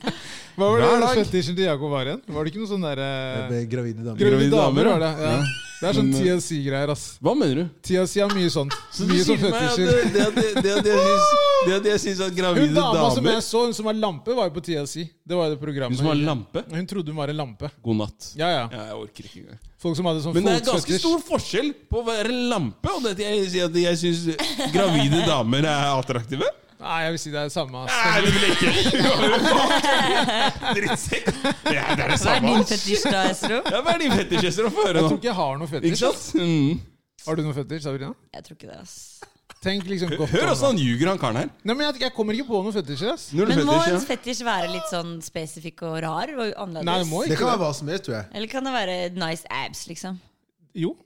Speaker 3: Hva var
Speaker 2: Hver
Speaker 3: det
Speaker 2: dag.
Speaker 3: fetisjen til Jakob var igjen? Var det ikke noe sånn derre
Speaker 1: Jeg ble Gravide damer.
Speaker 3: Gravide
Speaker 2: Gravide damer,
Speaker 3: damer, var det.
Speaker 2: ja.
Speaker 3: Ja.
Speaker 2: Ja.
Speaker 3: Det er sånn
Speaker 2: Men, eh,
Speaker 3: TLC-greier, ass.
Speaker 2: Hva mener du?
Speaker 3: TLC har mye sånt.
Speaker 2: Så du
Speaker 3: Mye
Speaker 2: sier
Speaker 3: sånn
Speaker 2: til meg at
Speaker 3: fetisjer.
Speaker 2: det- det at jeg- det at jeg syns- det at jeg syns at
Speaker 3: Hun
Speaker 2: gravide
Speaker 3: dama som
Speaker 2: damer
Speaker 3: jeg så, hun som var lampe, var jo på TLC. Det var jo det
Speaker 2: Hun
Speaker 3: programmet.
Speaker 2: som har lampe?
Speaker 3: Hun trodde hun var en lampe.
Speaker 2: God natt.
Speaker 3: Ja, ja.
Speaker 2: Ja, jeg orker ikke engang.
Speaker 3: Folk som hadde sånn
Speaker 2: Men det er ganske
Speaker 3: fotsfetisj.
Speaker 2: stor forskjell på å være lampe og det at jeg sier at jeg syns gravide damer er attraktive.
Speaker 3: Nei, jeg vil si det er det samme. ass.
Speaker 2: Nei, [LAUGHS] det vil jeg ikke! Drittsekk! Det er det er det
Speaker 4: Hva er
Speaker 2: samme.
Speaker 4: din
Speaker 2: ass.
Speaker 4: fetisj da, Estro?
Speaker 2: Ja, Hva er din fetisjester å få høre
Speaker 3: Jeg tror
Speaker 2: nå?
Speaker 3: ikke jeg har noe
Speaker 2: Ikke
Speaker 3: fetisj.
Speaker 2: sant? Mm.
Speaker 3: Har du noe fetisj, Sabrina?
Speaker 4: Jeg tror ikke det, ass.
Speaker 3: Tenk liksom godt
Speaker 2: Hør åssen
Speaker 3: over
Speaker 2: han
Speaker 3: det.
Speaker 2: ljuger, han karen her.
Speaker 3: Nei, men jeg, jeg kommer ikke på noe fetisjer, ass.
Speaker 2: Null
Speaker 4: Men må
Speaker 2: fetisj,
Speaker 4: en
Speaker 2: ja.
Speaker 4: fetisj være litt sånn spesifikk og rar og
Speaker 3: Nei, det må
Speaker 4: annerledes?
Speaker 1: Det
Speaker 3: ikke
Speaker 1: kan
Speaker 3: det.
Speaker 1: være hva som helst, tror jeg.
Speaker 4: Eller kan det være nice abs, liksom?
Speaker 3: Jo.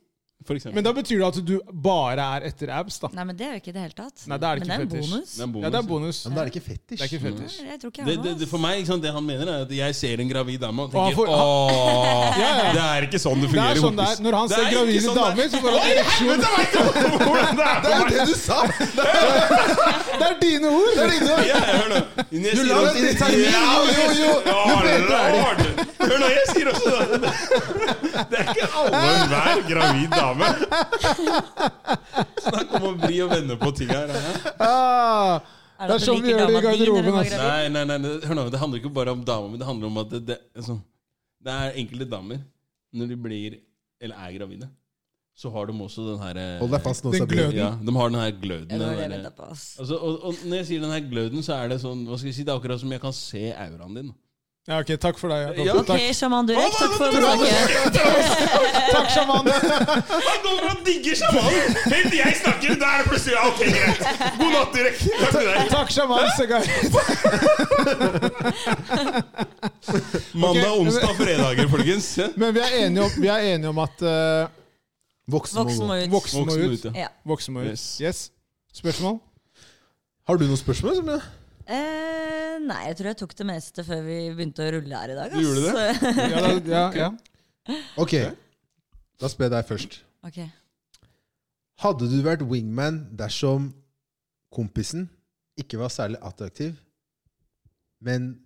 Speaker 2: For eksempel.
Speaker 3: Men da betyr det at du bare er etter abs, da.
Speaker 4: Nei, men det er jo ikke i det hele tatt.
Speaker 3: Nei, det er det ikke
Speaker 4: men det er en
Speaker 3: fetisj.
Speaker 4: bonus.
Speaker 2: Det er en bonus.
Speaker 3: Ja, det er bonus.
Speaker 1: Ja, men da er det ikke fetisj.
Speaker 3: Det er ikke fetisj.
Speaker 4: Nei, jeg tror ikke jeg
Speaker 2: Det,
Speaker 4: har
Speaker 2: det,
Speaker 4: noe,
Speaker 2: det,
Speaker 4: ass.
Speaker 2: for meg, ikke sant, det han mener, er at jeg ser en gravid dame og
Speaker 3: Og han
Speaker 2: tenker
Speaker 3: får-
Speaker 2: Åh,
Speaker 3: Ja, ja.
Speaker 2: Det er ikke sånn det
Speaker 3: Det
Speaker 2: fungerer.
Speaker 3: er sånn det
Speaker 2: hokus.
Speaker 3: er. Når han
Speaker 2: Det
Speaker 3: ser
Speaker 2: er ikke
Speaker 3: gravide
Speaker 2: sånn
Speaker 3: damer, så får han ereksjon.
Speaker 2: [LAUGHS] Hvordan det er
Speaker 1: Det er
Speaker 2: for meg?
Speaker 1: det du sa! Det
Speaker 3: Det er dine ord!
Speaker 1: er dine ord!
Speaker 2: Ja, hør nå. Jeg
Speaker 1: Du
Speaker 2: sier
Speaker 1: la
Speaker 2: også-
Speaker 1: oss inn i termin!
Speaker 2: Ja,
Speaker 1: Jo, jo, jo!
Speaker 2: Ja,
Speaker 1: Du vet det er det.
Speaker 2: lord. Hør nå, jeg sier også det. Det er ikke alle og enhver gravid dame. Snakk om å vri og vende på ting her. hæ?
Speaker 3: Ah,
Speaker 4: Er
Speaker 3: det
Speaker 4: at
Speaker 3: er
Speaker 4: du
Speaker 3: sånn vi
Speaker 4: liker
Speaker 3: gjør det i
Speaker 4: dama di når hun
Speaker 3: garderoben.
Speaker 4: var
Speaker 3: Altså.
Speaker 4: gravid?
Speaker 2: Nei, nei, nei, det- hør nå, det handler ikke bare om damer, men det handler om at det, det, altså, det er enkelte damer, når de blir, eller er gravide, så har de også den her... eh,
Speaker 1: Hold deg fast nå,
Speaker 3: Den
Speaker 1: Sabine.
Speaker 3: gløden.
Speaker 2: Ja, de har den her gløden.
Speaker 4: Det
Speaker 2: den
Speaker 4: var det jeg
Speaker 2: der-
Speaker 4: ventet på, ass.
Speaker 2: altså, og, og når jeg sier den her gløden, så er det sånn, hva skal jeg si, det er akkurat som jeg kan se auraen din.
Speaker 3: [LAUGHS] Ja, ok, takk for deg.
Speaker 2: Ja.
Speaker 3: Jakob.
Speaker 4: Ok, sjaman Durek, takk for
Speaker 3: sånn-
Speaker 4: besøket.
Speaker 3: Takk, takk sjaman.
Speaker 2: [LAUGHS] Han kommer og digger sjamanen! Helt jeg snakker, da er det plutselig ok, greit. God natt, Durek. Takk til deg.
Speaker 3: Takk, sjaman Segar.
Speaker 2: Mandag,
Speaker 3: Ok.
Speaker 2: onsdag, fredager, folkens. Ja.
Speaker 3: Men vi er enige om, vi er enige om at eh,
Speaker 1: Voksen må
Speaker 4: Voksen
Speaker 1: gå.
Speaker 4: må ut.
Speaker 3: voksne må ut.
Speaker 2: ute.
Speaker 4: Ja.
Speaker 3: Voksne må ut.
Speaker 2: Yes.
Speaker 3: Yes. Spørsmål?
Speaker 1: Har du noen spørsmål? Sabine?
Speaker 4: Eh, nei, jeg tror jeg tok det meste før vi begynte å rulle her i dag. Ass.
Speaker 2: Gjorde
Speaker 3: Ja, da, ja, ja.
Speaker 1: Ok, da spør jeg deg først.
Speaker 4: [LAUGHS] Ok.
Speaker 1: Hadde du vært wingman dersom kompisen ikke var særlig attraktiv, men,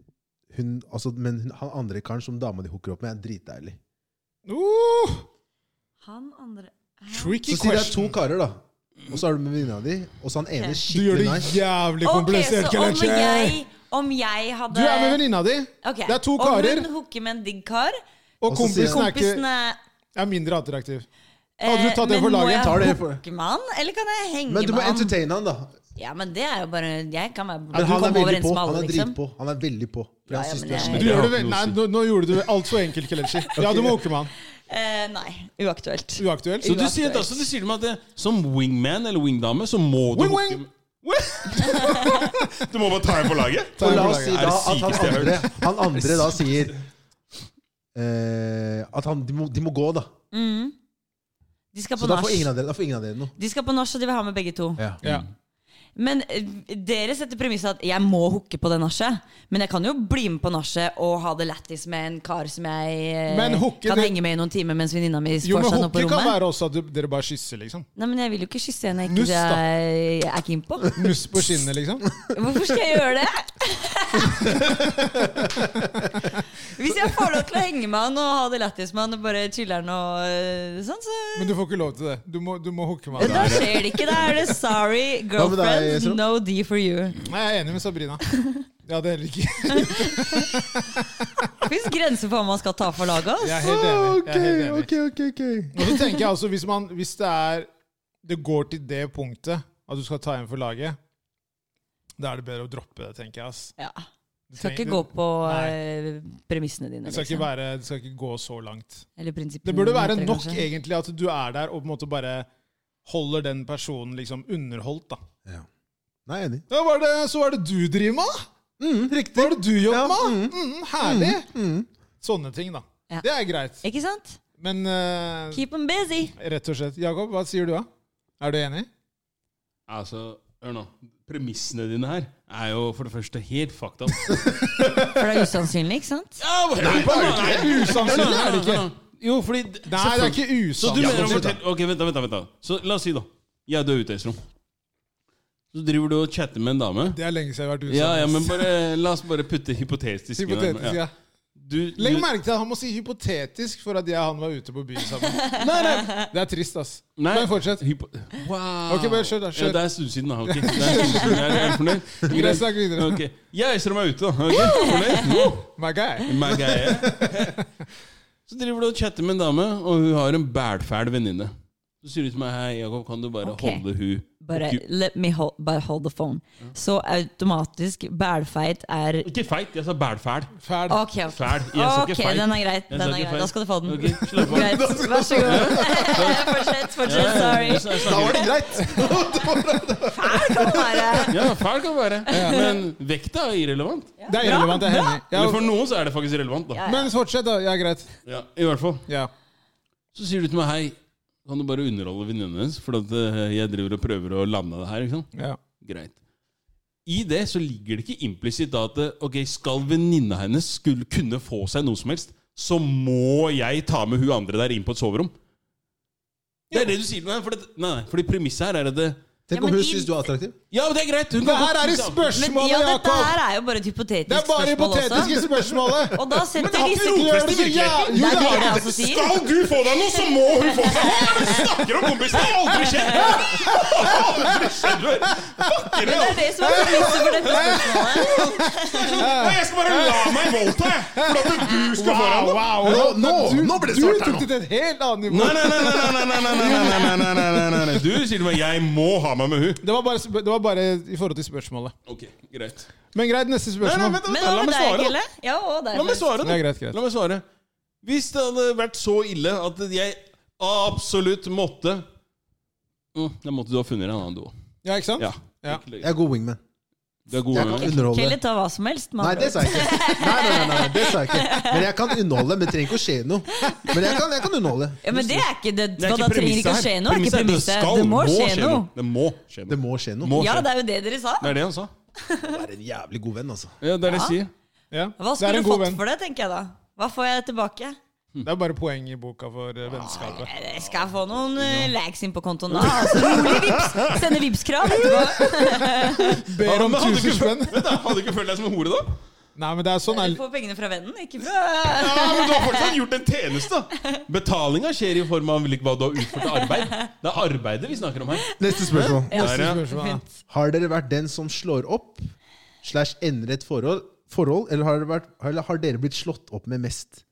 Speaker 1: hun, altså, men hun, han andre karen som dama di hooker opp med, er dritdeilig?
Speaker 3: Uh,
Speaker 4: Han andre
Speaker 3: tricky
Speaker 1: Så sier det er to
Speaker 3: question.
Speaker 1: karer, da. Og så er du med venninna di, og så han ene
Speaker 4: Ok.
Speaker 3: Du gjør
Speaker 1: skikkelig
Speaker 3: det
Speaker 1: nice.
Speaker 3: jævlig
Speaker 4: Ok, så
Speaker 3: komplisert,
Speaker 4: om jeg,
Speaker 3: Kelechi.
Speaker 4: om jeg hadde
Speaker 3: Du er med venninna di,
Speaker 4: Ok,
Speaker 3: Det er to karer.
Speaker 4: Om hun hooker med en digg kar
Speaker 3: og
Speaker 1: Og så sier
Speaker 3: kompisen er,
Speaker 4: Kompisen
Speaker 3: ikke,
Speaker 4: er
Speaker 3: er mindre attraktiv.
Speaker 4: eh,
Speaker 3: Hadde du tatt det for laget,
Speaker 4: Men
Speaker 1: tar
Speaker 4: må jeg
Speaker 1: det for-
Speaker 4: hooke med han, eller kan jeg henge
Speaker 1: Men du må
Speaker 4: med han?
Speaker 1: entertaine han, da.
Speaker 4: Ja, men det er jo bare Jeg kan være
Speaker 1: Men han
Speaker 4: du
Speaker 1: er
Speaker 4: kommer
Speaker 1: veldig
Speaker 4: overens
Speaker 1: på.
Speaker 4: med alle,
Speaker 1: Han er
Speaker 4: liksom.
Speaker 1: dritpå. Han er veldig på. For
Speaker 4: Ja,
Speaker 1: han
Speaker 4: ja,
Speaker 1: synes
Speaker 4: men
Speaker 1: det er så
Speaker 4: jeg-
Speaker 1: mye.
Speaker 3: Men Du
Speaker 2: Jeg
Speaker 3: gjør
Speaker 2: har
Speaker 3: det vel-
Speaker 2: ikke
Speaker 3: Nei,
Speaker 2: noe å si.
Speaker 3: nå, nå gjorde du det altfor enkelt, Kelechi. Ja, du må hooke med han.
Speaker 4: Eh, nei. Uaktuelt.
Speaker 3: Uaktuelt.
Speaker 2: Så du sier, altså, du sier til meg at det, som wingman eller wingdame, så må du
Speaker 3: Wing, wing.
Speaker 2: hooke med- Du må bare ta en på laget?
Speaker 1: Og la oss si
Speaker 2: Er
Speaker 1: da
Speaker 2: det
Speaker 1: at han
Speaker 2: sykeste jeg har
Speaker 1: andre, han andre da sier eh, At han, de, må, de må gå, da.
Speaker 4: Mm. De skal
Speaker 1: Så
Speaker 4: på
Speaker 1: da får
Speaker 4: nach.
Speaker 1: ingen av dere, da får ingen av dere noe.
Speaker 4: De skal på nach, og de vil ha med begge to.
Speaker 1: Ja.
Speaker 3: Ja.
Speaker 4: Men eh, dere setter premisset at jeg må hooke på det nachet. Men jeg kan jo bli med på nachet og ha det lættis med en kar som jeg eh,
Speaker 3: Men hooke,
Speaker 4: kan
Speaker 3: det-
Speaker 4: henge med i noen timer mens venninna mi
Speaker 3: Jo,
Speaker 4: får
Speaker 3: men
Speaker 4: seg noe på
Speaker 3: hooke kan
Speaker 4: rommet.
Speaker 3: være også at du, dere bare kysser, liksom.
Speaker 4: Nei, men jeg vil jo ikke kysse en jeg
Speaker 3: Nuss,
Speaker 4: ikke
Speaker 3: da.
Speaker 4: er- er keen på.
Speaker 3: Nuss på kinnet, liksom.
Speaker 4: Hvorfor skal jeg gjøre det? [LAUGHS] Hvis jeg får lov til å henge med han og ha det lættis med han og bare chiller'n og eh, sånn, så
Speaker 3: Men du får ikke lov til det. Du må, du må hooke med
Speaker 4: Da
Speaker 3: han.
Speaker 4: skjer det ikke. Da er det sorry,
Speaker 1: Hva med deg,
Speaker 4: girlfriend,
Speaker 1: Esra?
Speaker 4: no D for you.
Speaker 3: Nei, jeg er enig med
Speaker 4: [LAUGHS]
Speaker 3: Sabrina. Ja, det er heller ikke
Speaker 4: Det fins grenser for hva man skal ta for laget. ass.
Speaker 3: Jeg er helt enig. Jeg er helt enig.
Speaker 1: ok, ok, ok.
Speaker 3: Og så tenker jeg altså, hvis, man, hvis det er Det går til det punktet at du skal ta en for laget, da er det bedre å droppe det, tenker jeg. ass.
Speaker 4: Ja.
Speaker 3: Du
Speaker 4: Skal ikke
Speaker 3: trenger-
Speaker 4: gå på
Speaker 3: Nei.
Speaker 4: eh, premissene dine.
Speaker 3: det skal, ikke
Speaker 4: liksom.
Speaker 3: være, det skal ikke gå så langt.
Speaker 4: Eller prinsippene
Speaker 3: Det burde
Speaker 4: dine,
Speaker 3: være
Speaker 4: heter det
Speaker 3: nok
Speaker 4: kanskje.
Speaker 3: egentlig at du er der og på en måte bare holder den personen liksom underholdt. da.
Speaker 1: Ja. Nei, jeg er enig.
Speaker 3: Ja, hva er det, så hva er det du driver med, da? Hva er det du jobber
Speaker 1: Ja,
Speaker 3: med? da? Mm, herlig! Sånne ting, da.
Speaker 4: Ja.
Speaker 3: Det er greit.
Speaker 4: Ikke sant?
Speaker 3: Men eh,
Speaker 4: Keep them busy.
Speaker 3: rett og slett Jakob, hva sier du, da? Er du enig?
Speaker 2: Altså, hør nå. Premissene dine her er jo for det første helt fucked up.
Speaker 4: For det er usannsynlig, ikke sant?
Speaker 2: Ja, hva- hør på meg, nei,
Speaker 3: Usannsynlig er det ikke.
Speaker 2: Hør nå, hør nå. Jo, fordi
Speaker 3: Nei, det er ikke
Speaker 2: Så du
Speaker 3: usant.
Speaker 2: mener å fortelle Ok, vent da, vent da, vent da. Så la oss si da Jeg dør ute i Esrom Så driver du og chatter med en dame
Speaker 3: Det er lenge siden jeg har vært usann.
Speaker 2: Ja, ja, men bare eh, La oss bare putte hypotetisk inn der.
Speaker 3: Hypotetisk, ja.
Speaker 2: Du, du,
Speaker 3: Legg merke til at han må si hypotetisk for at jeg og han var ute på byen sammen.
Speaker 2: Nei, nei
Speaker 3: Det er trist, ass.
Speaker 2: Nei.
Speaker 3: Men fortsett.
Speaker 2: hypo Wow
Speaker 3: Ok, bare kjør da, kjør.
Speaker 2: Ja, det er en stund siden da Ok Det er en stund siden Jeg er helt fornøyd
Speaker 3: [LAUGHS] Greit, snakk videre.
Speaker 2: Ok Jeg og Esrom er ute da Ok, fornøyd Woo!
Speaker 3: My guy.
Speaker 2: My guy. Så driver du og chatter med en dame, og hun har en bælfæl venninne. Så sier du til meg Hei, Jakob, kan du bare
Speaker 4: Ok.
Speaker 2: holde hun
Speaker 4: Bare
Speaker 2: Ikke-
Speaker 4: let me hold, bare hold the phone. Så automatisk bælfeit er
Speaker 2: Ikke feit, jeg sa bælfæl.
Speaker 3: Fæl.
Speaker 4: Ok, ok.
Speaker 2: Fæl. Jeg sa
Speaker 4: Ok,
Speaker 2: ikke feit.
Speaker 4: den er greit.
Speaker 2: Jeg
Speaker 4: Den
Speaker 2: sa ikke
Speaker 4: er greit.
Speaker 2: feil.
Speaker 4: Da skal du få den.
Speaker 2: Ok, slapp av.
Speaker 3: [LAUGHS]
Speaker 4: Greit, Vær så god. [LAUGHS] Fortsett, fortsett. Sorry.
Speaker 2: Jeg sa- jeg sa
Speaker 1: Da
Speaker 2: ikke-
Speaker 1: var det greit!
Speaker 3: [LAUGHS]
Speaker 4: Her kan man være.
Speaker 2: Ja, fæl kan være. Men vekta er irrelevant.
Speaker 3: Det er irrelevant. Jeg er enig.
Speaker 2: Eller for
Speaker 3: Ja,
Speaker 2: noen så er det faktisk relevant, da.
Speaker 4: Ja, ja.
Speaker 3: men fortsett, da. Ja, greit.
Speaker 2: Ja, I hvert fall.
Speaker 3: Ja.
Speaker 2: Så sier du til meg Hei, Kan du bare underholde venninnen hennes? For at eh, jeg driver og prøver å lande det her. ikke sant?
Speaker 3: Ja.
Speaker 2: Greit. I det så ligger det ikke implisitt da at eh, ok, skal venninna hennes skulle kunne få seg noe som helst, så må jeg ta med hun andre der inn på et soverom. Det er det du sier. Nei, for det, nei, nei, fordi premisset her er at det,
Speaker 1: Tenk
Speaker 4: Ja,
Speaker 1: om
Speaker 4: men
Speaker 1: hun
Speaker 4: i-
Speaker 1: syns du er attraktiv.
Speaker 2: Ja, men det er greit! Hun
Speaker 3: Det
Speaker 2: kan
Speaker 3: her
Speaker 2: godt-
Speaker 3: er et
Speaker 4: Men
Speaker 3: spørsmål,
Speaker 4: ja, dette
Speaker 3: Jakob!
Speaker 4: her er jo bare et hypotetisk
Speaker 3: Det er bare
Speaker 4: spørsmål
Speaker 3: hypotetiske
Speaker 4: også.
Speaker 3: spørsmålet!
Speaker 4: Og da setter
Speaker 2: har
Speaker 4: disse
Speaker 2: ikke rotfest i
Speaker 3: Gjør det, ja,
Speaker 2: virkeligheten.
Speaker 3: jo, det
Speaker 4: Det er det
Speaker 3: har
Speaker 4: jeg
Speaker 3: det.
Speaker 4: også sier.
Speaker 2: Skal du få deg noe, så må hun få seg noe! Hva er det du snakker om, kompis? Det har aldri skjedd! Aldri skjedd før! Fucker
Speaker 4: Det er
Speaker 2: det!
Speaker 4: det som er premisset for dette spørsmålet.
Speaker 2: Nei, jeg skal bare la meg voldta, jeg! For at du skal få deg noe!
Speaker 3: wow.
Speaker 1: Nå- nå-
Speaker 3: Du-
Speaker 1: nå ble det svart her
Speaker 3: Du
Speaker 1: nå.
Speaker 3: tok det til et helt annet nivå.
Speaker 2: Nei, nei, nei, nei, nei, nei, nei, nei, nei, nei, nei, nei, nei, nei, nei. Du sier til meg 'jeg må ha meg med hun'.
Speaker 3: Det var, bare, sp- det var bare i forhold til spørsmålet.
Speaker 2: Ok, greit.
Speaker 3: Men greit, neste
Speaker 2: Nei, nei,
Speaker 3: spørsmål.
Speaker 2: vent, vent,
Speaker 4: Men
Speaker 2: la
Speaker 4: hva med
Speaker 2: meg
Speaker 4: deg,
Speaker 2: svare, da.
Speaker 4: Kille? Ja, og deg.
Speaker 2: La meg svare,
Speaker 3: Ja,
Speaker 2: da.
Speaker 3: greit, greit.
Speaker 2: La meg svare. Hvis det hadde vært så ille at jeg absolutt måtte Mm, Da måtte du ha funnet en annen do.
Speaker 3: Ja, ikke sant?
Speaker 2: Ja.
Speaker 3: Ja.
Speaker 1: Jeg er god wingman.
Speaker 2: Du er god
Speaker 1: Jeg
Speaker 2: med
Speaker 1: kan
Speaker 2: det.
Speaker 1: underholde.
Speaker 4: Kille tar hva som helst.
Speaker 1: Nei, det sa jeg ikke. Nei, nei, nei, nei, det sa jeg ikke. Men jeg kan underholde. Men det trenger ikke å skje noe. Men jeg kan, jeg kan underholde.
Speaker 4: Ja, men det er ikke det.
Speaker 2: Det er
Speaker 4: da
Speaker 2: ikke
Speaker 4: trenger det ikke å
Speaker 2: premisset
Speaker 4: skje
Speaker 2: her.
Speaker 4: noe. er ikke
Speaker 2: Premisset er det
Speaker 4: premisset.
Speaker 2: skal,
Speaker 4: Det må skje noe.
Speaker 2: Det må skje
Speaker 1: Det
Speaker 2: noe.
Speaker 1: må skje
Speaker 2: Det
Speaker 1: noe.
Speaker 2: må
Speaker 4: Ja,
Speaker 2: skje
Speaker 4: det
Speaker 2: noe.
Speaker 4: er jo det dere sa.
Speaker 2: Det er det han sa.
Speaker 1: Du er en jævlig god venn, altså.
Speaker 2: Ja, det er det jeg sier.
Speaker 3: Ja.
Speaker 4: Hva
Speaker 3: Det er en
Speaker 4: skulle du
Speaker 3: god
Speaker 4: fått
Speaker 3: venn.
Speaker 4: for det, tenker jeg da? Hva får jeg tilbake?
Speaker 3: Det er bare poeng i boka for eh, vennskapet.
Speaker 4: Jeg skal jeg få noen eh, lags inn på kontoen da? Altså, rolig vips. Sende Vipps-krav etterpå.
Speaker 3: Ber om
Speaker 2: Men hadde du ikke følt-
Speaker 3: 1000 spenn.
Speaker 2: Vent da, Hadde du ikke følt deg som en [LAUGHS] hore, da?
Speaker 3: Nei, men det er sånn
Speaker 4: Du
Speaker 3: er
Speaker 4: får pengene fra vennen, ikke fra
Speaker 2: Ja, men Du har fortsatt gjort en tjeneste. Betalinga skjer i form av hva du har utført av arbeid. Det er arbeidet vi snakker [LAUGHS] om her.
Speaker 1: Neste spørsmål.
Speaker 2: Der, ja.
Speaker 3: spørsmålet. da.
Speaker 1: Har dere vært den som slår opp slash endrer et forhold, forhold eller, har dere vært, eller har dere blitt slått opp med mest?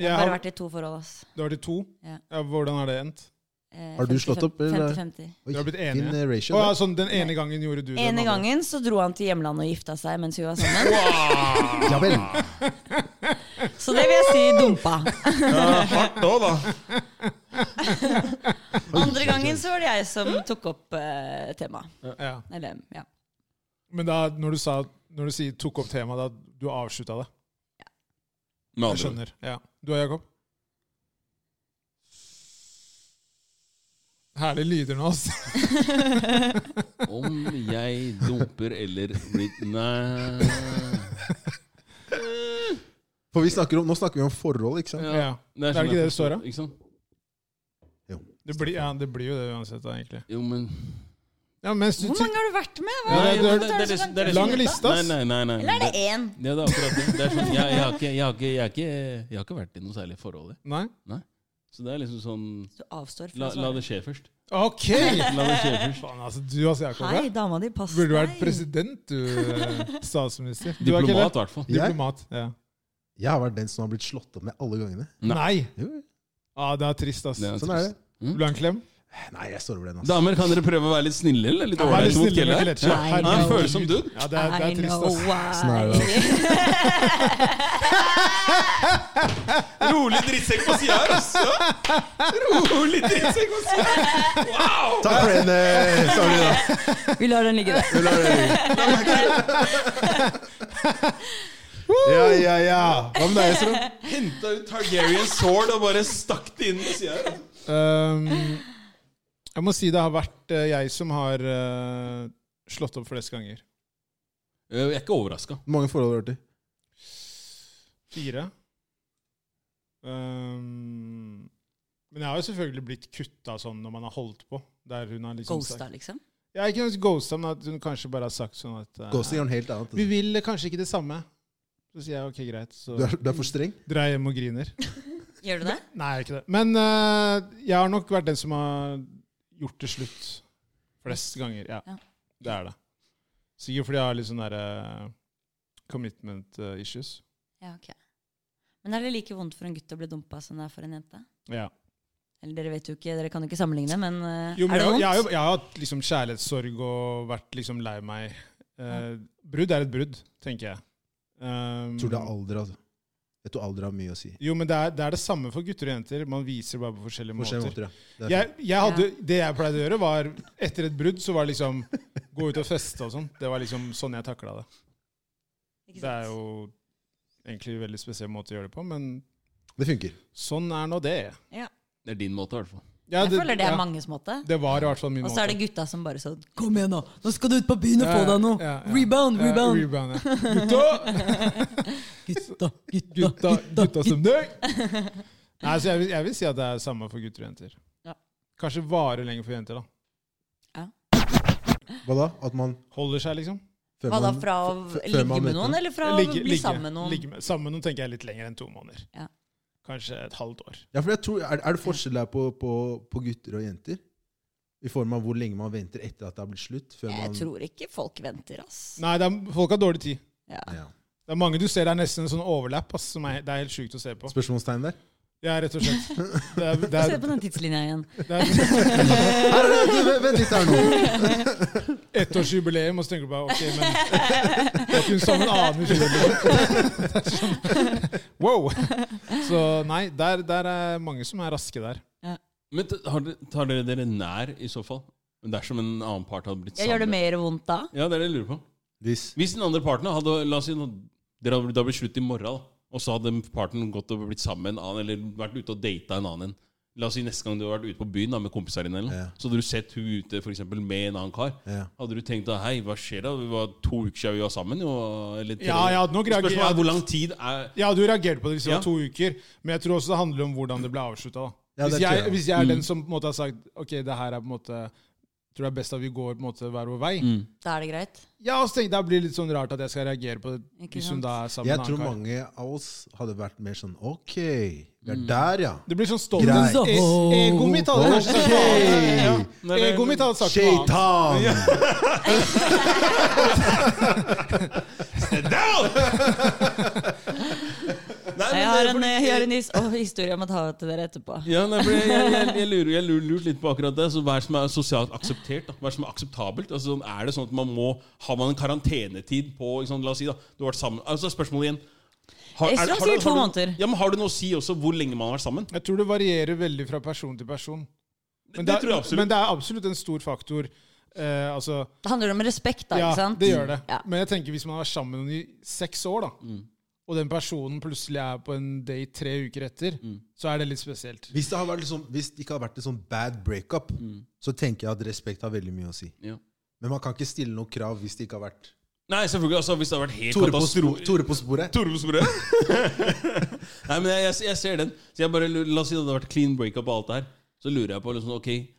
Speaker 3: Jeg
Speaker 4: Bare
Speaker 3: har,
Speaker 4: vært i to forhold, ass.
Speaker 3: det var til to.
Speaker 4: Ja.
Speaker 3: Ja, hvordan har det endt?
Speaker 4: Eh,
Speaker 1: Har du slått opp, eller?
Speaker 4: 50-50.
Speaker 1: Oi,
Speaker 3: Du har blitt
Speaker 1: din
Speaker 3: enige?
Speaker 1: eh,
Speaker 3: Å,
Speaker 1: ratio
Speaker 3: ja,
Speaker 1: der.
Speaker 3: sånn, den ene gangen gjorde du det.
Speaker 4: Ene
Speaker 3: den andre.
Speaker 4: gangen så dro han til hjemlandet og gifta seg mens vi var sammen.
Speaker 2: Wow.
Speaker 1: Ja vel.
Speaker 4: Så det vil jeg si dumpa.
Speaker 2: Ja, hardt òg, da.
Speaker 4: Andre gangen så var det jeg som tok opp eh, temaet.
Speaker 3: Ja.
Speaker 4: Eller, ja.
Speaker 3: Men da, når du, sa, når du sier 'tok opp temaet', da du avslutta det?
Speaker 2: Med
Speaker 3: Jeg
Speaker 2: andre ord.
Speaker 3: skjønner. Ja. Du og Jakob? Herlige lyder nå, altså.
Speaker 4: [LAUGHS]
Speaker 2: Om jeg dumper eller blir Nei
Speaker 1: For vi snakker om, nå snakker vi om forhold, ikke sant?
Speaker 2: Ja.
Speaker 3: Ja.
Speaker 2: Det
Speaker 3: Er det ikke det det står, da?
Speaker 2: Ikke sant?
Speaker 3: Det blir, ja, det blir jo det uansett, da, egentlig.
Speaker 2: Jo, men
Speaker 3: Ja, mens du
Speaker 4: Hvor mange har du vært med? Hva?
Speaker 3: Nei,
Speaker 2: Nei,
Speaker 3: det-
Speaker 2: men
Speaker 3: det-
Speaker 2: det- det- det- det-
Speaker 3: Lang liste, ass.
Speaker 2: Nei, nei, nei,
Speaker 4: Eller
Speaker 2: nei.
Speaker 4: er det én?
Speaker 2: Ja, det er akkurat det. det er sånn, jeg, jeg, har ikke, jeg, har ikke, jeg, har ikke, jeg har ikke vært i noe særlig forhold. jeg.
Speaker 3: Nei?
Speaker 2: Så det er liksom sånn
Speaker 4: Du avstår fra
Speaker 2: La,
Speaker 4: å
Speaker 2: la
Speaker 4: svare.
Speaker 2: det skje først.
Speaker 3: OK!
Speaker 2: La det skje først.
Speaker 3: Faen, altså, du altså, Jakob.
Speaker 4: Hei,
Speaker 3: ja.
Speaker 4: dama di, pass
Speaker 3: Burde du vært
Speaker 4: deg.
Speaker 3: president, du, eh, statsminister? [LAUGHS] Du er ikke
Speaker 2: Diplomat,
Speaker 3: det?
Speaker 2: i hvert fall.
Speaker 1: Jeg?
Speaker 3: Diplomat. Ja.
Speaker 1: Jeg har vært den som har blitt slått opp med alle gangene.
Speaker 2: Nei.
Speaker 3: Nei!
Speaker 4: Mm.
Speaker 1: Jo,
Speaker 3: Ah, det er trist, ass.
Speaker 2: Det
Speaker 1: Sånn er det.
Speaker 3: Vil du ha en klem?
Speaker 1: Nei, jeg står over den, altså.
Speaker 2: Damer, kan dere prøve å være litt snille eller litt
Speaker 3: Ja, vær litt
Speaker 2: ålreite mot
Speaker 3: snille med
Speaker 2: Kelle? Ja,
Speaker 3: Kelechi.
Speaker 2: Han
Speaker 3: Herregud.
Speaker 2: føles som dude.
Speaker 3: Ja, det er, det
Speaker 4: I
Speaker 3: er trist,
Speaker 4: know
Speaker 3: ass. Sånn
Speaker 1: Snarere,
Speaker 4: why.
Speaker 2: Rolig drittsekk på sida her, altså! Rolig drittsekk på sida! Wow!
Speaker 1: Takk for den, eh, sorry, da.
Speaker 4: [LAUGHS] Vi lar den ligge der.
Speaker 1: Det lar jeg ligge. Ja, ja, ja. Hva med deg, Esrom?
Speaker 2: Henta ut Targaryen sword og bare stakk det inn på sida her. altså.
Speaker 3: Um, jeg må si det har vært eh, jeg som har eh, slått opp flest ganger.
Speaker 2: Øh, Jeg er ikke overraska.
Speaker 1: Hvor mange forhold har du vært i?
Speaker 3: Fire. Um, men jeg har jo selvfølgelig blitt kutta sånn når man har holdt på. Der hun har liksom
Speaker 4: Ghosta,
Speaker 3: sagt
Speaker 4: liksom.
Speaker 3: Ja, ikke nødvendigvis ghosta, men at hun kanskje bare har sagt sånn at eh,
Speaker 1: Ghosting er noe helt annet. altså.
Speaker 3: Vi vil kanskje ikke det samme. Så sier jeg ok, greit. Så
Speaker 1: Du er, du er for streng?
Speaker 3: drar jeg hjem og griner.
Speaker 4: Gjør du det?
Speaker 3: Nei, ikke det. Men eh, jeg har nok vært den som har gjort det slutt flest ganger. Ja,
Speaker 4: Ja.
Speaker 3: det er det. Sikkert fordi jeg har litt sånne der, eh, commitment eh, issues.
Speaker 4: Ja, ok. Men er det like vondt for en gutt å bli dumpa som det er for en jente?
Speaker 3: Ja.
Speaker 4: Eller dere vet jo ikke, dere kan jo ikke sammenligne, men, eh,
Speaker 3: Jo, men
Speaker 4: er det
Speaker 3: jeg,
Speaker 4: vondt?
Speaker 3: jeg, har jo- jeg har hatt liksom kjærlighetssorg og vært liksom lei meg. Eh, brudd er et brudd, tenker jeg. Um,
Speaker 1: Tror det er alder, altså. Jeg tror alder har mye å si.
Speaker 3: Jo, men det er, det er det samme for gutter og jenter. Man viser bare på forskjellige
Speaker 1: Forskjellige
Speaker 3: måter.
Speaker 1: måter, ja. Det er
Speaker 3: Jeg, jeg hadde, det jeg pleide å gjøre, var etter et brudd så var det liksom gå ut og feste og sånn. Det var liksom sånn jeg takla det.
Speaker 4: Ikke
Speaker 3: Det
Speaker 4: sant?
Speaker 3: er jo egentlig en veldig spesiell måte å gjøre det på, men
Speaker 1: fint. Det funker.
Speaker 3: sånn er nå det.
Speaker 2: Det er din måte, i hvert fall.
Speaker 3: Ja,
Speaker 4: jeg føler det er
Speaker 3: ja,
Speaker 4: manges måte.
Speaker 3: Det var i hvert fall min
Speaker 4: Og
Speaker 3: måte.
Speaker 4: så er det gutta som bare sånn Kom igjen, nå! Nå skal du ut på byen og få deg noe!
Speaker 3: Ja, ja, ja.
Speaker 4: Rebound,
Speaker 3: Ja,
Speaker 4: rebound!
Speaker 3: rebound ja. Gutta!
Speaker 4: [LAUGHS] Gutta, gutta,
Speaker 3: Gutta, gutta
Speaker 4: gutta!
Speaker 3: som deg! Nei, så jeg vil, jeg vil si at det er samme for gutter og jenter.
Speaker 4: Ja.
Speaker 3: Kanskje varer lenger for jenter, da.
Speaker 1: Hva da? At man
Speaker 3: Holder seg, liksom.
Speaker 1: før
Speaker 4: Hva da,
Speaker 1: man-
Speaker 4: fra å
Speaker 1: før- før
Speaker 4: ligge
Speaker 1: man
Speaker 4: med
Speaker 1: møter
Speaker 4: noen,
Speaker 1: noen?
Speaker 4: eller fra å
Speaker 3: Ligge-
Speaker 4: bli
Speaker 3: ligge-
Speaker 4: sammen med noen?
Speaker 3: ligge med- sammen med noen tenker jeg er litt lenger enn to måneder.
Speaker 4: Ja.
Speaker 3: Kanskje et halvt år.
Speaker 1: Ja, for jeg tror, er, er det forskjell der på, på, på gutter og jenter? I form av hvor lenge man venter etter at det har blitt slutt? Før
Speaker 4: Jeg
Speaker 1: man,
Speaker 4: tror ikke folk venter, ass.
Speaker 3: Nei, det er, folk har dårlig tid.
Speaker 4: Ja.
Speaker 1: ja.
Speaker 3: Det er mange du ser det er nesten en sånn overlapp. Ass, som er, det er helt sjukt å se på.
Speaker 1: Spørsmålstegn der?
Speaker 3: Ja, rett og slett. Det er, det
Speaker 4: Se
Speaker 3: er,
Speaker 4: på den tidslinja igjen.
Speaker 3: det er
Speaker 1: Her er det, du, vent- vent litt her nå!
Speaker 3: ettårsjubileum, og så tenker du bare ok, men det er ikke hun sammen annen jubileum.
Speaker 4: [LAUGHS]
Speaker 3: sånn- Wow! Så nei, der, der er mange som er raske der.
Speaker 2: Men t- har dere- Tar dere dere nær, i så fall? Dersom en annen part hadde blitt
Speaker 4: Jeg gjør det mer vondt da.
Speaker 2: Ja, det er det jeg lurer på.
Speaker 1: Hvis
Speaker 2: Hvis den andre parten hadde La oss si nå, dere hadde blitt- det hadde blitt slutt i morgen, da. og så hadde parten gått og blitt sammen med en annen, eller vært ute og data en annen. La oss si neste gang du har vært ute på byen da, med kompisene dine, eller, noe,
Speaker 1: Ja.
Speaker 2: så hadde du sett hun ute for eksempel, med en annen kar.
Speaker 1: ja.
Speaker 2: Hadde du tenkt da, hei, hva skjer da? Vi var to uker siden vi var sammen. Jo, eller tre
Speaker 3: Ja, ja, nå greier jeg
Speaker 2: Spørsmålet
Speaker 3: ikke-
Speaker 2: er hvor lang tid er [LAUGHS]
Speaker 3: Jeg hadde jo reagert på det hvis det
Speaker 2: Ja.
Speaker 3: var to uker, men jeg tror også det handler om hvordan det ble avslutta.
Speaker 1: Ja, det
Speaker 3: hvis,
Speaker 1: tror
Speaker 3: jeg-
Speaker 1: jeg.
Speaker 3: hvis jeg er
Speaker 2: Mm.
Speaker 3: den som på en måte har sagt ok, det her er på en måte tror det er best at vi går på en måte hver vår vei.
Speaker 2: mm.
Speaker 4: Da er det greit.
Speaker 3: Ja, og så tenker jeg Det blir litt sånn rart at jeg skal reagere på det
Speaker 4: Ikke
Speaker 3: hvis hun
Speaker 4: sant?
Speaker 3: da er sammen
Speaker 1: Jeg
Speaker 3: med en
Speaker 1: tror
Speaker 3: annen kar.
Speaker 1: mange av oss hadde vært mer sånn OK, vi
Speaker 2: Mm.
Speaker 1: er der, ja.
Speaker 3: Det blir sånn
Speaker 1: Grei.
Speaker 3: stolthet. E Egoet mitt hadde kanskje sagt noe annet.
Speaker 1: OK!
Speaker 3: Ja. Egoet mitt hadde sagt noe annet.
Speaker 1: Shaitan!
Speaker 2: Nei, men
Speaker 4: Jeg
Speaker 2: det
Speaker 4: har
Speaker 2: er
Speaker 4: en, eh,
Speaker 2: fordi-
Speaker 4: jeg har en his og historie om å ta til dere etterpå.
Speaker 2: Ja, nei, for jeg, jeg, jeg, jeg lurer jeg lurer lurt litt på akkurat det. Så hva er det som er sosialt akseptert? Da? Hva er det som er akseptabelt? Altså, sånn, er det sånn at man må Har man en karantenetid på ikke sant, La oss si da, du har vært sammen Altså Spørsmålet igjen. Har,
Speaker 4: Jeg
Speaker 2: er det-
Speaker 4: tror han
Speaker 2: du-
Speaker 4: sier to
Speaker 2: du-
Speaker 4: måneder.
Speaker 2: Ja, men Har det noe å si også hvor lenge man har vært sammen?
Speaker 3: Jeg tror det varierer veldig fra person til person.
Speaker 2: Det,
Speaker 3: Men
Speaker 2: det
Speaker 3: det,
Speaker 2: tror jeg
Speaker 3: er,
Speaker 2: absolutt.
Speaker 3: men det er absolutt en stor faktor. Eh, altså,
Speaker 4: Det handler om respekt, da.
Speaker 3: ja,
Speaker 4: ikke sant?
Speaker 3: det gjør det.
Speaker 4: Ja.
Speaker 3: Men jeg tenker hvis man har vært sammen med noen i seks år, da,
Speaker 2: Mm.
Speaker 3: og den personen plutselig er på en date tre uker etter,
Speaker 2: Mm.
Speaker 3: så er det litt spesielt.
Speaker 1: Hvis det, har vært liksom, hvis det ikke har vært et sånn bad breakup,
Speaker 2: Mm.
Speaker 1: så tenker jeg at respekt har veldig mye å si.
Speaker 2: Ja.
Speaker 1: Men man kan ikke stille noe krav hvis det ikke har vært
Speaker 2: Nei, selvfølgelig. Altså, hvis det har vært helt
Speaker 1: Tore på,
Speaker 2: katastro-
Speaker 1: spor, Tore på sporet.
Speaker 2: Tore på sporet. Nei, men jeg, jeg, jeg ser den. Så jeg bare, lurer- La oss si det hadde vært clean breakup og alt det her. Så lurer jeg på liksom, ok,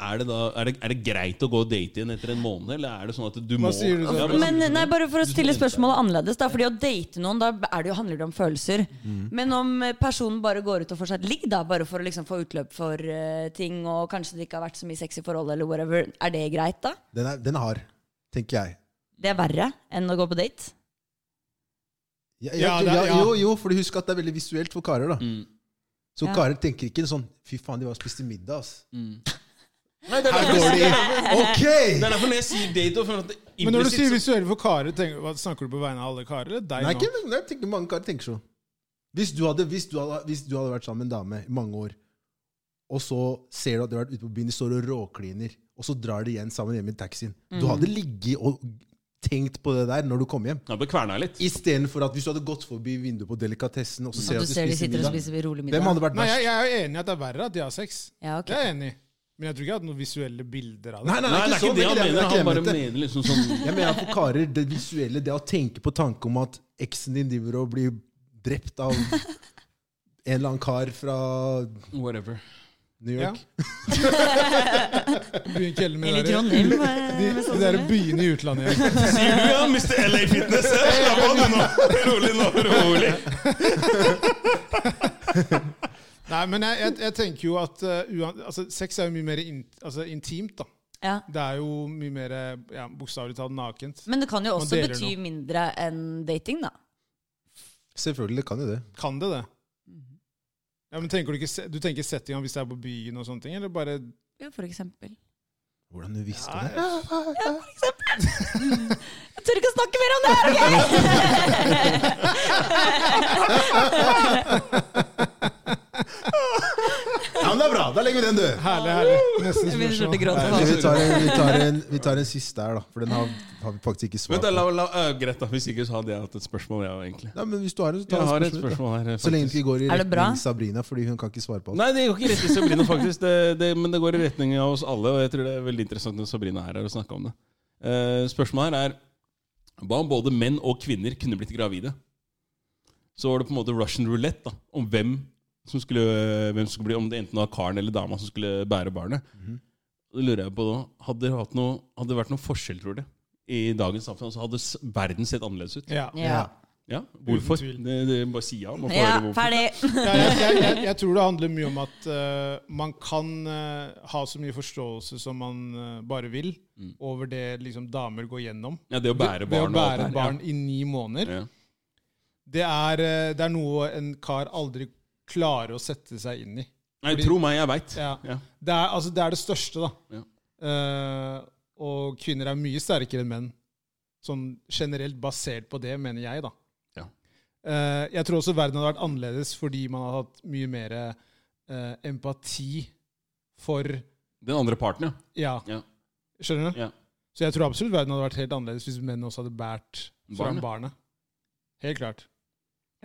Speaker 2: er det, da, er, det, er det greit å gå og date igjen etter en måned, eller er det sånn at du må
Speaker 3: sier du så?
Speaker 2: Ja, hva
Speaker 4: Men eh,
Speaker 2: sier du?
Speaker 4: nei, bare for å
Speaker 2: Du
Speaker 4: stille
Speaker 2: skal vente.
Speaker 4: spørsmålet annerledes. Da, fordi å date noen, da er det jo, handler det om følelser. Men om eh, personen bare går ut og får seg et ligg, da, bare for å liksom få utløp for eh, ting, og kanskje det ikke har vært så mye sex i forholdet, eller whatever, er det greit, da?
Speaker 1: Den er, den er hard, tenker jeg.
Speaker 4: Det er verre enn å gå på date.
Speaker 1: Ja, jeg,
Speaker 3: Ja, det er-
Speaker 1: ja,
Speaker 3: ja.
Speaker 1: Jo, jo, for husk at det er veldig visuelt for karer. da
Speaker 2: Mm.
Speaker 1: Så
Speaker 4: Ja.
Speaker 1: karer tenker ikke sånn 'fy faen, de var og spiste middag', ass.
Speaker 3: Mm.
Speaker 2: Nei, det er
Speaker 1: Her
Speaker 2: derfor,
Speaker 1: går
Speaker 2: det
Speaker 1: de
Speaker 2: er det
Speaker 1: OK!
Speaker 2: er derfor når jeg sier date og føler at det
Speaker 3: Men når du sier
Speaker 2: implisitt så-
Speaker 3: visuelle for karer, tenker, hva, snakker du på vegne av alle karer? Eller deg
Speaker 1: Nei,
Speaker 3: nå?
Speaker 1: ikke, nei, jeg tenker, mange karer tenker sånn. Hvis du, hadde, hvis, du hadde, hvis du hadde vært sammen med en dame i mange år, og så ser du at du har vært ute på byen, de står og råkliner, og så drar de igjen sammen hjemme i taxien Du hadde ligget og tenkt på det der når du kom hjem.
Speaker 2: Ja, ble kverna litt.
Speaker 1: Istedenfor at hvis du hadde gått forbi vinduet på delikatessen og så ser du
Speaker 4: At du
Speaker 1: at de
Speaker 4: ser de
Speaker 1: spiser
Speaker 4: sitter og
Speaker 1: middag
Speaker 4: spiser rolig middag.
Speaker 1: Hvem hadde vært
Speaker 3: Nei,
Speaker 1: verst?
Speaker 3: jeg, jeg er jo enig i at det er verre at de har sex. [LAUGHS]
Speaker 4: Ja, ok.
Speaker 3: Det er jeg enig i. Men jeg tror ikke jeg hadde noen visuelle bilder av det.
Speaker 1: Nei, nei,
Speaker 2: Nei, det er ikke det han
Speaker 1: jeg-
Speaker 2: mener.
Speaker 1: jeg
Speaker 2: Han bare
Speaker 1: mente.
Speaker 2: mener liksom [LAUGHS] sånn
Speaker 1: Jeg mener for [LAUGHS] karer, det visuelle, det å tenke på tanke om at eksen din driver og blir drept av en eller annen kar fra
Speaker 2: whatever.
Speaker 1: New York.
Speaker 3: Byen Kjell med
Speaker 4: Eller
Speaker 3: det der-
Speaker 4: Trondheim.
Speaker 3: De,
Speaker 4: eh, med
Speaker 3: de
Speaker 4: sånn
Speaker 3: der
Speaker 4: som det.
Speaker 3: byene i utlandet. ja.
Speaker 2: Sier du ja, Mr. LA [LAUGHS] Fitness? Slapp av, du nå. [LAUGHS] Rolig nå, rolig.
Speaker 3: [LAUGHS] Nei, men jeg, jeg, jeg tenker jo at eh, uan, altså, sex er jo mye mer in, altså, intimt, da.
Speaker 4: Ja.
Speaker 3: Det er jo mye mer eh, ja, bokstavelig talt nakent.
Speaker 4: Men det kan jo
Speaker 3: Man
Speaker 4: også
Speaker 3: deler
Speaker 4: bety mindre enn dating, da.
Speaker 1: Selvfølgelig kan jo det.
Speaker 3: Kan det det? Ja, men tenker Du ikke se, du tenker settinga hvis det er på byen og sånne ting, eller bare
Speaker 4: Ja, for eksempel.
Speaker 1: Hvordan du visste
Speaker 3: Ja,
Speaker 1: det?
Speaker 4: [LAUGHS] Jeg tør ikke å snakke mer om det her, OK?!
Speaker 2: Ja,
Speaker 1: men
Speaker 2: men
Speaker 1: det er bra! Da legger vi den død.
Speaker 3: Herlig, herlig. Neste
Speaker 4: Jeg begynner snart å
Speaker 3: spørsmål.
Speaker 4: gråte.
Speaker 1: Vi tar, en, vi, tar en, vi tar en siste her, da. For den har, har vi faktisk ikke svar
Speaker 2: Vent, da,
Speaker 1: på.
Speaker 2: la, la, øh, greit, da. Hvis ikke så hadde jeg hatt et spørsmål, jeg egentlig.
Speaker 1: Nei, men hvis du har en, så tar
Speaker 2: Jeg har
Speaker 1: vi
Speaker 2: et spørsmål her.
Speaker 1: Så lenge det ikke går i
Speaker 4: Er det bra?
Speaker 1: retning Sabrina, fordi hun kan ikke svare på alt.
Speaker 2: Nei, det går ikke rett i Sabrina, faktisk. Det, det, men det går i retning av oss alle, og jeg tror det er veldig interessant når Sabrina er her og snakker om det. Eh, spørsmålet her er hva om både menn og kvinner kunne blitt gravide? Så var det på en måte Russian roulette da, om hvem som skulle, hvem som skulle bli, om det enten var karen eller dama som skulle bære barnet.
Speaker 3: Mhm.
Speaker 2: Det lurer jeg på da, hadde det, hatt noe, hadde det vært noen forskjell, tror du, i dagens samfunn? Altså, hadde s- verden sett annerledes ut?
Speaker 3: Ja.
Speaker 4: Ja.
Speaker 2: Ja, hvorfor?
Speaker 3: Uten tvil.
Speaker 2: Det, det, bare si ja. Man får
Speaker 4: ja,
Speaker 2: høre hvorfor.
Speaker 4: ferdig.
Speaker 3: Ja, jeg, jeg, jeg, jeg tror det handler mye om at eh, man kan eh, ha så mye forståelse som man eh, bare vil,
Speaker 2: Mm.
Speaker 3: over det liksom, damer går gjennom.
Speaker 2: Ja, det å bære
Speaker 3: Ved å
Speaker 2: barn og alt
Speaker 3: bære
Speaker 2: det der,
Speaker 3: barn i ni måneder.
Speaker 2: Ja. Ja.
Speaker 3: Det er, eh, det er noe en kar aldri klarer å sette seg inn i.
Speaker 2: Nei,
Speaker 3: Fordi-
Speaker 2: tro meg, jeg veit.
Speaker 3: Ja.
Speaker 2: Ja.
Speaker 3: Det er, altså, det, er det største, da.
Speaker 2: Ja.
Speaker 3: Eh, og kvinner er mye sterkere enn menn. Sånn generelt basert på det, mener jeg, da.
Speaker 2: Ja.
Speaker 3: Eh, jeg tror også verden hadde vært annerledes fordi man hadde hatt mye mer eh, empati for
Speaker 2: Den andre parten, ja.
Speaker 3: Ja.
Speaker 2: Ja.
Speaker 3: Skjønner du?
Speaker 2: Ja.
Speaker 3: Så jeg tror absolutt verden hadde vært helt annerledes hvis menn også hadde båret fram
Speaker 2: Barnet.
Speaker 3: barnet. Helt klart.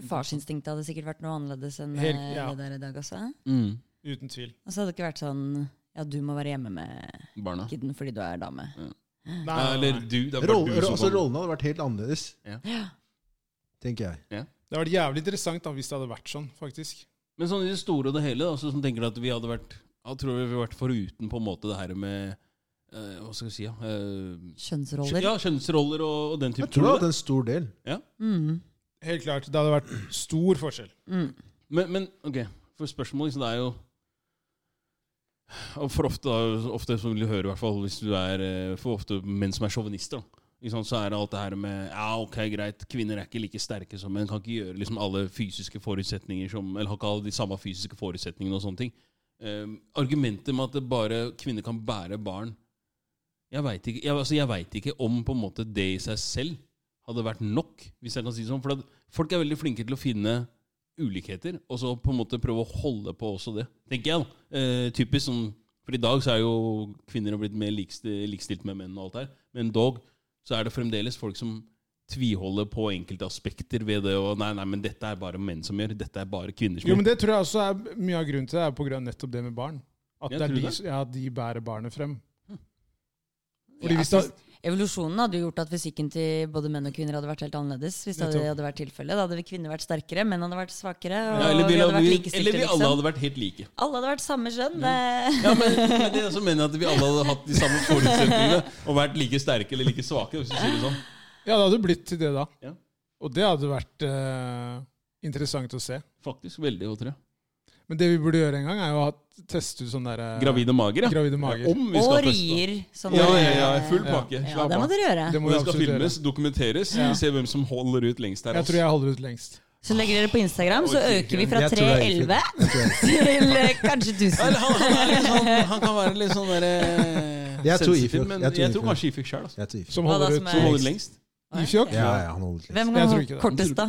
Speaker 4: Farsinstinktet hadde sikkert vært noe annerledes enn
Speaker 3: Helt-
Speaker 4: eh,
Speaker 3: ja.
Speaker 4: det der i dag også.
Speaker 1: Mm.
Speaker 3: Uten tvil.
Speaker 4: Og så hadde det ikke vært sånn ja, du må være hjemme med
Speaker 2: Barna.
Speaker 4: kiden fordi du er dame.
Speaker 3: Nei,
Speaker 2: Nei, Eller du. Det er bare
Speaker 1: Roll,
Speaker 2: du som
Speaker 1: altså,
Speaker 2: kan-
Speaker 1: rollene hadde vært helt annerledes, tenker jeg.
Speaker 3: Det hadde vært jævlig interessant da, hvis det hadde vært sånn, faktisk.
Speaker 2: Men sånn i det store og det hele, da, så som tenker at vi hadde vært Jeg tror vi hadde vært foruten på en måte det her med eh, Hva skal vi si, ja? eh, kjø-
Speaker 4: Kjønnsroller.
Speaker 2: ja kjønnsroller og, og den type
Speaker 1: Jeg tror du
Speaker 2: ting.
Speaker 1: hadde en stor del.
Speaker 4: Mm.
Speaker 3: Helt klart. Det hadde vært stor forskjell.
Speaker 4: Mm.
Speaker 2: Men, men ok, for spørsmålet liksom, det er jo og For ofte, da, ofte så vil du høre, i hvert fall hvis du er eh, For ofte menn som er sjåvinister, da, ikke sant, så er det alt det her med Ja, ok, greit, kvinner er ikke like sterke som menn, kan ikke gjøre liksom alle fysiske forutsetninger som Eller har ikke alle de samme fysiske forutsetningene og sånne ting. Eh, argumentet med at det bare kvinner kan bære barn Jeg veit ikke, jeg, altså, jeg vet ikke om på en måte det i seg selv hadde vært nok, hvis jeg kan si det sånn. For at folk er veldig flinke til å finne ulikheter, og så på en måte prøve å holde på også det, tenker jeg. da. Eh, typisk sånn, For i dag så er jo kvinner blitt mer likestilt, likestilt med menn og alt her, men dog så er det fremdeles folk som tviholder på enkelte aspekter ved det, og nei, nei, men dette er bare menn som gjør, dette er bare kvinner som
Speaker 3: Jo,
Speaker 2: gjør.
Speaker 3: men Det tror jeg også er mye av grunnen til det, er på grunn av nettopp det med barn. At
Speaker 2: Jeg
Speaker 3: det er
Speaker 2: tror
Speaker 3: de,
Speaker 2: det.
Speaker 3: som- ja, de bærer barnet frem. Fordi
Speaker 4: Ja,
Speaker 3: hvis det,
Speaker 4: altså, Evolusjonen hadde jo gjort at fysikken til både menn og kvinner hadde vært helt annerledes. hvis det
Speaker 3: Nettopp.
Speaker 4: hadde vært tilfelle. Da hadde vi kvinner vært sterkere, menn hadde vært svakere. Og
Speaker 2: ja, eller,
Speaker 4: vi
Speaker 2: vi,
Speaker 4: hadde vært
Speaker 2: vi, eller
Speaker 4: likestilte,
Speaker 2: vi alle
Speaker 4: liksom.
Speaker 2: hadde vært helt like.
Speaker 4: Alle hadde vært samme kjønn.
Speaker 2: Ja, men, men
Speaker 4: [LAUGHS]
Speaker 2: det er også mener jeg at vi alle hadde hatt de samme forutsetningene og vært like sterke eller like svake, hvis du sier det sånn.
Speaker 3: ja, det hadde blitt til det da.
Speaker 2: Ja.
Speaker 3: Og det hadde vært eh, interessant å se.
Speaker 2: Faktisk veldig, tror jeg.
Speaker 3: Men det vi burde gjøre en gang, er jo å ha- teste ut sånn derre
Speaker 2: Gravide mager, ja.
Speaker 3: Gravide mager.
Speaker 2: Om vi
Speaker 4: Og
Speaker 2: skal feste.
Speaker 4: rier. Sånn
Speaker 2: Ja, ja, ja, full
Speaker 3: Ja.
Speaker 2: pakke.
Speaker 4: Ja,
Speaker 2: Slapp
Speaker 4: det må
Speaker 2: av.
Speaker 4: dere gjøre.
Speaker 3: Det må
Speaker 2: Og
Speaker 3: vi
Speaker 2: det skal
Speaker 3: absolutt
Speaker 2: filmes,
Speaker 3: gjøre.
Speaker 2: dokumenteres.
Speaker 3: Ja.
Speaker 2: Se hvem som holder ut lengst altså. der.
Speaker 3: Jeg tror jeg holder ut lengst.
Speaker 4: Så legger dere på Instagram, så
Speaker 2: Oi,
Speaker 4: øker vi fra
Speaker 1: Jeg tror det er
Speaker 4: 311 til eh, kanskje 1000.
Speaker 2: han, han, er litt sånn, han kan være litt sånn der, eh,
Speaker 1: Jeg tror
Speaker 2: sensitiv,
Speaker 1: Ifjok.
Speaker 2: men
Speaker 1: Jeg tror
Speaker 2: jeg tror
Speaker 1: Ifjok.
Speaker 2: kanskje Ifjok sjøl.
Speaker 1: Jeg tror
Speaker 3: Som
Speaker 4: Hva da
Speaker 3: holder
Speaker 4: som
Speaker 3: ut
Speaker 4: er-
Speaker 2: Som
Speaker 3: som
Speaker 2: holder lengst.
Speaker 3: Ifjok?
Speaker 1: Ja, ja, han holder litt.
Speaker 4: Hvem
Speaker 3: Jeg
Speaker 4: kan
Speaker 3: tror
Speaker 4: ha
Speaker 3: ikke det.
Speaker 4: kortest, da?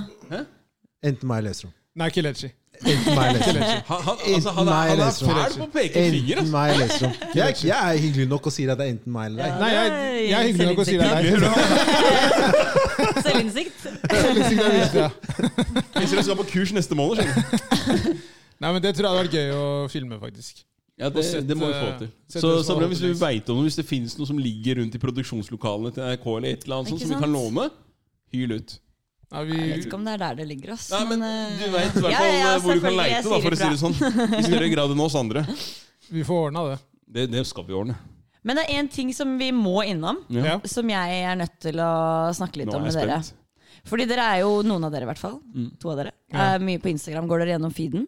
Speaker 1: Enten meg eller Lestrom.
Speaker 3: Nei, ikke Lecci.
Speaker 1: Enten meg eller
Speaker 2: [LAUGHS]
Speaker 1: Lestrom.
Speaker 2: Han, han, altså, han, er, han er fæl på å peke finger. altså.
Speaker 1: Enten
Speaker 2: ass.
Speaker 1: meg eller
Speaker 2: [LAUGHS]
Speaker 1: Lestrom. Jeg, jeg er hyggelig nok og sier at det er enten meg eller deg.
Speaker 3: Nei, jeg, jeg er hyggelig nok å si det er deg.
Speaker 4: Selvinnsikt.
Speaker 3: [LAUGHS] Selvinnsikt er viktig, ja.
Speaker 2: Hvis dere skal på kurs neste måned, skjønner du.
Speaker 3: Nei, men Det tror jeg hadde vært gøy å filme, faktisk.
Speaker 2: Ja, det,
Speaker 3: Og sette-
Speaker 2: det må vi få til.
Speaker 3: sette
Speaker 2: Så,
Speaker 3: det som
Speaker 2: så bra hvis du
Speaker 3: holder på
Speaker 2: vet om noe, hvis det finnes noe som ligger rundt i produksjonslokalene til NRK, eller et eller annet sånt
Speaker 4: Ikke
Speaker 2: som vi kan
Speaker 4: sant?
Speaker 2: låne, hyl ut.
Speaker 3: Nei,
Speaker 4: Jeg vet
Speaker 3: vi,
Speaker 4: ikke om det er der det ligger, ass.
Speaker 2: Nei, men
Speaker 4: eh,
Speaker 2: Du veit i hvert
Speaker 4: ja,
Speaker 2: fall
Speaker 4: ja,
Speaker 2: eh, hvor du kan
Speaker 4: selvfølgelig, jeg
Speaker 2: leite, da,
Speaker 4: sier
Speaker 2: for å si det
Speaker 4: ifra.
Speaker 2: sånn.
Speaker 4: [LAUGHS]
Speaker 2: I større grad enn oss andre.
Speaker 3: vi får ordna det.
Speaker 2: Det, det skal vi ordne.
Speaker 4: Men det er én ting som vi må innom,
Speaker 2: Ja.
Speaker 3: Ja.
Speaker 4: som jeg er nødt til å snakke litt
Speaker 2: Nå
Speaker 4: om
Speaker 2: er
Speaker 4: med
Speaker 2: jeg
Speaker 4: dere.
Speaker 2: spent.
Speaker 4: Fordi dere er jo, noen av dere i hvert fall,
Speaker 2: Mm.
Speaker 4: to av dere,
Speaker 3: Ja.
Speaker 4: er mye på Instagram. Går dere gjennom feeden?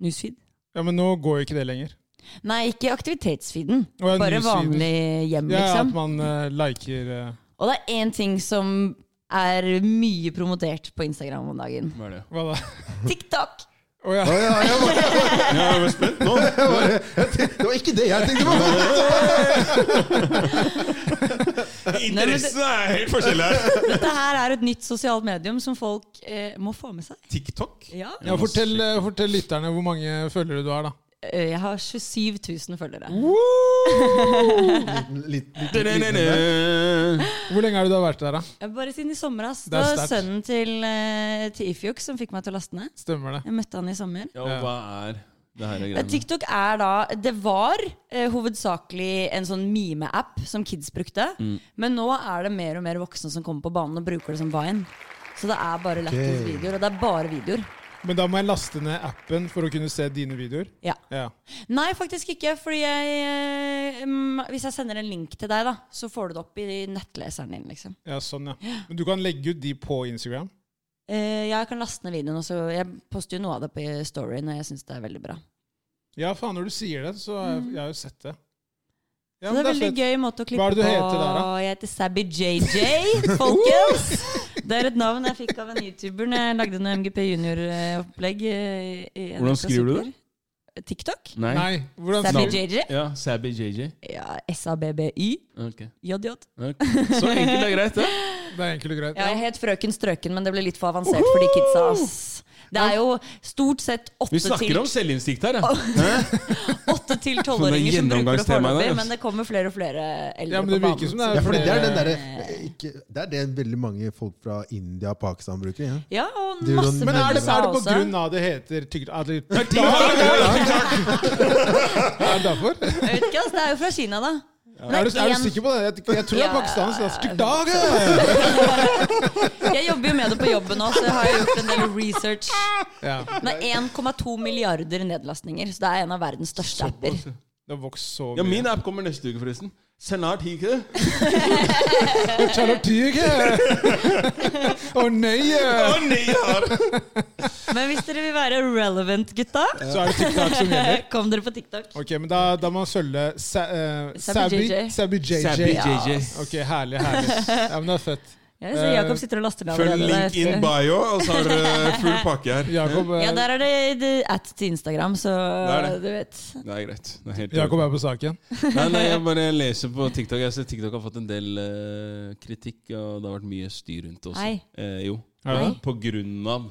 Speaker 4: Newsfeed?
Speaker 3: ja, Men nå går jo ikke det lenger.
Speaker 4: Nei, ikke aktivitetsfeeden.
Speaker 3: Å, ja,
Speaker 4: Bare
Speaker 3: newsfeed.
Speaker 4: vanlig hjem,
Speaker 3: Ja, at
Speaker 4: liksom.
Speaker 3: man eh, liker eh,
Speaker 4: Og det er én ting som er mye promotert på Instagram om
Speaker 2: [LAUGHS]
Speaker 4: dagen.
Speaker 2: Hva er det?
Speaker 3: Hva da?
Speaker 4: TikTok!
Speaker 3: Å ja.
Speaker 1: Å, ja, jeg var-
Speaker 2: Ja, jeg er spent
Speaker 4: [LAUGHS]
Speaker 2: nå.
Speaker 1: jeg var- jeg tenkte- Det var ikke det jeg
Speaker 2: [LAUGHS]
Speaker 1: tenkte på!
Speaker 2: Interessen er helt forskjellig her.
Speaker 4: Dette her er et nytt sosialt medium som folk eh, må få med seg.
Speaker 2: TikTok?
Speaker 4: Ja.
Speaker 3: ja fortell, eh, fortell lytterne hvor mange følgere du har, da.
Speaker 4: eh, Jeg har 27 000 følgere.
Speaker 1: Liten- liten- liten- liten- liten-
Speaker 2: Hvor
Speaker 3: Hvor lenge har du da vært der, da?
Speaker 4: Ja, Bare siden i sommer. ass.
Speaker 3: Det
Speaker 4: Det
Speaker 3: er
Speaker 4: var
Speaker 3: sterkt.
Speaker 4: sønnen til, eh, til Ifjok som fikk meg til å laste ned.
Speaker 3: Stemmer det.
Speaker 4: Jeg møtte han i sommer.
Speaker 2: Ja, og hva er det her
Speaker 4: Men
Speaker 2: greiene?
Speaker 4: TikTok er da Det var eh, hovedsakelig en sånn meme-app som kids brukte.
Speaker 3: Mm.
Speaker 4: Men nå er det mer og mer voksne som kommer på banen og bruker det som Vine. Så det er bare lættis
Speaker 1: Ok.
Speaker 4: videoer. Og det er bare videoer.
Speaker 3: Men da må jeg laste ned appen for å kunne se dine videoer?
Speaker 4: Ja.
Speaker 3: Ja.
Speaker 4: Nei, faktisk ikke. Fordi jeg eh, mm, Hvis jeg sender en link til deg, da, så får du det opp i nettleseren din, liksom.
Speaker 3: ja, sånn, ja. Men du kan legge ut de på Instagram?
Speaker 4: Eh, jeg kan laste ned videoen, og så Jeg poster jo noe av det på storyen, og jeg syns det er veldig bra.
Speaker 3: Ja, faen, når du sier det, så har jeg, jeg har jo sett det. Ja,
Speaker 4: Så det
Speaker 3: men
Speaker 4: er
Speaker 3: det er
Speaker 4: veldig
Speaker 3: fett.
Speaker 4: gøy måte å klippe på.
Speaker 3: Hva er det du heter der, da?
Speaker 4: Jeg heter Sabby JJ, folkens. Det er et navn jeg fikk av en YouTuber når jeg lagde noe MGP Junior-opplegg. eh, i
Speaker 2: Hvordan
Speaker 4: NRK
Speaker 2: skriver du
Speaker 4: Super. TikTok.
Speaker 2: Nei.
Speaker 3: Nei, hvordan
Speaker 4: Sabby
Speaker 3: sier du
Speaker 4: JJ.
Speaker 2: Ja, Sabby JJ.
Speaker 4: Ja, S-A-B-B-Y.
Speaker 2: Ok.
Speaker 4: JJ.
Speaker 2: Ok. Så enkelt er
Speaker 4: [LAUGHS]
Speaker 2: greit, det.
Speaker 3: det? er enkelt og greit.
Speaker 4: Ja, jeg
Speaker 3: Ja.
Speaker 4: het Frøken Strøken, men det ble litt for avansert for de kidsa. ass. Det er jo stort sett åtte
Speaker 2: Vi snakker
Speaker 4: til,
Speaker 2: om selvinnsikt her, ja.
Speaker 4: [LAUGHS] åtte til tolvåringer som bruker det
Speaker 2: gjennomgangstema der,
Speaker 4: foreløpig,
Speaker 2: ass.
Speaker 4: men det kommer flere og flere eldre
Speaker 3: Ja, men
Speaker 4: på
Speaker 3: det
Speaker 4: banen.
Speaker 3: virker som
Speaker 4: så-
Speaker 3: det
Speaker 1: Ja,
Speaker 3: er
Speaker 1: fordi det er den
Speaker 3: flere
Speaker 1: derre ikke, Det er det veldig mange folk fra India og Pakistan bruker. Ja.
Speaker 4: Ja, og
Speaker 1: Du,
Speaker 4: masse
Speaker 1: Ron-
Speaker 3: Men er det,
Speaker 4: fra
Speaker 3: er det på
Speaker 4: USA også.
Speaker 3: grunn av det heter tykt... Er det, er det derfor?
Speaker 4: Jeg vet ikke, ass, det er jo fra Kina, da. Men det
Speaker 3: Er du, er du
Speaker 4: en-
Speaker 3: sikker på det? Jeg, jeg tror det er
Speaker 4: Ja.
Speaker 3: pakistansk. da. Stygt dag, ja.
Speaker 4: [LAUGHS] Jeg jobber jo med det på jobben nå, så jeg har gjort en del research.
Speaker 3: Ja,
Speaker 4: Det er 1,2 milliarder nedlastninger, så det er en av verdens største apper.
Speaker 3: Det har vokst så
Speaker 2: Ja,
Speaker 3: mye.
Speaker 2: Min app kommer neste uke, forresten. Senart gikk det.
Speaker 3: Charlotte Tyge! [LAUGHS] Å nei!
Speaker 2: Å
Speaker 3: ja.
Speaker 2: nei, jeg har
Speaker 4: Men hvis dere vil være relevant, gutta,
Speaker 3: Så er det TikTok som gjelder.
Speaker 4: [LAUGHS] kom dere på TikTok.
Speaker 3: Ok, men Da, da må man sølve sa, eh,
Speaker 4: Sabby
Speaker 3: Sabby Sabby
Speaker 4: JJ.
Speaker 2: [LAUGHS] Sabby
Speaker 3: JJ.
Speaker 2: JJ.
Speaker 3: Ok, herlig, herlig. Ja, men Det er fett.
Speaker 4: Jeg ser Jakob sitter og laster ned
Speaker 2: Følg
Speaker 4: allerede.
Speaker 2: link in bio, og så har du full pakke her.
Speaker 3: Jakob, eh,
Speaker 4: Ja, der er det, det at til Instagram, så
Speaker 2: er det.
Speaker 4: du vet.
Speaker 2: Det er greit. Det er helt
Speaker 3: eh, Jakob er på saken.
Speaker 2: Nei, nei, jeg bare leser på TikTok. Jeg ser TikTok har fått en del eh, kritikk, og det har vært mye styr rundt det også.
Speaker 4: Nei.
Speaker 2: Eh, jo.
Speaker 3: Er det
Speaker 4: Nei.
Speaker 2: På grunn av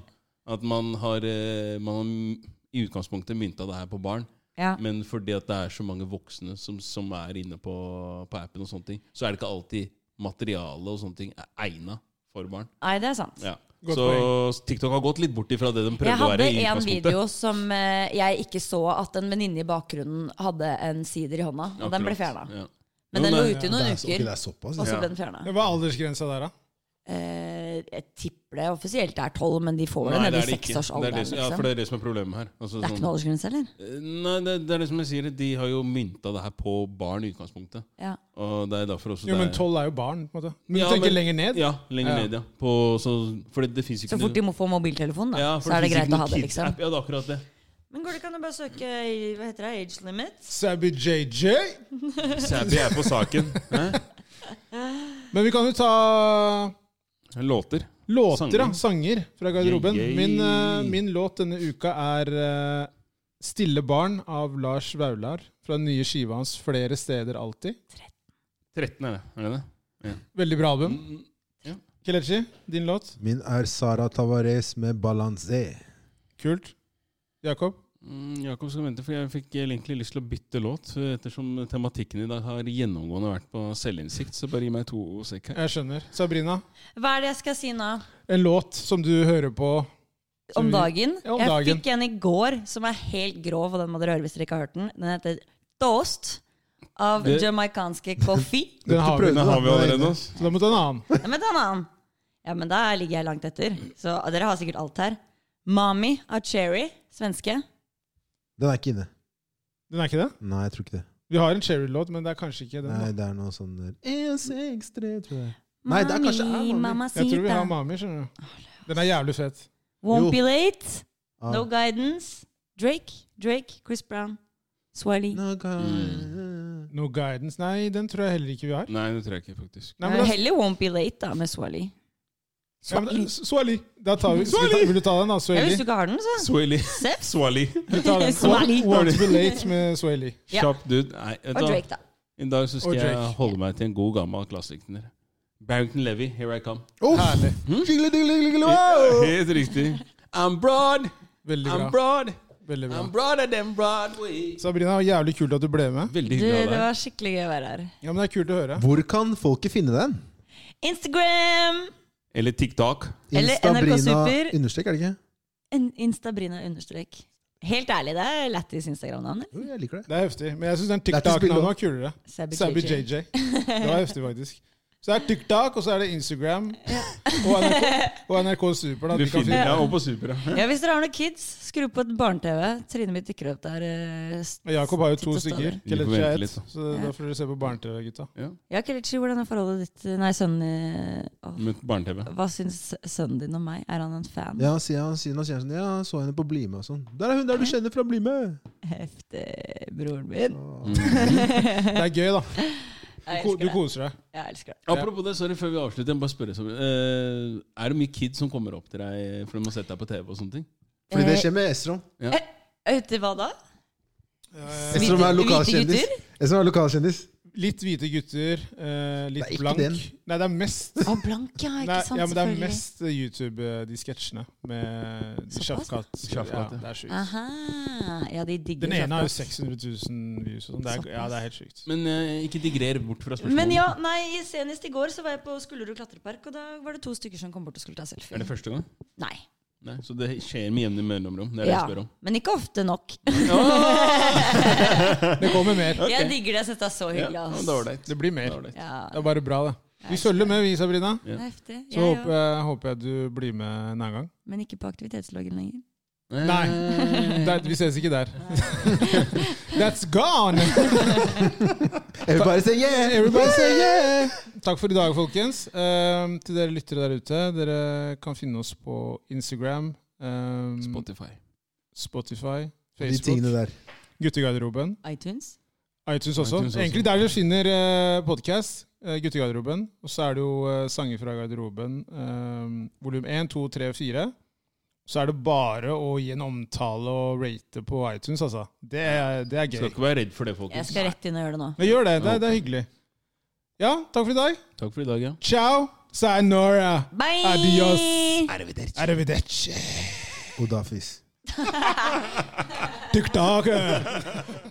Speaker 2: at man har, eh, man har m- i utgangspunktet mynta det her på barn.
Speaker 4: Ja.
Speaker 2: Men fordi at det er så mange voksne som, som er inne på, på appen, og sånne ting, så er det ikke alltid materialet og sånne ting er egna for barn.
Speaker 4: Nei, det er sant.
Speaker 2: Ja.
Speaker 3: Godt
Speaker 2: Så TikTok har gått litt bort ifra det de
Speaker 4: Jeg
Speaker 2: prøvde å
Speaker 4: hadde
Speaker 2: være i
Speaker 4: en
Speaker 2: utgangspunktet.
Speaker 4: video som eh, jeg ikke så at en venninne i bakgrunnen hadde en sider i hånda, og den ble
Speaker 2: Akkurat.
Speaker 4: fjerna.
Speaker 2: Ja.
Speaker 4: Men
Speaker 2: Jo,
Speaker 4: den lå
Speaker 2: nei,
Speaker 4: ute i
Speaker 1: Det
Speaker 4: noen
Speaker 1: er, så- ok,
Speaker 4: uker,
Speaker 1: det er såpass.
Speaker 4: og
Speaker 1: Ja.
Speaker 4: så
Speaker 2: Ja.
Speaker 4: ble den fjerna.
Speaker 3: Hva er aldersgrensa der, da?
Speaker 4: Eh, jeg tipper det offisielt er tolv, men de får det
Speaker 2: Nei,
Speaker 4: nede
Speaker 2: det er
Speaker 4: i
Speaker 2: det ikke. Det er det,
Speaker 4: seksårsalderen.
Speaker 2: som- ja, for
Speaker 4: Liksom.
Speaker 2: det er det som er problemet her. Altså,
Speaker 4: Det er ikke noe aldersgrense, eller?
Speaker 2: Nei, det, det er det som jeg sier. De har jo mynta det her på barn i utgangspunktet.
Speaker 4: Ja.
Speaker 2: Og det er derfor også
Speaker 3: Jo,
Speaker 2: det
Speaker 3: men
Speaker 2: er-
Speaker 3: tolv er jo barn. på en måte. Men
Speaker 2: Ja,
Speaker 3: du tenker
Speaker 2: men-
Speaker 3: lenger ned?
Speaker 2: Ja, lenger
Speaker 3: Ja.
Speaker 2: ned, ja. På, så, fordi det fins ikke
Speaker 4: Så fort de må få mobiltelefon, da,
Speaker 2: ja, for
Speaker 4: så er det
Speaker 2: finnes ikke
Speaker 4: greit å
Speaker 2: noen
Speaker 4: ha det,
Speaker 2: kids-app.
Speaker 4: liksom.
Speaker 2: Ja, det er akkurat det.
Speaker 4: Men går det ikke an å bare søke i- hva heter det, age limit?
Speaker 3: Sabby JJ?
Speaker 2: Sabby er på
Speaker 4: [LAUGHS]
Speaker 2: saken. Hæ?
Speaker 3: Men vi kan jo ta
Speaker 2: Låter.
Speaker 3: låter,
Speaker 2: Sanger.
Speaker 3: da. Sanger fra garderoben.
Speaker 2: Yay, yay.
Speaker 3: Min, eh, min låt denne uka er eh, 'Stille barn' av Lars Vaular. Fra den nye skiva hans 'Flere steder alltid'.
Speaker 2: 13 er det, er det det?
Speaker 3: Veldig bra album.
Speaker 2: Mm,
Speaker 3: Kelechi, din låt?
Speaker 1: Min er Sara Tavares med 'Balanse'.
Speaker 3: Kult. Jakob?
Speaker 2: Mm, Jakob skal vente, for jeg fikk egentlig lyst til å bytte låt. eh, Ettersom tematikken i dag har gjennomgående vært på selvinnsikt, så bare gi meg to sekk her.
Speaker 3: Jeg skjønner. Sabrina?
Speaker 4: Hva er det jeg skal si nå?
Speaker 3: En låt som du hører på Så
Speaker 4: Om
Speaker 3: vi-
Speaker 4: dagen?
Speaker 3: Ja, om
Speaker 4: Jeg
Speaker 3: dagen.
Speaker 4: fikk en i går som er helt grov, og den må dere høre hvis dere ikke har hørt den. Den heter Toast av
Speaker 2: Det-
Speaker 4: jamaicanske
Speaker 2: [LAUGHS]
Speaker 4: coffee.
Speaker 3: Den har vi.
Speaker 1: prøvde,
Speaker 2: Den har vi
Speaker 1: da.
Speaker 2: allerede. ass.
Speaker 3: Så da måtte en annen.
Speaker 4: Ja, men da, mann. Ja, men da ligger jeg langt etter. Så dere har sikkert alt her. Mami av Cherry, svenske.
Speaker 1: Den er ikke inne.
Speaker 3: Den er ikke det?
Speaker 1: Nei, jeg tror ikke det.
Speaker 3: Vi har en Cherry-låt, men det er kanskje ikke den.
Speaker 1: Nei,
Speaker 3: da.
Speaker 1: det er noe sånn der 163, tror jeg. Nei, det er kanskje er
Speaker 4: Mami,
Speaker 1: Mami.
Speaker 3: Jeg tror vi har
Speaker 4: mamacita.
Speaker 3: Mami, skjønner du. Den er jævlig fet.
Speaker 1: Jo.
Speaker 4: Won't be late.
Speaker 1: Ah.
Speaker 4: No guidance. Drake, Drake, Chris Brown, Swally.
Speaker 1: No
Speaker 2: Mm.
Speaker 3: No Guidance Nei, den tror jeg heller ikke vi har.
Speaker 2: Nei, det tror jeg ikke, faktisk.
Speaker 3: Nei, men da,
Speaker 4: Heller Won't be late da, med Swally.
Speaker 3: ja, men da, Swali. Da tar [LAUGHS] vi, skal vi ta, vil du ta den, da?
Speaker 4: Ja, hvis du
Speaker 3: Swali.
Speaker 4: ikke har den, så [LAUGHS]
Speaker 2: Swally.
Speaker 4: Seff.
Speaker 2: Swally.
Speaker 3: Vi tar
Speaker 4: [LAUGHS]
Speaker 3: den.
Speaker 4: Swali.
Speaker 3: Won't be late med Swali.
Speaker 4: Ja.
Speaker 2: Kjapp dude. Nei, vet du
Speaker 4: Og
Speaker 2: hva?
Speaker 4: Drake, da.
Speaker 2: I dag så skal
Speaker 3: Og
Speaker 2: jeg
Speaker 3: Drake.
Speaker 2: holde meg til en god gammel klassiker. Barrington Levy, Here I Come.
Speaker 3: Herlig.
Speaker 2: [LAUGHS]
Speaker 1: Jingle, jingle, jingle, jingle, wow!
Speaker 2: Helt riktig. I'm broad,
Speaker 3: Veldig
Speaker 2: I'm
Speaker 3: bra.
Speaker 2: broad.
Speaker 3: Veldig bra.
Speaker 2: I'm broader than Broadway.
Speaker 3: Sabrina, jævlig kult at du ble med.
Speaker 2: Veldig
Speaker 4: Du,
Speaker 2: hyggelig
Speaker 4: det
Speaker 2: av deg.
Speaker 4: var skikkelig gøy å være her.
Speaker 3: Ja, men Det er kult å høre.
Speaker 1: Hvor kan folket finne den?
Speaker 4: Instagram!
Speaker 2: Eller TikTok.
Speaker 4: Eller NRK Super.
Speaker 1: Understrek, er det ikke?
Speaker 4: En- Instabrina understrek. Helt ærlig, det er lættis Instagram-navn.
Speaker 1: Jo, jeg liker det.
Speaker 3: Det er heftig. Men jeg syns den
Speaker 1: Lættis bilde
Speaker 3: TikTok-navnet
Speaker 1: også.
Speaker 3: var kulere.
Speaker 4: Sabby
Speaker 3: Sabby
Speaker 4: JJ. [LAUGHS]
Speaker 3: JJ. Det var heftig, faktisk. Så det er TikTok, og så er det Instagram og NRK, og NRK Super. Da.
Speaker 2: Du
Speaker 3: De kan
Speaker 2: finner
Speaker 3: finne.
Speaker 2: ja, og på Super. ja.
Speaker 4: Ja, hvis dere har noen kids, skru på et barne-TV. Trynet mitt dukker opp der. eh, s-
Speaker 3: Og Jakob har jo to
Speaker 4: titt og
Speaker 3: stykker.
Speaker 4: stadig.
Speaker 2: Vi får
Speaker 3: Kelechi
Speaker 2: vente
Speaker 3: er ett.
Speaker 2: litt, da.
Speaker 3: Så da får dere se på barne-TV,
Speaker 4: [LAUGHS]
Speaker 3: gutta.
Speaker 4: Ja, Kelechi, hvordan er forholdet ditt Nei, sønnen eh, åh.
Speaker 2: Med barne-TV.
Speaker 4: Hva syns sønnen din om meg? Er han en fan?
Speaker 1: Ja, sier han, sier han, sier han sånn, ja, så henne på Bli med og sånn. Der er hun der du kjenner fra Bli med!
Speaker 4: Heftig, broren min.
Speaker 1: Åh.
Speaker 2: Mm.
Speaker 4: [LAUGHS]
Speaker 3: Det er gøy, da. Du,
Speaker 4: Jeg
Speaker 3: ko- du
Speaker 4: elsker det.
Speaker 3: koser deg.
Speaker 4: Jeg elsker det.
Speaker 2: Apropos det, sorry, før vi avslutter, jeg må bare spørre Sabrina. Eh, Er det mye kids som kommer opp til deg eh, fordi de har sett deg på TV? og sånne ting?
Speaker 1: Fordi det skjer med Esrom.
Speaker 4: Vet du Eh, hva da?
Speaker 3: Eh,
Speaker 1: Esrom er
Speaker 4: Hvite-
Speaker 1: lokalkjendis.
Speaker 4: hvite
Speaker 1: Esrom er lokalkjendis.
Speaker 3: Litt hvite gutter,
Speaker 1: Det
Speaker 3: eh,
Speaker 1: er
Speaker 3: litt
Speaker 1: ikke
Speaker 3: blank.
Speaker 1: den.
Speaker 3: Nei, det er mest
Speaker 4: Å, blank, ja. Ikke
Speaker 3: Nei,
Speaker 4: sant?
Speaker 3: ja, men det er
Speaker 4: selvfølgelig.
Speaker 3: mest eh, YouTube-sketsjene med de
Speaker 4: Såpass?
Speaker 3: Shafkat. Ja,
Speaker 2: Shafkat, ja.
Speaker 3: det er sjukt.
Speaker 4: Aha. Ja, de digger
Speaker 3: Den ene har jo 600
Speaker 4: Shafkat.
Speaker 3: 000 views. Og sånn. det er, ja, det er helt sjukt.
Speaker 2: Men eh, ikke digrer bort fra spørsmålet.
Speaker 4: Men ja, nei, senest i går så var jeg på Skullerud klatrepark, og da var det to stykker som kom bort og skulle ta
Speaker 2: Er
Speaker 4: selfie.
Speaker 2: det første gang?
Speaker 4: Nei.
Speaker 2: Nei, Så det skjer med jevne mellomrom. Det er det
Speaker 4: Ja,
Speaker 2: jeg
Speaker 4: [LAUGHS]
Speaker 2: spør om.
Speaker 4: men ikke ofte nok. [LAUGHS]
Speaker 3: Det kommer mer.
Speaker 4: Jeg digger det. Jeg syns det er så hyggelig.
Speaker 2: Ja,
Speaker 4: ass.
Speaker 2: det var ålreit.
Speaker 3: Det blir
Speaker 2: Det
Speaker 3: mer.
Speaker 2: var ålreit.
Speaker 4: Ja,
Speaker 3: Det er bare bra, det. Vi følger med, vi, Sabrina.
Speaker 4: det er heftig.
Speaker 3: Så
Speaker 4: Jeg
Speaker 3: håper,
Speaker 4: òg.
Speaker 3: jeg, håper jeg du blir med en annen gang.
Speaker 4: Men ikke på aktivitetsloggen lenger.
Speaker 3: Nei.
Speaker 2: Eh,
Speaker 3: Der, vi ses ikke
Speaker 4: [LAUGHS]
Speaker 3: der. That's gone!
Speaker 1: Everybody say yeah! Everybody say yeah!
Speaker 3: Takk for i dag, folkens. Ehm, til dere lyttere der ute, dere kan finne oss på Instagram, ehm,
Speaker 2: Spotify.
Speaker 3: Spotify,
Speaker 1: De tingene
Speaker 3: Facebook,
Speaker 1: der.
Speaker 3: Guttegarderoben.
Speaker 4: iTunes.
Speaker 3: iTunes også.
Speaker 2: iTunes også.
Speaker 3: Egentlig der dere finner eh, podkast. eh, Guttegarderoben. Og så er det jo eh, sanger fra garderoben. Eh, Volum 1, 2, 3 og 4. Så er det bare å gi en omtale og rate på iTunes, altså. Det er, det er
Speaker 2: Skal
Speaker 3: gøy.
Speaker 2: ikke være redd for det,
Speaker 4: Jeg
Speaker 2: folkens.
Speaker 4: skal rett inn og gjøre det nå.
Speaker 3: Men gjør det. Det, er- det er hyggelig. Ja, takk for i dag.
Speaker 2: Takk for i dag, ja.
Speaker 3: Ciao. Sayonara.
Speaker 4: Bye!
Speaker 3: Adios. Arrivederci.
Speaker 4: [LAUGHS]
Speaker 1: Godafis.
Speaker 3: eh. TikTok.